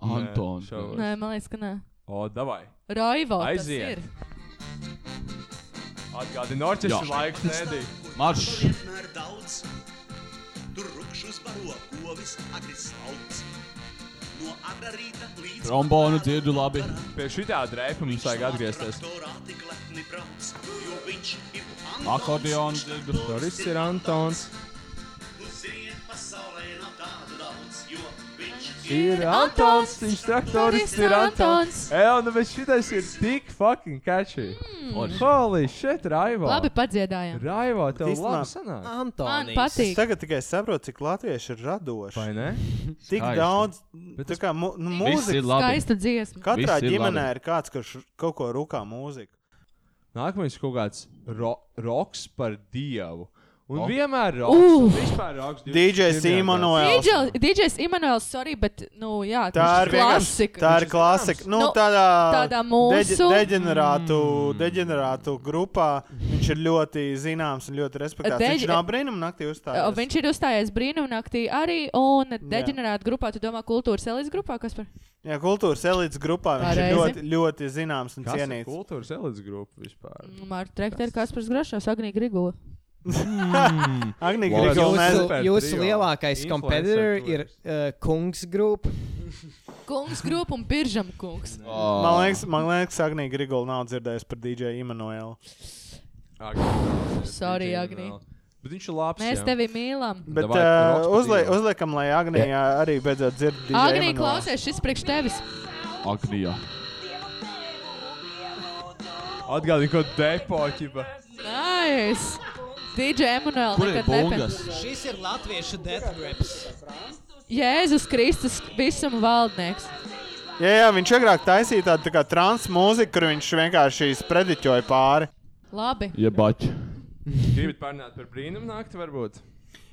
Speaker 7: Antons.
Speaker 4: šovs.
Speaker 1: Nē, man liekas, ka nē.
Speaker 4: O, davai.
Speaker 1: Raivo.
Speaker 4: Aiziet.
Speaker 1: Aiziet.
Speaker 4: Atgādini, orķestra laiks nedēļ.
Speaker 7: Marš.
Speaker 8: vienmēr daudz. Tur rupšus baro kovis, agri salds. No agrā rīta līdz
Speaker 7: Trombonu dzirdu labi.
Speaker 4: Pie šitā drēpa mums vajag atgriezties.
Speaker 8: Traktorā tik lepni brauc, jo viņš ir Antons.
Speaker 7: Akordeonu dzirdu.
Speaker 4: Doris ir Antons.
Speaker 8: Ziniet, pasaulē nav tādu daudz, jo viņš
Speaker 4: Ir Antons, viņš traktorists ir Antons. Ej, nu bet šitais ir tik fucking catchy.
Speaker 7: Forši.
Speaker 4: Holy shit, Raivo.
Speaker 1: Mm. Labi padziedājām.
Speaker 4: Raivo, tev
Speaker 6: Īstenā-
Speaker 4: labi sanāk.
Speaker 1: Man
Speaker 5: Antonis.
Speaker 6: Es
Speaker 1: patīk.
Speaker 6: tagad tikai saprotu, cik latvieši ir radoši.
Speaker 4: Vai ne?
Speaker 6: Tik
Speaker 7: Skaisti.
Speaker 6: daudz, tā
Speaker 4: tas-
Speaker 6: kā mu- nu,
Speaker 7: Viss ir
Speaker 6: mūzika.
Speaker 7: labi.
Speaker 1: Skaista dziesma.
Speaker 6: Katrā
Speaker 7: Viss ir
Speaker 6: ģimenē
Speaker 7: labi.
Speaker 6: ir kāds, kurš kaut ko rūkā mūziku.
Speaker 4: Nākamais ir kaut kāds ro roks par dievu. Un
Speaker 7: O.
Speaker 4: vienmēr roks.
Speaker 1: Uf.
Speaker 4: un Vispār roks.
Speaker 6: DJ
Speaker 4: 21.
Speaker 6: Simonoels.
Speaker 1: DJs Imants, sorry, bet, nu, jā,
Speaker 6: Tā
Speaker 1: tas
Speaker 6: ir
Speaker 1: ir
Speaker 6: vienkārši
Speaker 1: klasika.
Speaker 6: tā ir klasika. Nu,
Speaker 1: Nu,
Speaker 6: tādā
Speaker 1: tādā mūsu-
Speaker 6: deģe- deģenerātu, deģenerātu grupā viņš ir ļoti zināms un ļoti respektēts.
Speaker 1: Deģe-
Speaker 6: Viņš nav brīnumnaktī
Speaker 1: O,
Speaker 6: uzstājās.
Speaker 1: Viņš ir uzstājies brīnumnaktī arī un deģenerāta grupā. Tu domā, kultūras elites grupā, kas par?
Speaker 6: Jā, kultūras elites grupā viņš
Speaker 1: Pareizi.
Speaker 6: ir ļoti, ļoti zināms un
Speaker 4: Kas ir
Speaker 6: cienīts.
Speaker 4: kultūras elites grupa vispār?
Speaker 1: Mārta Trekteris, kas par Grašos, Agnija Grigula.
Speaker 6: Agnija
Speaker 4: Wow.
Speaker 6: Grigla
Speaker 4: Jūsu-
Speaker 6: mēs
Speaker 5: Jūsu,
Speaker 4: Super
Speaker 5: jūsu
Speaker 4: trio.
Speaker 5: lielākais
Speaker 4: Influencer
Speaker 5: kompetitor ir
Speaker 4: tours.
Speaker 5: uh, Kungs Group.
Speaker 1: Kungs grupa un Piržam kungs.
Speaker 6: Man liekas, man liekas Agnija Grigla nav dzirdējusi par DJ Imanoelu.
Speaker 4: Agni.
Speaker 1: Sorry,
Speaker 4: DJ
Speaker 1: Agni.
Speaker 4: vēl. Bet viņš ir labs.
Speaker 1: Mēs
Speaker 4: jā.
Speaker 1: tevi mīlam.
Speaker 6: Bet
Speaker 4: Davai, kur
Speaker 6: uh,
Speaker 4: Roks
Speaker 6: uzlie,
Speaker 4: padzīvo.
Speaker 6: uzliekam, lai Agnija arī beidzot dzird DJ
Speaker 1: Agnija,
Speaker 6: Emanuelu.
Speaker 1: klausies, šis priekš tevis.
Speaker 7: Agnija.
Speaker 4: Atgādini, ko depoķiba.
Speaker 1: Nice! DJ Emanuel
Speaker 7: Kur ir
Speaker 1: nekad nepēc.
Speaker 7: bungas?
Speaker 5: Šis ir latviešu death grips.
Speaker 1: Jēzus Kristus visuma valdnieks.
Speaker 6: Jā, jā, viņš agrāk taisīja tādu tā kā trans mūziku, kur viņš vienkārši sprediķoja pāri.
Speaker 1: Labi.
Speaker 7: Jebaķi.
Speaker 4: Gribat parunāt par brīnumnakti, varbūt?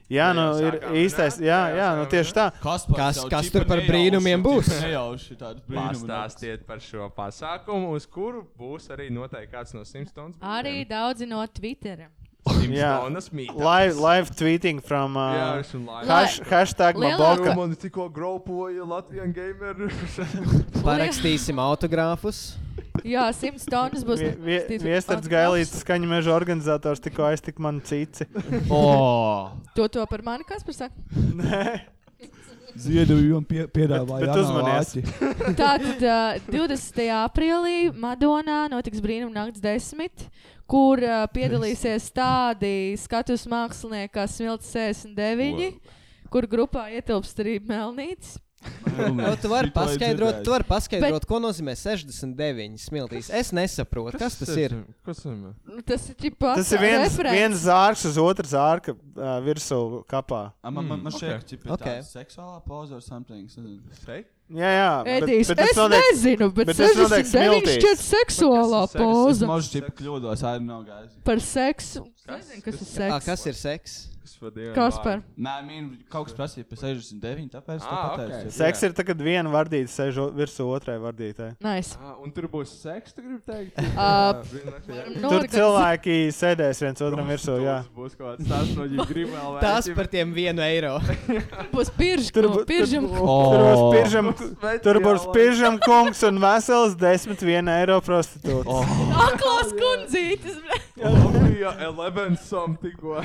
Speaker 6: Jā,
Speaker 4: Jā,
Speaker 6: nu
Speaker 4: jā,
Speaker 6: ir
Speaker 4: sākām
Speaker 6: īstais.
Speaker 4: runāt,
Speaker 6: Jā,
Speaker 4: jā,
Speaker 6: jā, nu
Speaker 4: sākām
Speaker 6: tieši tā.
Speaker 7: Kas,
Speaker 5: Kas- kas tur par brīnumiem būs?
Speaker 7: Nejauši tādu brīnumu.
Speaker 4: Pastāstiet par šo pasākumu, uz kuru būs arī noteikti kāds no Simpsons.
Speaker 1: Arī daudzi no Twittera.
Speaker 6: Jā.
Speaker 4: Simpsonas
Speaker 6: Live, live tweeting from
Speaker 4: Jā,
Speaker 6: uh,
Speaker 4: esmu live.
Speaker 1: Lai-
Speaker 6: hash, hashtag
Speaker 1: Lielākā-
Speaker 6: Maboka.
Speaker 4: Man tikko gropoja Latvijas gameru.
Speaker 5: Parakstīsim autogrāfus.
Speaker 1: Jā, simts tonnas būs.
Speaker 6: Vie- vie- Viestards Gailīts, skaņu meža organizators, tikko aiztika man cici.
Speaker 7: Oh,
Speaker 1: To, to par mani Kaspars saka.
Speaker 9: Ziedojumu pie,
Speaker 6: Bet-
Speaker 9: piedāvāja.
Speaker 6: bet uzmanies.
Speaker 1: Tātad uh, 20. aprīlī Madonā notiks brīnumnakts desmit, kur uh, piedalīsies tādi skatus mākslinieki kā Smilts 69, kur grupā ietilpst arī Melnīts.
Speaker 5: Nu, tu vari paskaidrot, tu vari paskaidrot
Speaker 1: Bet-
Speaker 5: ko nozīmē 69 smiltīs. Es nesaprotu, kas tas ir.
Speaker 4: Kas tas ir?
Speaker 1: Nu, Tas ir tipā
Speaker 6: Tas ir viens, viens zārks uz otru zārka uh, virsū kapā.
Speaker 7: Man, man, man šeit ir okay.
Speaker 5: Okay.
Speaker 7: tāda seksuālā pauze or something. es nezinu.
Speaker 4: Sei?
Speaker 6: Jā, jā.
Speaker 1: Edijs, es notiek, nezinu, bet,
Speaker 6: bet
Speaker 1: bet
Speaker 6: tas notiek
Speaker 1: 69
Speaker 6: smiltīs.
Speaker 1: šķiet seksuālā
Speaker 4: Kas ir seks-
Speaker 7: Es
Speaker 1: poza
Speaker 7: mažu čipu kļūdos, arī nav gājis.
Speaker 1: par seksu.
Speaker 4: Kas?
Speaker 1: Nezinu, kas ir
Speaker 5: Ā,
Speaker 1: seks.
Speaker 5: Ah, Kas ir seks?
Speaker 4: Kas par Dievu?
Speaker 1: Kas par?
Speaker 7: Nē, mīn, kaut kas prasīja par 69, tāpēc tā
Speaker 4: Ah,
Speaker 7: pateicu.
Speaker 4: ok.
Speaker 7: Okay.
Speaker 6: Seks ir tagad viena vardīte sēž o- virsū otrai vardītei.
Speaker 1: Nice.
Speaker 4: Ah, un tur būs seks, tu gribi teikt?
Speaker 1: Ā,
Speaker 4: brīnumnakti, jā.
Speaker 1: Nu,
Speaker 6: Tur cilvēki sēdēs viens otram virsū. Jā.
Speaker 4: Tur būs kaut kāds tāds no viņa gribēl.
Speaker 5: Tas par tiem vienu eiro.
Speaker 1: būs
Speaker 6: Tur
Speaker 1: piržs,
Speaker 6: bū-
Speaker 1: piržs.
Speaker 6: Tur būs
Speaker 7: Oh.
Speaker 6: piržam, tur būs piržam kungs un vesels desmit viena eiro
Speaker 7: Oh.
Speaker 6: prostitūts.
Speaker 1: Aklās kundzītes. bļa.
Speaker 4: Latvija 11 som tikko.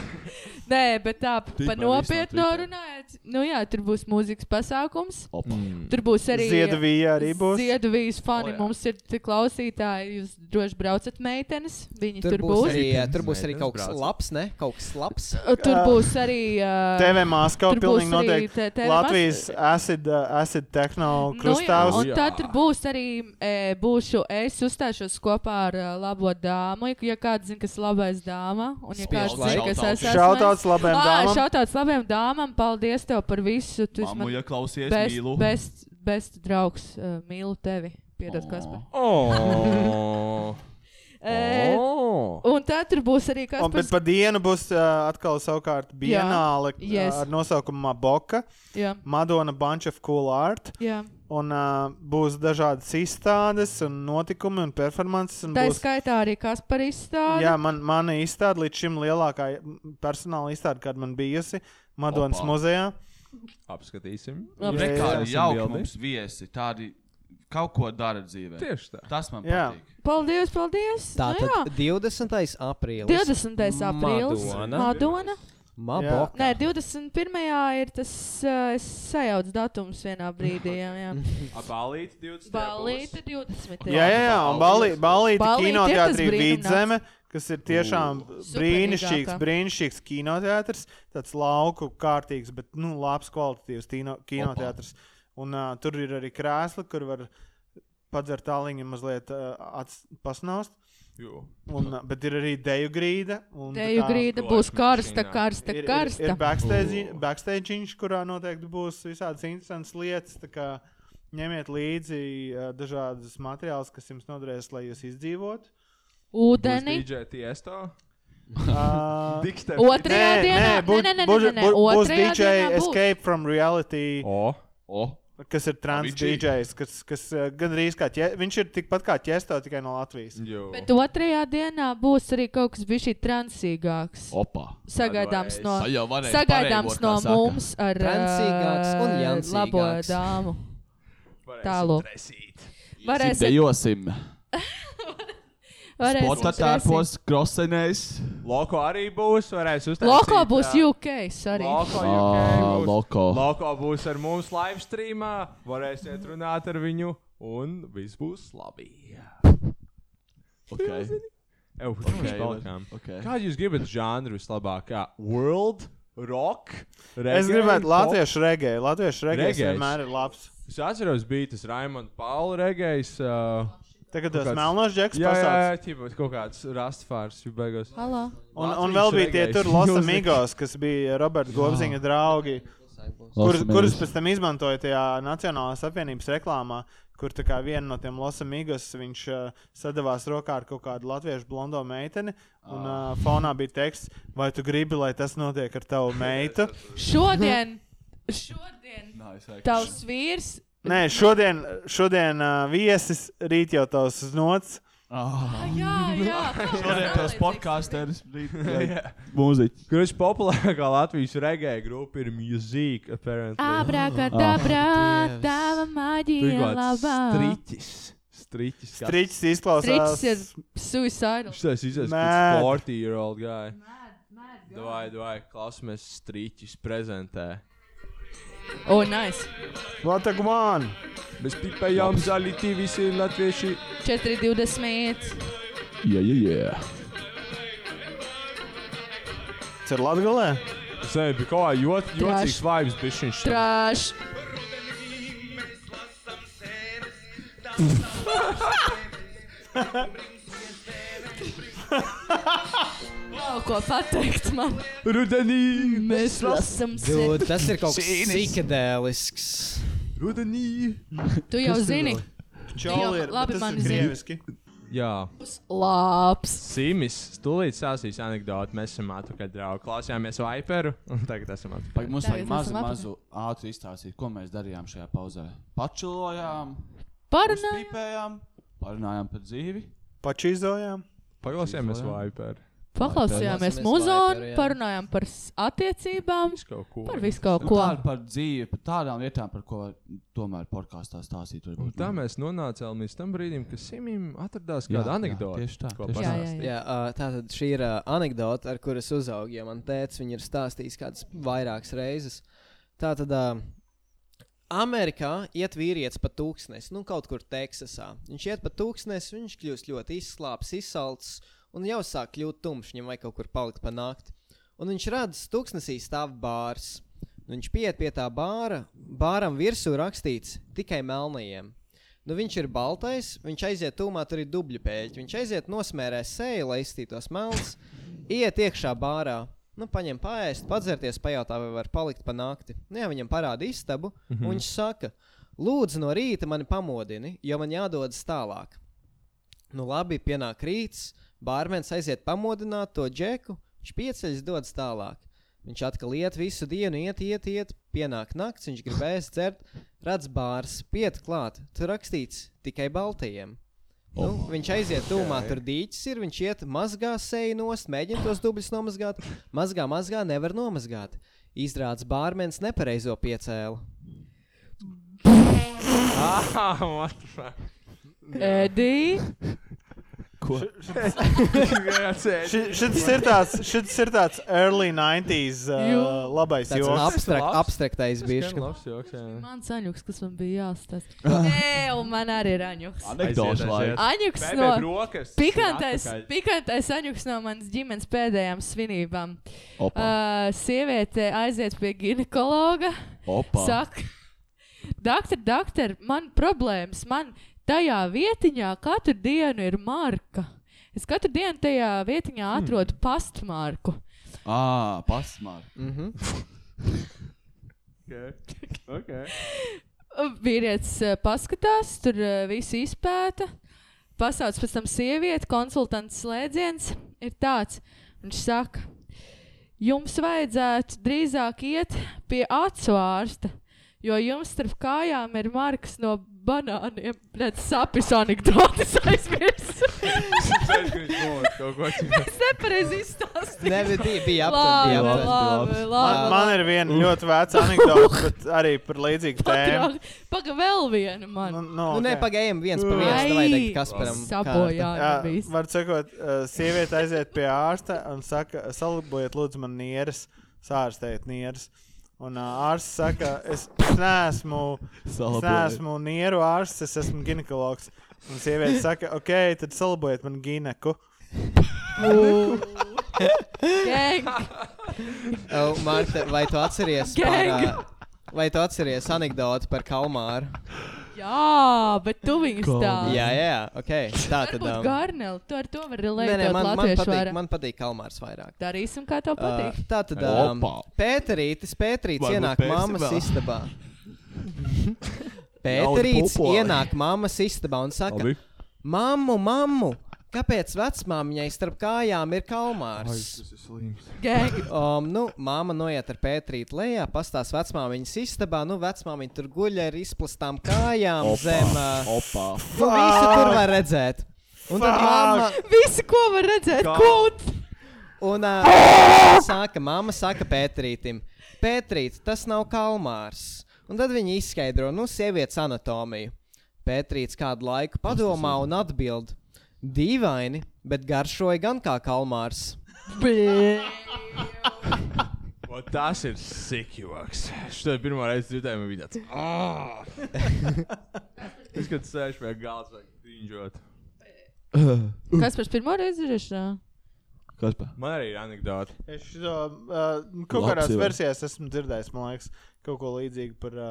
Speaker 1: Nē, bet tā
Speaker 7: Tik
Speaker 1: pa
Speaker 7: man viss
Speaker 1: nopietnu
Speaker 7: nav Twitter.
Speaker 1: runājot. Nu jā, tur būs mūzikas pasākums.
Speaker 7: Opa.
Speaker 1: Tur būs arī
Speaker 6: Ziedavija Mm. arī būs.
Speaker 1: Ziedavijas fani.
Speaker 4: O, jā.
Speaker 1: Oh, mums ir tie klausītāji. Jūs droši braucat meitenes. Viņi tur,
Speaker 5: Tur būs arī, uh,
Speaker 4: Meitenes
Speaker 5: tur būs arī kaut kas
Speaker 4: brauc.
Speaker 5: labs, ne? Kaut kas labs.
Speaker 1: Tur būs arī. Uh,
Speaker 6: TV Maskava
Speaker 1: Tur būs
Speaker 6: pilnīgi
Speaker 1: arī
Speaker 6: noteikti.
Speaker 1: te- TV
Speaker 6: Latvijas acid, uh, acid techno
Speaker 1: Nu, jā,
Speaker 6: krustāvs.
Speaker 4: Jā.
Speaker 1: un tad tur būs arī e, būšu, es uzstāšos kopā ar ā, labo dāmu. Ja- Ja kāds zina, kas ir labais dāma, un ja
Speaker 5: Spiež
Speaker 1: kāds zina, kas
Speaker 7: laiku.
Speaker 1: es esmu. Ah,
Speaker 6: Šautauts labajam dāmam.
Speaker 1: Šautauts labajam dāmam, paldies tev par visu. Tu esi
Speaker 7: Mamu,
Speaker 1: man
Speaker 7: ja klausies,
Speaker 1: best,
Speaker 7: mīlu.
Speaker 1: best, best draugs, uh, mīlu tevi. Piedod, kas par.
Speaker 4: Oh.
Speaker 1: E, un tad tur būs arī kas
Speaker 6: Un, bet
Speaker 1: par.
Speaker 6: par dienu būs uh, atkal savukārt bienāle
Speaker 1: yes.
Speaker 6: yes. ar nosaukumu Maboka,
Speaker 1: Jā,
Speaker 6: Madona Bunch of Cool Art.
Speaker 1: jā.
Speaker 6: Un uh, būs dažādas izstādes, un notikumi un performances. Un
Speaker 1: Tā ir
Speaker 6: būs,
Speaker 1: skaitā arī kas par izstādi.
Speaker 6: jā, man, mana izstāde līdz šim lielākā personāla izstāde, kāda man bijusi Madonas
Speaker 7: Opa.
Speaker 6: muzejā.
Speaker 4: Apskatīsim.
Speaker 1: Labi.
Speaker 6: Jā,
Speaker 7: Re, Kādi
Speaker 4: esam
Speaker 7: jauki
Speaker 4: bildi.
Speaker 7: mums viesi, tādi kaut ko dara dzīvē.
Speaker 4: Tieši tā.
Speaker 7: Tas man
Speaker 6: Jā.
Speaker 7: patīk.
Speaker 1: Paldies, paldies.
Speaker 5: Tātad
Speaker 1: nu,
Speaker 5: 20. aprīlis.
Speaker 1: jā. 20. aprīlis.
Speaker 5: Madona.
Speaker 1: Madona.
Speaker 5: Mabok.
Speaker 1: Nē, 21. ir tas uh, sajauts datums vienā brīdī. Jā, jā.
Speaker 4: Abalīt 20.
Speaker 1: Balīti 20.
Speaker 6: Jā, jā, jā un Balī- Balīti
Speaker 1: Balīti ir tas
Speaker 6: kinoteātrī
Speaker 1: brīnumnāks.
Speaker 6: Vidzeme, kas ir tiešām brīnišķīgs,
Speaker 1: Superīgākā.
Speaker 6: brīnišķīgs kinoteātris. Tāds lauku kārtīgs, bet nu, labs kvalitatīvs tino- kinoteātris. Un uh, tur ir arī krēsli, kur var padzert tāliņu mazliet uh, pasnaust. Un, uh, bet ir arī deju grīda. un tā
Speaker 1: Teju
Speaker 6: kā
Speaker 1: grīda
Speaker 4: Gulēšu
Speaker 1: būs karsta,
Speaker 4: mašīnā.
Speaker 1: karsta,
Speaker 6: Ir, ir,
Speaker 1: karsta.
Speaker 6: ir backstage, backstage, kurā noteikti būs visādas interesantas lietas. tā kā Ņemiet līdzi uh, dažādas materiālus, kas jums noderēs, lai jūs izdzīvotu.
Speaker 1: Ūdeni.
Speaker 4: DJ Tiesto.
Speaker 6: Uh,
Speaker 4: Dikster.
Speaker 1: Otrajā
Speaker 6: Nē,
Speaker 1: dienā.
Speaker 6: nē, būs-
Speaker 1: Nē, nē, nē,
Speaker 6: būs-
Speaker 1: nē, nē.
Speaker 6: būs- būs
Speaker 1: Otrajā
Speaker 6: DJ
Speaker 1: dienā būs.
Speaker 6: Escape from Reality,
Speaker 4: O.
Speaker 7: O,
Speaker 6: kas ir trans
Speaker 7: Avicii.
Speaker 6: DJs, kas, kas uh, gandrīz kā ķē, viņš ir tikpat kā ķēsto, tikai no Latvijas.
Speaker 4: Jo.
Speaker 1: Bet otrajā dienā būs arī kaut kas bijis transīgāks.
Speaker 7: opa.
Speaker 1: Sagaidāms no,
Speaker 7: Ai, jau varēja
Speaker 1: sagaidāms
Speaker 7: pareigot,
Speaker 1: no
Speaker 7: kā saka.
Speaker 1: mums ar
Speaker 5: Transīgāks un
Speaker 1: ā,
Speaker 5: jancīgāks.
Speaker 1: labo dāmu. Tālu. Varēsim,
Speaker 7: Dejosim. Sporta
Speaker 1: varēsim.
Speaker 7: tērpos, krosenēs.
Speaker 4: Loko arī būs, varēs uztaisīt.
Speaker 1: Loko būs
Speaker 4: ā,
Speaker 1: UK, sorry.
Speaker 4: Loko,
Speaker 7: Ā,
Speaker 4: UK būs.
Speaker 7: Loko.
Speaker 4: Loko būs ar mums live streamā, varēsiet runāt ar viņu un viss būs labi.
Speaker 7: Okay.
Speaker 4: Eju, kur mēs
Speaker 7: Taylor.
Speaker 4: palikām?
Speaker 7: Okay.
Speaker 4: Kādu jūs gribat žanru vislabāk? Kā World, rock, reggae,
Speaker 6: Es gribētu
Speaker 4: pop?
Speaker 6: latviešu regēju. Latviešu regējs
Speaker 4: Regejs?
Speaker 6: vienmēr ir labs.
Speaker 4: Es atceros, bija tas Raimonds Pauli regējs. Uh,
Speaker 6: Tagad tas
Speaker 4: kāds-
Speaker 6: melnos džeks
Speaker 4: jā, jā,
Speaker 6: pasāks.
Speaker 4: jā, ķipa, kaut kāds rastfārs jau beigās.
Speaker 1: Halo!
Speaker 6: Un, un
Speaker 4: Latvijas
Speaker 6: vēl bija tie
Speaker 4: regejs.
Speaker 6: tur Los
Speaker 4: Jūs-
Speaker 6: Amigos, kas bija Roberta Gobziņa draugi, kur, kurus pēc tam izmantoja tajā Nacionālās apvienības reklāmā, kur tā kā viena no tiem Los Amigos viņš uh, sadavās rokā ar kaut kādu latviešu blondo meiteni, un uh, fonā bija teksts, vai tu gribi, lai tas notiek ar tavu meitu?
Speaker 1: Šodien! Šodien! Tavs vīrs!
Speaker 6: Nē, šodien, šodien uh, viesis, rīt jau tavs znots.
Speaker 1: Ah, Jā, jā!
Speaker 7: Šodien tas podkāsteris
Speaker 4: Jā.
Speaker 7: mūziķis.
Speaker 4: Kurš populārākā Latvijas reggae grupa ir Music, apparently.
Speaker 1: Abrakadabra, tava
Speaker 4: Tur
Speaker 1: maģija
Speaker 4: kaut kāds
Speaker 1: labā.
Speaker 4: striķis. Striķis. kāds.
Speaker 6: Strīķis izklausās.
Speaker 1: Striķis ir suicidal.
Speaker 4: Šis izies
Speaker 6: Mad.
Speaker 4: pēc 40 year old guy. Davai, davai, klausamies strīķis prezentē.
Speaker 1: O, oh, nice!
Speaker 6: What a guan!
Speaker 4: Mēs pipējām zāli TV visi latvieši.
Speaker 1: 4,20.
Speaker 7: Jā, jā, jā.
Speaker 6: Tas ir Latgalē?
Speaker 4: Zē, bija kaut kā jot, jocīgs
Speaker 1: Trash.
Speaker 4: vibes bišķiņš.
Speaker 1: Trash! Nav ko pateikt man.
Speaker 4: Rudenī,
Speaker 1: Mēs lasām
Speaker 5: Dude,
Speaker 1: sēdi.
Speaker 5: tas ir kaut kas psihedēlisks.
Speaker 4: rudenī.
Speaker 1: Tu jau zini,
Speaker 6: Čau,
Speaker 1: Jā,
Speaker 6: ir.
Speaker 1: labi,
Speaker 6: bet tas
Speaker 1: man
Speaker 6: ir
Speaker 1: zina.
Speaker 6: krieviski.
Speaker 4: Jā.
Speaker 1: kas labs.
Speaker 4: Simis, stulīt sāsīs anekdoti, mēs esam atpakaļ draugi. Klausījāmies Viperu, un tagad esam atpakaļ.
Speaker 7: Mums
Speaker 1: Tā,
Speaker 7: vajag
Speaker 1: jūs
Speaker 7: mazu,
Speaker 1: esam
Speaker 7: mazu ātru izstāstīt, ko mēs darījām šajā pauzē. Pačilojām,
Speaker 1: Parunājam.
Speaker 7: pīpējām, parunājām par dzīvi.
Speaker 6: Pačīzojām.
Speaker 4: Paklausījāmies Viperu.
Speaker 1: Paklausījāmies
Speaker 5: Paklausāmies
Speaker 1: muzonu,
Speaker 5: Viperu, jā.
Speaker 1: parunājām par s- attiecībām,
Speaker 4: Viss kaut ko.
Speaker 1: par visu kaut ko.
Speaker 7: Nu, Par, par dzīvi, par tādām lietām, par ko tomēr podkāstā stāstīt. varbūt. nu.
Speaker 4: Un tā mēs nonācām līdz tam brīdim, kad Simim atradās kāda
Speaker 7: jā,
Speaker 4: anekdote.
Speaker 7: tieši tā,
Speaker 4: ko
Speaker 7: tieši tā.
Speaker 1: Jā, jā,
Speaker 4: pastāstīt.
Speaker 5: Jā, ā, tātad šī ir ā, anekdote, ar kuras uzaugu, jo man tēvs viņu ir stājis kādas vairākas reizes. Tātad ā, Amerikā iet vīrietis pa tūkstnesi, nu kaut kur Teksasā. Viņš iet pa tūkstnesi, viņš kļūst ļoti izslāpis, izsalcis un jau sāk kļūt tumšs, viņam vajag kaut kur palikt pa nakti. Un viņš redz, ka tūkstnesī stāv bārs. Un Viņš pieiet pie tā bāra, bāram virsū rakstīts tikai melnajiem. Nu, viņš ir baltais, viņš aiziet tūmā, tur ir dubļu pēļi. Viņš aiziet nosmērē seju, lai izstītos melns, iet iekšā bārā. Nu, paņem pāriest, padzerties, pajautā, vai var palikt pa nakti. Nu, jā, viņam parāda istabu, mm -hmm. un viņš saka, lūdzu, no rīta mani pamodini, jo man jādodas tālāk. Nu, labi, pienāk rīts, bārmenis aiziet pamodināt to džeku, viņš pieceļas, dodas tālāk. Viņš atkal iet visu dienu, iet, iet, iet, pienāk naktis, viņš gribēs dzert, redz bārs, piet klāt, tur rakstīts tikai baltajiem. Nu, oh viņš aiziet tūmā, tur dīķis ir, viņš iet, mazgā seju nost, mēģina tos dubļus nomazgāt, mazgā, mazgā, nevar nomazgāt. Izrādās bārmenis nepareizo piecēlu.
Speaker 4: Ah, what the fuck?
Speaker 1: Edī,
Speaker 4: Grāciet.
Speaker 6: Ši- Šis ir tāds, šis ir tāds early 90s uh,
Speaker 1: Jū.
Speaker 6: labais
Speaker 5: Tas ir
Speaker 6: joks.
Speaker 5: abstrakt,
Speaker 4: labs.
Speaker 5: abstraktais bijis.
Speaker 4: Skan labs joks, jā.
Speaker 1: man saņuks, kas man bija jāstāsta. Nē, un man arī ir aņuks.
Speaker 7: Anekdošu
Speaker 4: Aiziet,
Speaker 7: laiku.
Speaker 1: Aņuks
Speaker 4: Bēbē
Speaker 1: no.
Speaker 4: brokas.
Speaker 1: Pikantais,
Speaker 4: Atpakaļ.
Speaker 1: pikantais aņuks no manas ģimenes pēdējām svinībām.
Speaker 7: Opa,
Speaker 1: Uh, sieviete aiziet pie ginekologa.
Speaker 7: opa.
Speaker 1: Saka, doktor, doktor, man problēmas. Man tajā vietiņā katru dienu ir marka. Es katru dienu tajā vietiņā atrodu pastmarku.
Speaker 7: Ā, pasmār.
Speaker 1: Vīrietis eh, paskatās, tur eh, visu izpēta. Pasauc pēc tam sievieti, konsultants slēdziens ir tāds. Viņš saka, jums vajadzētu drīzāk iet pie acu ārsta, jo jums starp kājām ir marks no banāniem. Redz, sapnis anekdotis aizmirs.
Speaker 4: Kaut ko ķipa.
Speaker 1: es nepareizi izstāstīju.
Speaker 5: Nē, bija, bija
Speaker 1: labi,
Speaker 5: aptuveni.
Speaker 1: labi, labi,
Speaker 6: Man,
Speaker 1: labi.
Speaker 6: man ir viena ļoti veca anekdote, bet arī par līdzīgu tēmu.
Speaker 1: Patrāk, Paga vēl viena man.
Speaker 6: Nu,
Speaker 5: Nu, nē,
Speaker 6: okay.
Speaker 5: pagājām viens pa viens. Vai teikt, Kasparam?
Speaker 1: Sabojā,
Speaker 6: Jā,
Speaker 1: bijis.
Speaker 6: var sakot, uh, sieviete aiziet pie ārsta un saka, salabojiet, lūdzu, man nieres, sārstējiet nieres. Un uh, ārsts saka, es, es neesmu, es neesmu nieru ārsts, es esmu ginekologs. Un sieviete saka, ok, tad salabojiet man gineku.
Speaker 1: Gang!
Speaker 5: Oh, Marta, vai tu atceries par,
Speaker 1: Gang.
Speaker 5: ā, vai tu atceries anekdoti par Kalmāru?
Speaker 1: Jā, bet tu viņus tā.
Speaker 5: Jā, jā, jā, ok. Tā tad. um,
Speaker 1: Varbūt Garneli, tu ar to vari
Speaker 5: nē, nē,
Speaker 1: relēkt
Speaker 5: man, man,
Speaker 1: latviešu
Speaker 5: patīk,
Speaker 1: vārā.
Speaker 5: man patīk Kalmārs vairāk.
Speaker 1: Darīsim, kā tev
Speaker 5: Uh,
Speaker 1: patīk.
Speaker 5: tā tad um, Pēterītis, Pēterītis
Speaker 9: Vai nu
Speaker 5: ienāk
Speaker 9: pēsim
Speaker 5: mammas
Speaker 9: vēl?
Speaker 5: istabā. Pēterītis
Speaker 9: pupoja.
Speaker 5: ienāk mammas istabā un saka:
Speaker 4: Labi.
Speaker 5: Mammu, mammu, kāpēc vecmāmiņai starp kājām ir kalmārs?
Speaker 1: Gang!
Speaker 5: Um, nu, māma noiet ar pētrīti lejā, pastāsta vecmāmiņas istabā. Nu, vecmāmiņa tur guļ ar izplastām kājām Opa. zem. Uh,
Speaker 9: Opā.
Speaker 5: nu, visu tur var redzēt. Un tad māma,
Speaker 1: Visu, ko var redzēt, kaut!
Speaker 5: Un uh, sāka, mamma saka Pētrītam, Pētrīt, tas nav kalmārs. Un tad viņi izskaidro, nu, sievietes anatomiju. Pētrīts kādu laiku padomā un atbild: Dīvaini, bet garšoja gan kā kalmārs.
Speaker 4: O, tas ir sikjoks. Šitā pirmā reize dzirdējām, bija tāds. "Ah!" Es kad sēžu pie galda, vai grīņģot.
Speaker 1: Kas par pirmo reizi dzirdēšanā?
Speaker 9: Kas pa?
Speaker 4: Man arī ir anekdote.
Speaker 6: Es šo, uh, kaut
Speaker 9: Labs
Speaker 6: kādās
Speaker 9: ir.
Speaker 6: versijās esmu dzirdējis, man liekas, kaut ko līdzīgu par, uh,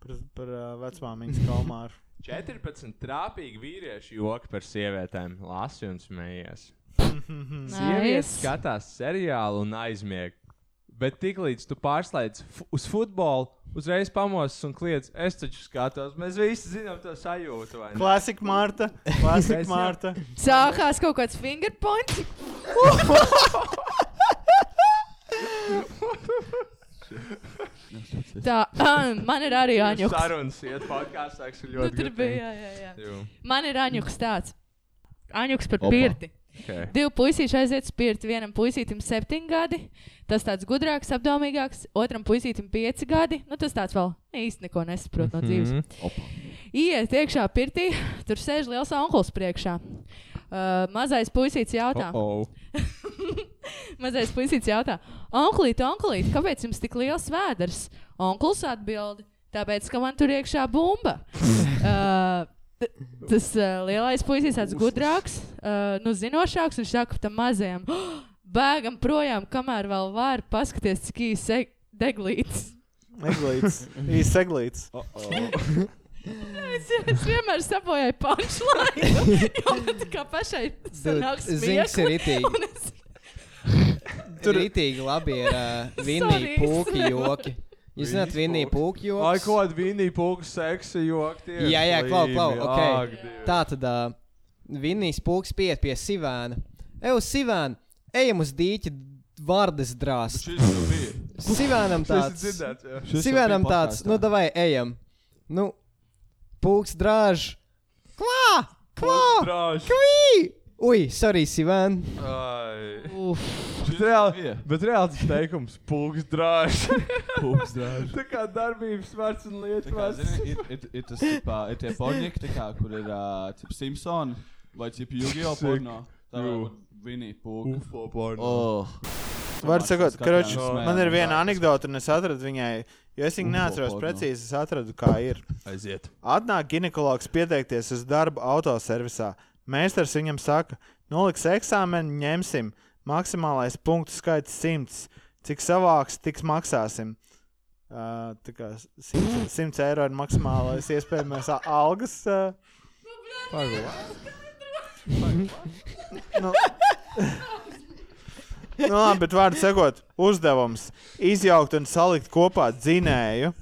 Speaker 6: par, par uh, vecmāmiņas kalmāru.
Speaker 4: 14 trāpīgi vīrieši joki par sievietēm. Lasi un smējies. Sievietes
Speaker 1: Nice.
Speaker 4: skatās seriālu un aizmieg. Bet tiklīdz tu pārslēdz fu- uz futbolu, uzreiz pamosas un kliedz, es taču skatos, mēs visi zinām to sajūtu. vai ne?"
Speaker 6: Klasika Marta, klasika Marta.
Speaker 1: Sākās kaut kāds fingerpoint. Tā, ah, man ir arī Aņuks.
Speaker 4: Sarunas iet podkāstā, kas ir
Speaker 1: Nu,
Speaker 4: ļoti.
Speaker 1: tur bija, jā, jā, jā. Man ir Aņuks tāds. Aņuks par
Speaker 9: Opa.
Speaker 1: pirti.
Speaker 4: Okay.
Speaker 1: Divi puisīši aiziet spirti. Vienam puisītam septiņi gadi, tas tāds gudrāks, apdomīgāks, otram puisītam pieci gadi. Nu, tas tāds vēl īsti neko nesaprot no dzīves.
Speaker 4: Mhm.
Speaker 1: Mm -hmm. Iet iekšā pirtī, tur sēž liels onkurs priekšā. Uh, mazais puisīts jautā, oh,
Speaker 4: Oh,
Speaker 1: oh. mazais puisīts jautā, onklīt, onklīt, kāpēc jums tik liels vēders? Onkls atbild, tāpēc, ka man tur iekšā bumba. uh, t- Tas uh, lielais puisis ir gudrāks, uh, nu, zinošāks. Viņš saka, tam mazajam, oh, bēgam projām, kamēr vēl var paskatīties, cik īsi e-, ir deglīts.
Speaker 6: Eglīts, īsts eglīts.
Speaker 1: Es, es vienmēr sabojāju punčlainu, jo man tā kā pašai sanāk
Speaker 5: Zinks ir
Speaker 1: smiekli.
Speaker 5: itīgi.
Speaker 1: Un es-
Speaker 5: Tur itīgi labi ir uh,
Speaker 1: Sorry,
Speaker 5: vinīgi pūki
Speaker 1: es-
Speaker 5: joki. Jūs zināt, vinīgi pūki
Speaker 4: Ai,
Speaker 5: joki.
Speaker 4: kāda vinīja pūka seksa joki.
Speaker 5: Jā, jā, klau, klau. Okay. Tā tad uh, Vinīs pūks pieiet pie Sivēna. Ej uz Sivēnu, ejam uz dīķi vārdas drāstu.
Speaker 7: Šis jau bija.
Speaker 5: Sivēnam
Speaker 4: Tas
Speaker 5: tāds.
Speaker 4: ir dzirdēts. jā.
Speaker 9: Šis jau
Speaker 5: Sivēnam
Speaker 9: bija
Speaker 5: tāds,
Speaker 9: podkāstā.
Speaker 5: nu davai, ejam. Nu, pūks drāž. Klā! Klā!
Speaker 4: Drāž.
Speaker 5: Kvī! Ui, sorry, Sivēn.
Speaker 4: Ai.
Speaker 1: Uf,
Speaker 4: Bet reāli, bet reāli tas teikums - pūks drāžs. pūks drāžs. Tā kā darbības vārds un
Speaker 7: Tā kā,
Speaker 4: lietas.
Speaker 7: zini, ir, ir, ir tas, tipā, ir tie pornieki, tā kā, kur ir uh, Simpsons vai Yu-Gi-Oh!
Speaker 4: Sick.
Speaker 7: porno. Tā
Speaker 4: Jū.
Speaker 7: ir Vinija Pūka.
Speaker 4: Ufo porno.
Speaker 7: Oh.
Speaker 6: Var sakot, kroč,
Speaker 7: Skatījām,
Speaker 6: man ir
Speaker 7: smējām,
Speaker 6: viena
Speaker 7: vārds.
Speaker 6: anekdote, un es atradu viņai, jo es viņu neatceros
Speaker 7: porno.
Speaker 6: precīzi, es atradu, kā ir.
Speaker 4: Aiziet.
Speaker 6: Atnāk ginekologs pieteikties uz darbu autoservisā. Mēsters viņam saka, noliks eksāmenu, ņemsim. Maksimālais punktu skaits - simts. Cik savāks, tiks maksāsim. Uh, tā kā simts- simts eiro ir maksimālais iespējamais a- algas. Uh, nu, nu, labi, bet vārdu sakot, uzdevums - izjaukt un salikt kopā dzinēju.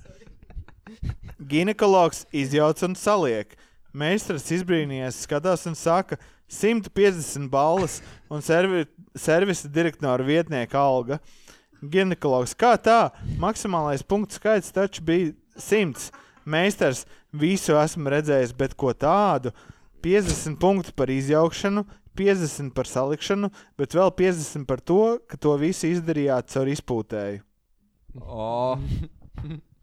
Speaker 6: Ginekologs izjauc un saliek. Meistars izbrīnījies, skatās un saka, 150 balvas un servi, servisa direktora vietnieka alga. Ginekologs, kā tā? Maksimālais punktu skaits taču bija 100. Meistars, visu esmu redzējis, bet ko tādu? 50 punktu par izjaukšanu, 50 par salikšanu, bet vēl 50 par to, ka to visu izdarījāt caur izpūtēju.
Speaker 4: O.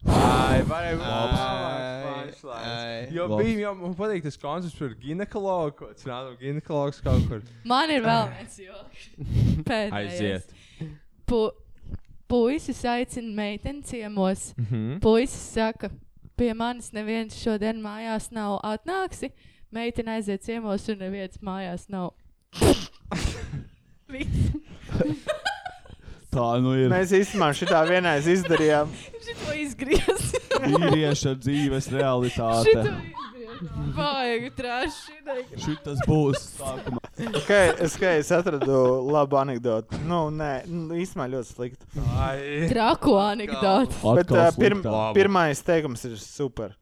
Speaker 4: Ai, varēja
Speaker 5: Labs.
Speaker 4: būt
Speaker 5: Ai.
Speaker 4: pārslēgts. Jo
Speaker 9: Labs.
Speaker 4: bija, jo man patīk tas koncepts par ginekologu, ko tas nav ginekologs kaut kur.
Speaker 1: man ir vēl viens joks. Pēdējais. Pu puisis aicina meiteni ciemos. Mm -hmm. Puisis saka, pie manis neviens šodien mājās nav atnāksi. Meitene aiziet ciemos, un neviens mājās nav.
Speaker 7: Tā nu ir
Speaker 6: Mēs īstenībā šitā vienreiz izdarījām.
Speaker 1: Šito izgriezt.
Speaker 7: vīrieša dzīves
Speaker 1: Šito
Speaker 7: realitāte.
Speaker 1: izgriezt. Vajag traši.
Speaker 7: Šitas būs sākumā.
Speaker 6: Okay, es, okay, es atradu labu anekdoti. Nu, nē, nu, īstenībā ļoti slikti.
Speaker 4: Ai,
Speaker 1: Traku anekdoti.
Speaker 6: Bet uh, pirm,
Speaker 4: Labu.
Speaker 6: pirmais teikums ir super.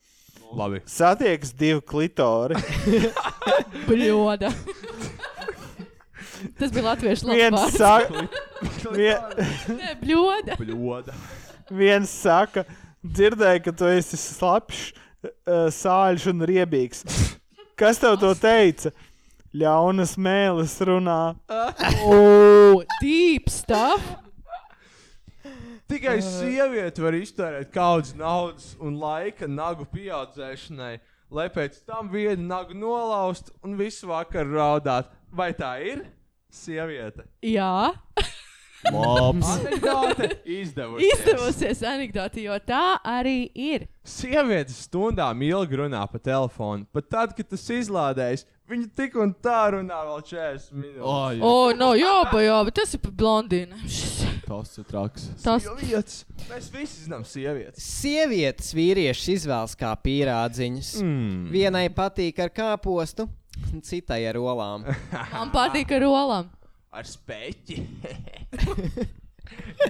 Speaker 4: labi.
Speaker 6: Satiekas divi klitori.
Speaker 1: Bļoda. Tas bija latviešu
Speaker 6: Viens
Speaker 1: labvārds.
Speaker 6: saka, vien,
Speaker 1: Nē, bļoda.
Speaker 4: Pļoda.
Speaker 6: viens saka, dzirdēju, ka tu esi slapjš, uh, sāļš un riebīgs. Kas tev to teica? Ļaunas mēlis runā.
Speaker 1: O, deep stuff.
Speaker 4: Tikai sieviete var iztērēt kaudzes naudas un laika nagu pieaudzēšanai, lai pēc tam vienu nagu nolaust un visu vakaru raudāt. Vai tā ir? Sieviete.
Speaker 1: Jā,
Speaker 7: Labs.
Speaker 4: Anekdote izdevusies.
Speaker 1: izdevusies anekdoti, jo tā arī ir.
Speaker 4: Sievietes stundām ilgi runā pa telefonu, pat tad, kad tas izlādējas, viņa tik un tā runā vēl 40 minūtes.
Speaker 7: Ai,
Speaker 1: O, Oh, no jā, ba, jā, bet tas ir pa blondīnu.
Speaker 7: tas ir traks.
Speaker 1: Tas
Speaker 4: Sievietes. Mēs visi zinām sievietes.
Speaker 5: Sievietes vīrieši izvēlas kā pīrādziņas. Mm. Vienai patīk ar kāpostu, citai ar olām.
Speaker 1: man patīk ar olām.
Speaker 4: Ar spēķi.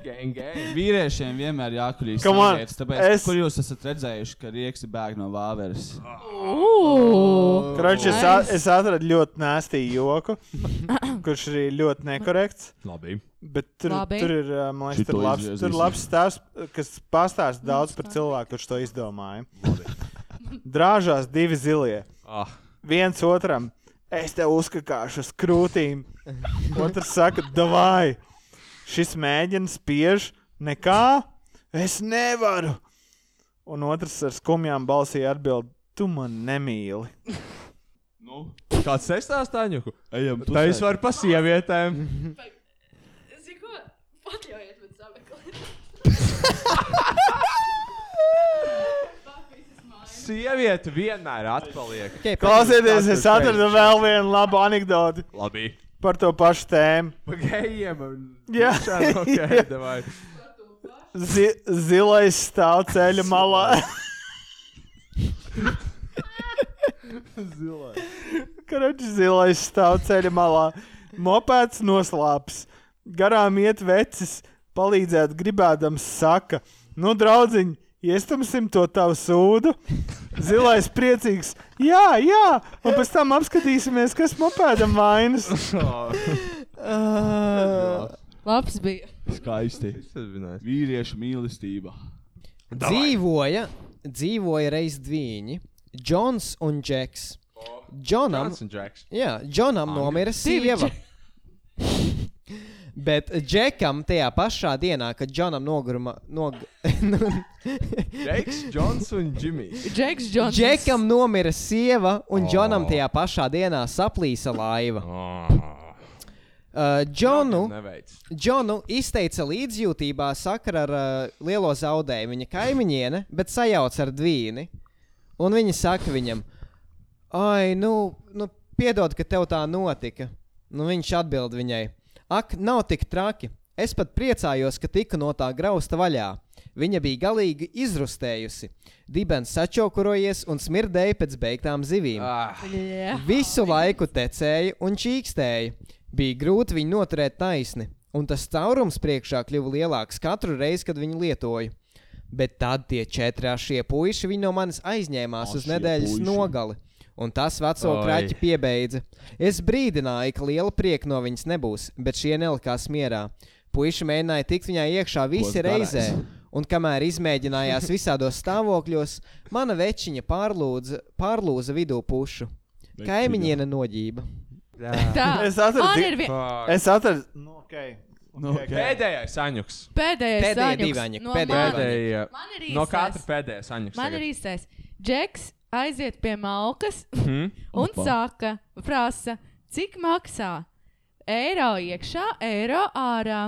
Speaker 4: gang, gang.
Speaker 7: Vīriešiem vienmēr jākuļīs.
Speaker 6: Come on,
Speaker 7: sievietes, Tāpēc,
Speaker 6: es-
Speaker 7: es... kur jūs esat redzējuši, ka rieksi bēg no vāveres?
Speaker 1: Ugh,
Speaker 6: Kroči, es, a-
Speaker 1: Nice.
Speaker 6: es atradu ļoti nēstīju joku, kurš arī ļoti nekorekts.
Speaker 4: Labi.
Speaker 6: Bet tur,
Speaker 1: Labi.
Speaker 6: tur ir, ā, man liekas,
Speaker 7: Šito
Speaker 6: tur labs,
Speaker 7: izviezīs.
Speaker 6: tur labs stāsts, kas pastāsta daudz par cilvēku, kurš to izdomāja. Drāžās divi zilie.
Speaker 4: Ah.
Speaker 6: Viens otram, es tev uzkakāšu uz krūtīm. Otrs saka, davai. Šis mēģina spiež, nekā es nevaru. Un otrs ar skumjām balsī atbild, tu man nemīli.
Speaker 7: Nu,
Speaker 4: Kāds sestās tāņuku?
Speaker 7: ejam,
Speaker 4: Tā es varu pa sievietēm.
Speaker 1: Zini ko? Atļaujiet man sameklēt.
Speaker 4: Sieviete vienmēr atpaliek.
Speaker 5: Okay,
Speaker 6: Klausieties, es atradu vēl vienu labu anekdoti
Speaker 4: Labi.
Speaker 6: par to pašu tēmu.
Speaker 4: Pa gejiem un
Speaker 6: Jā.
Speaker 4: šādi ok, davai.
Speaker 6: Zi zilais stāv ceļa malā. Karaģis zilais stāv ceļa malā. Mopēds noslāps. Garām iet vecis, palīdzēt gribēdams, saka: Nu, draudziņ, iestumsim to tavu sūdu. Zilais priecīgs, jā, jā, un pēc tam apskatīsimies, kas mopēdam vainas.
Speaker 1: Labs bija.
Speaker 7: Skaisti. Vīriešu mīlestība.
Speaker 5: Dzīvoja, dzīvoja reiz divi. Džons un Džeks. Džonam,
Speaker 4: Johnson Jacks.
Speaker 5: jā, Džonam nomira sieva. Bet Džekam tajā pašā dienā, kad Džonam nogurma, nog,
Speaker 4: Jakes, Johns un Jimmy's.
Speaker 1: Džeks Džons.
Speaker 5: Džekam nomira sieva, un Džonam tajā pašā dienā saplīsa laiva. Uh, Džonu,
Speaker 4: Neveic.
Speaker 5: Džonu izteica līdzjūtībā sakra ar uh, lielo zaudējumu viņa kaimiņiene, bet sajauca ar dvīni. Un viņa saka viņam, ai, nu, nu piedod, ka tev tā notika. Nu, viņš atbild viņai, ak, nav tik traki. Es pat priecājos, ka tika no tā grausta vaļā. Viņa bija galīgi izrustējusi, dibens sačokurojies un smirdēja pēc beigtām zivīm.
Speaker 4: Ah,
Speaker 1: Jā.
Speaker 5: Visu laiku tecēja un čīkstēja. Bija grūti viņu noturēt taisni, un tas caurums priekšā kļuva lielāks katru reizi, kad viņu lietoju. Bet tad tie četri šie puiši viņu no manis aizņēmās
Speaker 7: Ah,
Speaker 5: uz
Speaker 7: šie
Speaker 5: nedēļas
Speaker 7: puiši.
Speaker 5: nogali. Un tas veco
Speaker 4: Oi.
Speaker 5: kraķi piebeidza. Es brīdināju, ka liela prieka no viņas nebūs, bet šie nelikās mierā. Puiši mēģināja tikt viņai iekšā visi
Speaker 7: darēs?
Speaker 5: reizē, un kamēr izmēģinājās visādos stāvokļos, mana večiņa pārlūdza, pārlūza vidū pušu. Kaimiņiene noģība.
Speaker 1: Tā.
Speaker 6: Es atradu
Speaker 1: Man
Speaker 6: di-
Speaker 1: ir vien...
Speaker 4: Fuck.
Speaker 6: Es atradu, nu, ok.
Speaker 7: Nu,
Speaker 6: okay.
Speaker 4: Pēdējais aņuks.
Speaker 1: pēdējais.
Speaker 5: Pēdējie
Speaker 1: saņems
Speaker 5: divi Aņuki,
Speaker 1: no
Speaker 5: pēdējie
Speaker 1: manis.
Speaker 4: Pēdējie.
Speaker 1: Man ir
Speaker 4: No
Speaker 1: īstais.
Speaker 4: katra pēdējais aņuks.
Speaker 1: Man ir īstais. Džeks aiziet pie malkas
Speaker 4: Mhm.
Speaker 1: un
Speaker 7: Opa.
Speaker 1: saka, prasa, cik maksā eiro iekšā, eiro ārā.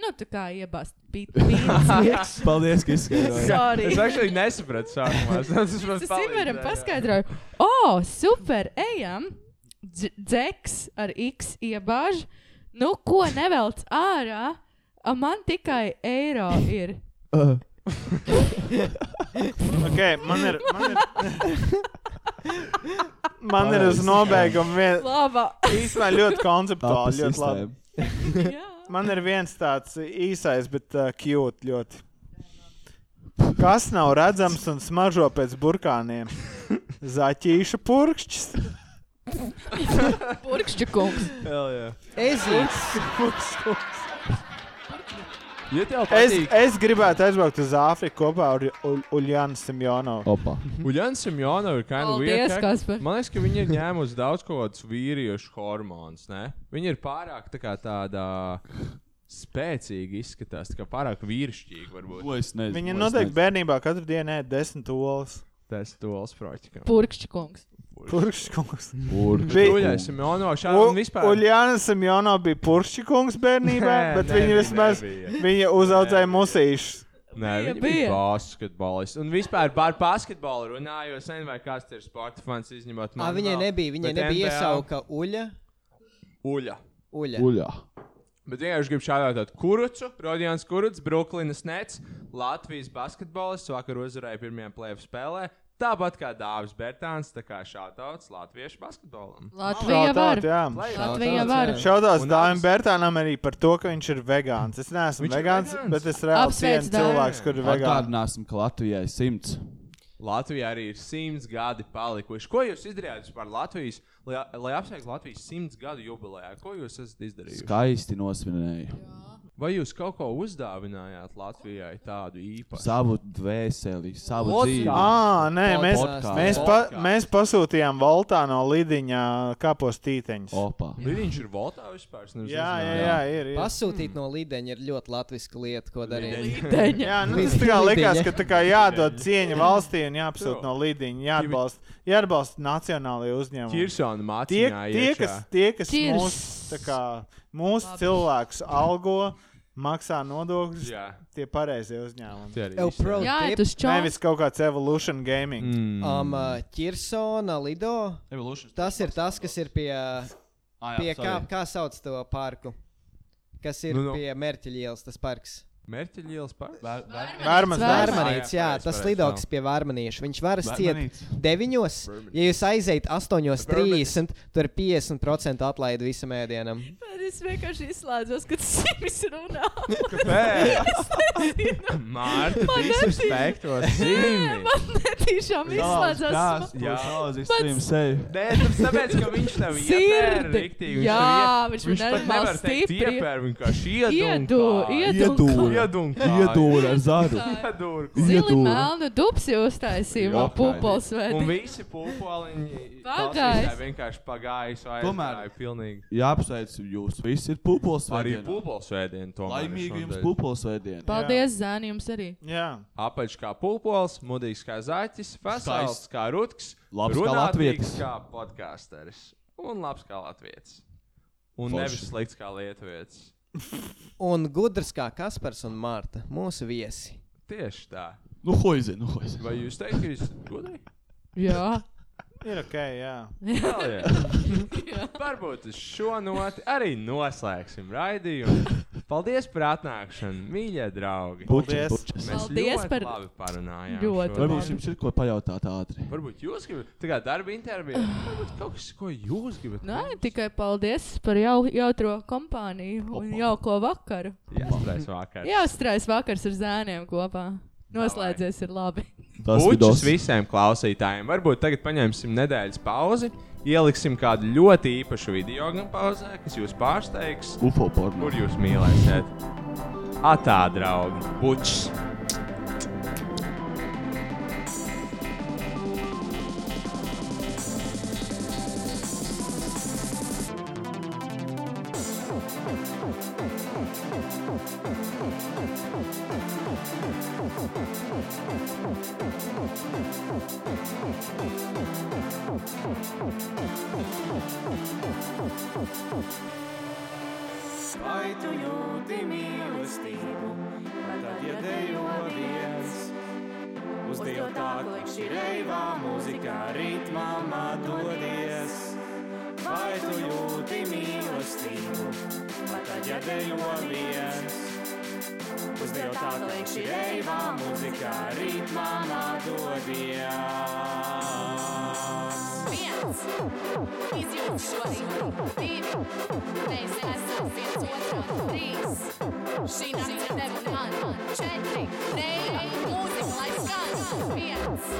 Speaker 1: Nu, tā kā iebāzt pīcis.
Speaker 7: Paldies, ka izskaidrojāt.
Speaker 1: Sorry.
Speaker 4: Es actually nesapratu sākumā. Tas man
Speaker 1: Es Ivaram
Speaker 4: palīdzēja.
Speaker 1: paskaidroju, o, super, ejam. Dž- Džeks ar X iebāž. Nu, ko nevelc ārā? A, Man tikai eiro ir.
Speaker 6: Okay, man ir. Man ir, man ir uz nobeigumu vien-
Speaker 1: Laba.
Speaker 6: īstenībā ļoti konceptuāli. Ļoti labi.
Speaker 1: Jā.
Speaker 6: Man ir viens tāds īsais, bet uh, cute. Ļoti. Kas nav redzams un smaržo pēc burkāniem? Zaķīša purkšķis.
Speaker 1: Purkšķi kungs.
Speaker 5: Ezīts.
Speaker 4: Ja tev
Speaker 6: Es,
Speaker 4: patīk,
Speaker 6: es gribētu aizbraukt uz Āfriku kopā ar U- Uljānu Simjonovu.
Speaker 7: Opa.
Speaker 4: Uljans Simjona ir kind of
Speaker 1: Paldies,
Speaker 4: weird. act.
Speaker 1: Kaspar.
Speaker 4: Man liekas, ka viņi ir ņēmusi daudz ko tādus vīriešu hormonus. Ne? Viņi ir pārāk tā kā tādā spēcīgi izskatās, tā kā pārāk vīrišķīgi varbūt.
Speaker 7: Ko es nezinu.
Speaker 6: Viņa
Speaker 7: ko es
Speaker 6: noteikti
Speaker 7: nezinu.
Speaker 6: bērnībā katru dienu ēda desmit olas.
Speaker 4: Tas duels projekts.
Speaker 1: Purkšķi kungs.
Speaker 6: Purkšķis. Bija-
Speaker 4: Uljans Simjona šādi un vispār.
Speaker 6: Uljāna Simjonova bija purkšķis bērnībā,
Speaker 4: Nē,
Speaker 6: bet
Speaker 4: nē,
Speaker 6: viņa
Speaker 4: viņa
Speaker 6: vismaz
Speaker 4: nebija.
Speaker 6: viņa uzaudzēja musīšus.
Speaker 4: Nē,
Speaker 1: Bija,
Speaker 4: viņi bija
Speaker 1: bija.
Speaker 4: basketbolisti. Un vispār par basketbolu runāju, es nezinu, vai kāds ir sporta fans izņemot
Speaker 5: Ā,
Speaker 4: mani.
Speaker 5: Viņai
Speaker 4: vēl,
Speaker 5: nebija, viņai
Speaker 4: bet
Speaker 5: nebija
Speaker 4: NBA
Speaker 5: iesauka uļa.
Speaker 4: Uļa.
Speaker 5: Uļa.
Speaker 7: Uļā.
Speaker 4: Bet vienkārši gribu šādāt kurucu, Rodjans Kurucs, Brooklynas Nets, Latvijas basketbolists, vakar uzvarēja pirmajā plēvu spēlē. Tāpat kā Dāvis Bērtāns, tā kā šādauts latviešu basketbolam.
Speaker 1: Latvija var.
Speaker 6: jā.
Speaker 1: Latvija var.
Speaker 6: Šaudās
Speaker 4: Un
Speaker 6: Dārim
Speaker 4: abas-
Speaker 6: Bērtānam arī par to, ka viņš ir vegāns. Es neesmu
Speaker 4: Viņš ir
Speaker 6: vegāns,
Speaker 4: vegāns?
Speaker 6: bet es reāli
Speaker 1: Apsveic
Speaker 6: cienu
Speaker 1: Dāri.
Speaker 6: cilvēkus, kuri ir vegāni.
Speaker 7: Atgādināsim, ka Latvijai ir simts.
Speaker 4: Latvijā arī ir simts gadi palikuši. Ko jūs izdarījāt par Latvijas, lai, lai apsveiktu Latvijas simts gadu jubilejā? Ko jūs esat izdarījuši?
Speaker 7: Skaisti nosvinēja
Speaker 4: Vai jūs kaut ko uzdāvinājāt Latvijai tādu īpašu?
Speaker 7: savu dvēseli, savu
Speaker 4: Podcast.
Speaker 7: dzīvi.
Speaker 6: Ā, Ah, nē, mēs,
Speaker 7: Podcast.
Speaker 6: mēs, pa,
Speaker 4: Podcast.
Speaker 6: mēs pasūtījām Voltā no Lidiņa kapos tīteņus.
Speaker 7: Opa.
Speaker 4: Viņš ir Voltā vispār. es nevis
Speaker 6: Jā, jā,
Speaker 4: uzzināju.
Speaker 6: jā, ir. ir.
Speaker 5: Pasūtīt no līdeņa ir ļoti latviska lieta, ko darīt.
Speaker 1: Deņa.
Speaker 6: Jā, nu, tas tā kā likās, ka tā kā jādod cieņa valstī un jāapsūta
Speaker 4: Jo.
Speaker 6: no līdiņa, jāatbalsta, jāatbalsta nacionālajie uzņēmumi.
Speaker 4: Kirsona
Speaker 6: Tie,
Speaker 4: mācīja,
Speaker 6: tie, kas, tie, kas
Speaker 1: Tirs.
Speaker 6: mūsu, tā kā, mūsu cilvēkus algo, maksā nodokļus,
Speaker 4: Jā,
Speaker 6: tie pareizie uzņēmumi.
Speaker 4: tie arī.
Speaker 5: Ev
Speaker 4: īstenībā.
Speaker 5: pro
Speaker 1: Jā,
Speaker 5: tip.
Speaker 1: tas čalis.
Speaker 6: Nevis kaut kāds evolūcija gaming.
Speaker 4: Mm.
Speaker 5: Um, uh, Kirsona Lido.
Speaker 7: Evolution.
Speaker 5: Tas ir tas, kas ir pie,
Speaker 7: Ah,
Speaker 5: pie
Speaker 7: jā,
Speaker 5: kā,
Speaker 7: sorry.
Speaker 5: kā sauc to parku. Kas ir
Speaker 4: Nu, nu.
Speaker 5: pie Mērķa ielas, tas parks.
Speaker 4: Mērķiņa ielas pārspēja.
Speaker 6: Vērmans
Speaker 1: Vērmanis.
Speaker 6: darbs.
Speaker 5: Vērmanīts, jā,
Speaker 4: pareizi,
Speaker 5: tas
Speaker 4: pareizi,
Speaker 5: lidoks
Speaker 4: jā.
Speaker 5: pie Vērmanīša. Viņš var ciet
Speaker 7: Vērmanīts.
Speaker 5: 9, ja jūs aiziet 8.30, tur ir 50% atlaide visam ēdienam.
Speaker 1: Es vienkārši izslēdzos, kad Simis runā.
Speaker 4: Mārta,
Speaker 1: Man
Speaker 4: tas ir spektos.
Speaker 1: Man netīšām izslēdzās.
Speaker 7: Jā, uz ekstrēmu seju.
Speaker 4: Nē, tas tāpēc, ka viņš tev ietver
Speaker 1: Sirdi.
Speaker 4: riktīgi. viņš
Speaker 1: Jā,
Speaker 4: tev ie-
Speaker 1: viņš
Speaker 4: viņš
Speaker 1: man
Speaker 4: pat
Speaker 1: nenormāli
Speaker 4: nevar teikt
Speaker 1: stipri.
Speaker 4: iepēr, viņš vienkārši
Speaker 1: Iedu-
Speaker 4: iedūr.
Speaker 1: iedu-
Speaker 7: Iedūra ar zāru.
Speaker 4: Iedūr.
Speaker 1: Zili
Speaker 7: Iedūra.
Speaker 1: melnu dupsi uztaisīja pupols
Speaker 4: Un
Speaker 1: vēl.
Speaker 4: visi pupoliņi
Speaker 1: Pagājis.
Speaker 4: klausītāji vienkārši pagājis vai
Speaker 7: Tomēr.
Speaker 4: aizgāja pilnīgi.
Speaker 7: Jāapsveic jūs visi ir pupuls
Speaker 4: Arī
Speaker 7: svētdienā.
Speaker 4: pupolsvētdien tomēr. ir
Speaker 7: Laimīgi jums
Speaker 4: šonadēļ.
Speaker 7: pupuls svētdiena.
Speaker 1: Paldies, Zāni, jums arī.
Speaker 6: Jā,
Speaker 4: Apaļš kā pūpols, mudīgs kā zaķis,
Speaker 7: Skaists.
Speaker 4: vesels kā rutks,
Speaker 7: Labs kā
Speaker 4: runātīgs
Speaker 7: latvietis.
Speaker 4: kā podkāsteris un labs kā latvietis. Un
Speaker 7: Forši.
Speaker 4: Forši. nevis slikts kā lietuvietis.
Speaker 5: Un gudrs kā Kaspars un Mārta, mūsu viesi.
Speaker 4: Tieši tā.
Speaker 7: Nu, hoizi, nu, hoizi.
Speaker 4: Vai jūs teikt, ka jūs gudri?
Speaker 1: Jā.
Speaker 6: ir ok, jā.
Speaker 4: Hell yeah. Varbūt uz šo noti arī noslēgsim raidījumu. Paldies par atnākšanu, mīļie draugi.
Speaker 6: Paldies.
Speaker 7: Puķis.
Speaker 4: Mēs
Speaker 1: Paldies
Speaker 4: ļoti
Speaker 1: par-
Speaker 4: labi parunājām.
Speaker 1: Ļoti
Speaker 4: šodien.
Speaker 7: Varbūt jums ir ko pajautāt ātri.
Speaker 4: Varbūt jūs gribat, tā kā darba intervijā, varbūt kaut kas, ko jūs gribat.
Speaker 1: Nē, tikai paldies par jau, jautro kompāniju un jauko vakaru.
Speaker 4: Jā, strādājis vakar.
Speaker 1: Jā, strādājis vakars ar zēniem kopā. Noslēdzies ir labi.
Speaker 7: Tas
Speaker 4: Puķis
Speaker 7: vidos.
Speaker 4: visiem klausītājiem. Varbūt tagad paņemsim nedēļas pauzi, ieliksim kādu ļoti īpašu video gan pauzē, kas jūs pārsteigs,
Speaker 7: Ufo porno.
Speaker 4: kur jūs mīlēsiet. Atā, draugi, puķis!
Speaker 6: Vai tu jūti mīlestību, vai tad iedējo viens? Uz Dievu tā klikšķi reivā, mūzikā ritmā madodies. Vai tu jūti mīlestību, vai
Speaker 9: But I just didn't want the Uz dievtāta liek šī reivā Mūzikā ritmānā dodies
Speaker 10: viens, izjūt šo ritmu, divi, mēs esam viens otru, trīs, šī nakts ir tev un man, četri, reja, mūzika, lai skan, viens,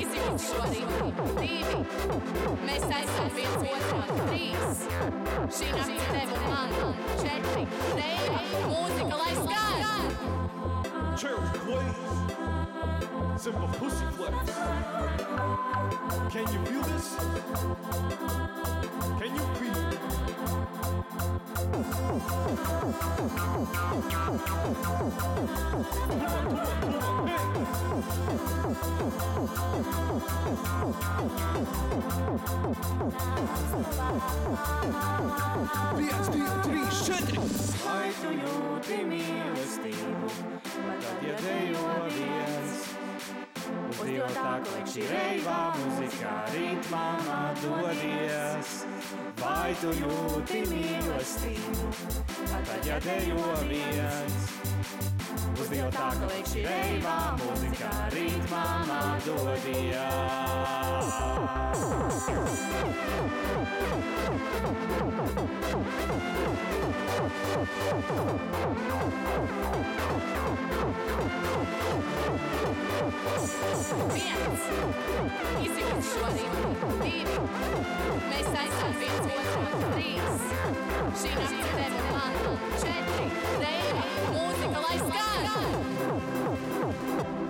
Speaker 10: izjūt šo ritmu, divi, mēs esam viens otru, trīs, šī nakts ir tev un man, četri, reja, mūzika, lai skan.
Speaker 11: Cherry plays. Simple pussy plays. Can you feel this? Can you feel it?
Speaker 9: Viens, divi, trīs, četri! Lai tu jūti mīlestību, lai tad iedējo viens. Uz dieva tāku liek šī reivā, muzikā ritmā dodies. Vai tu jūti mīlestību, lai tad iedējo viens. Uz dieva tāku liek šī reivā, muzikā ritmā
Speaker 10: Viens, izjūt šo ritmu, divi, mēs esam viens otru, trīs, šī nakts ir tev un man, četri, reja, mūzika, lai skan!
Speaker 9: dodies.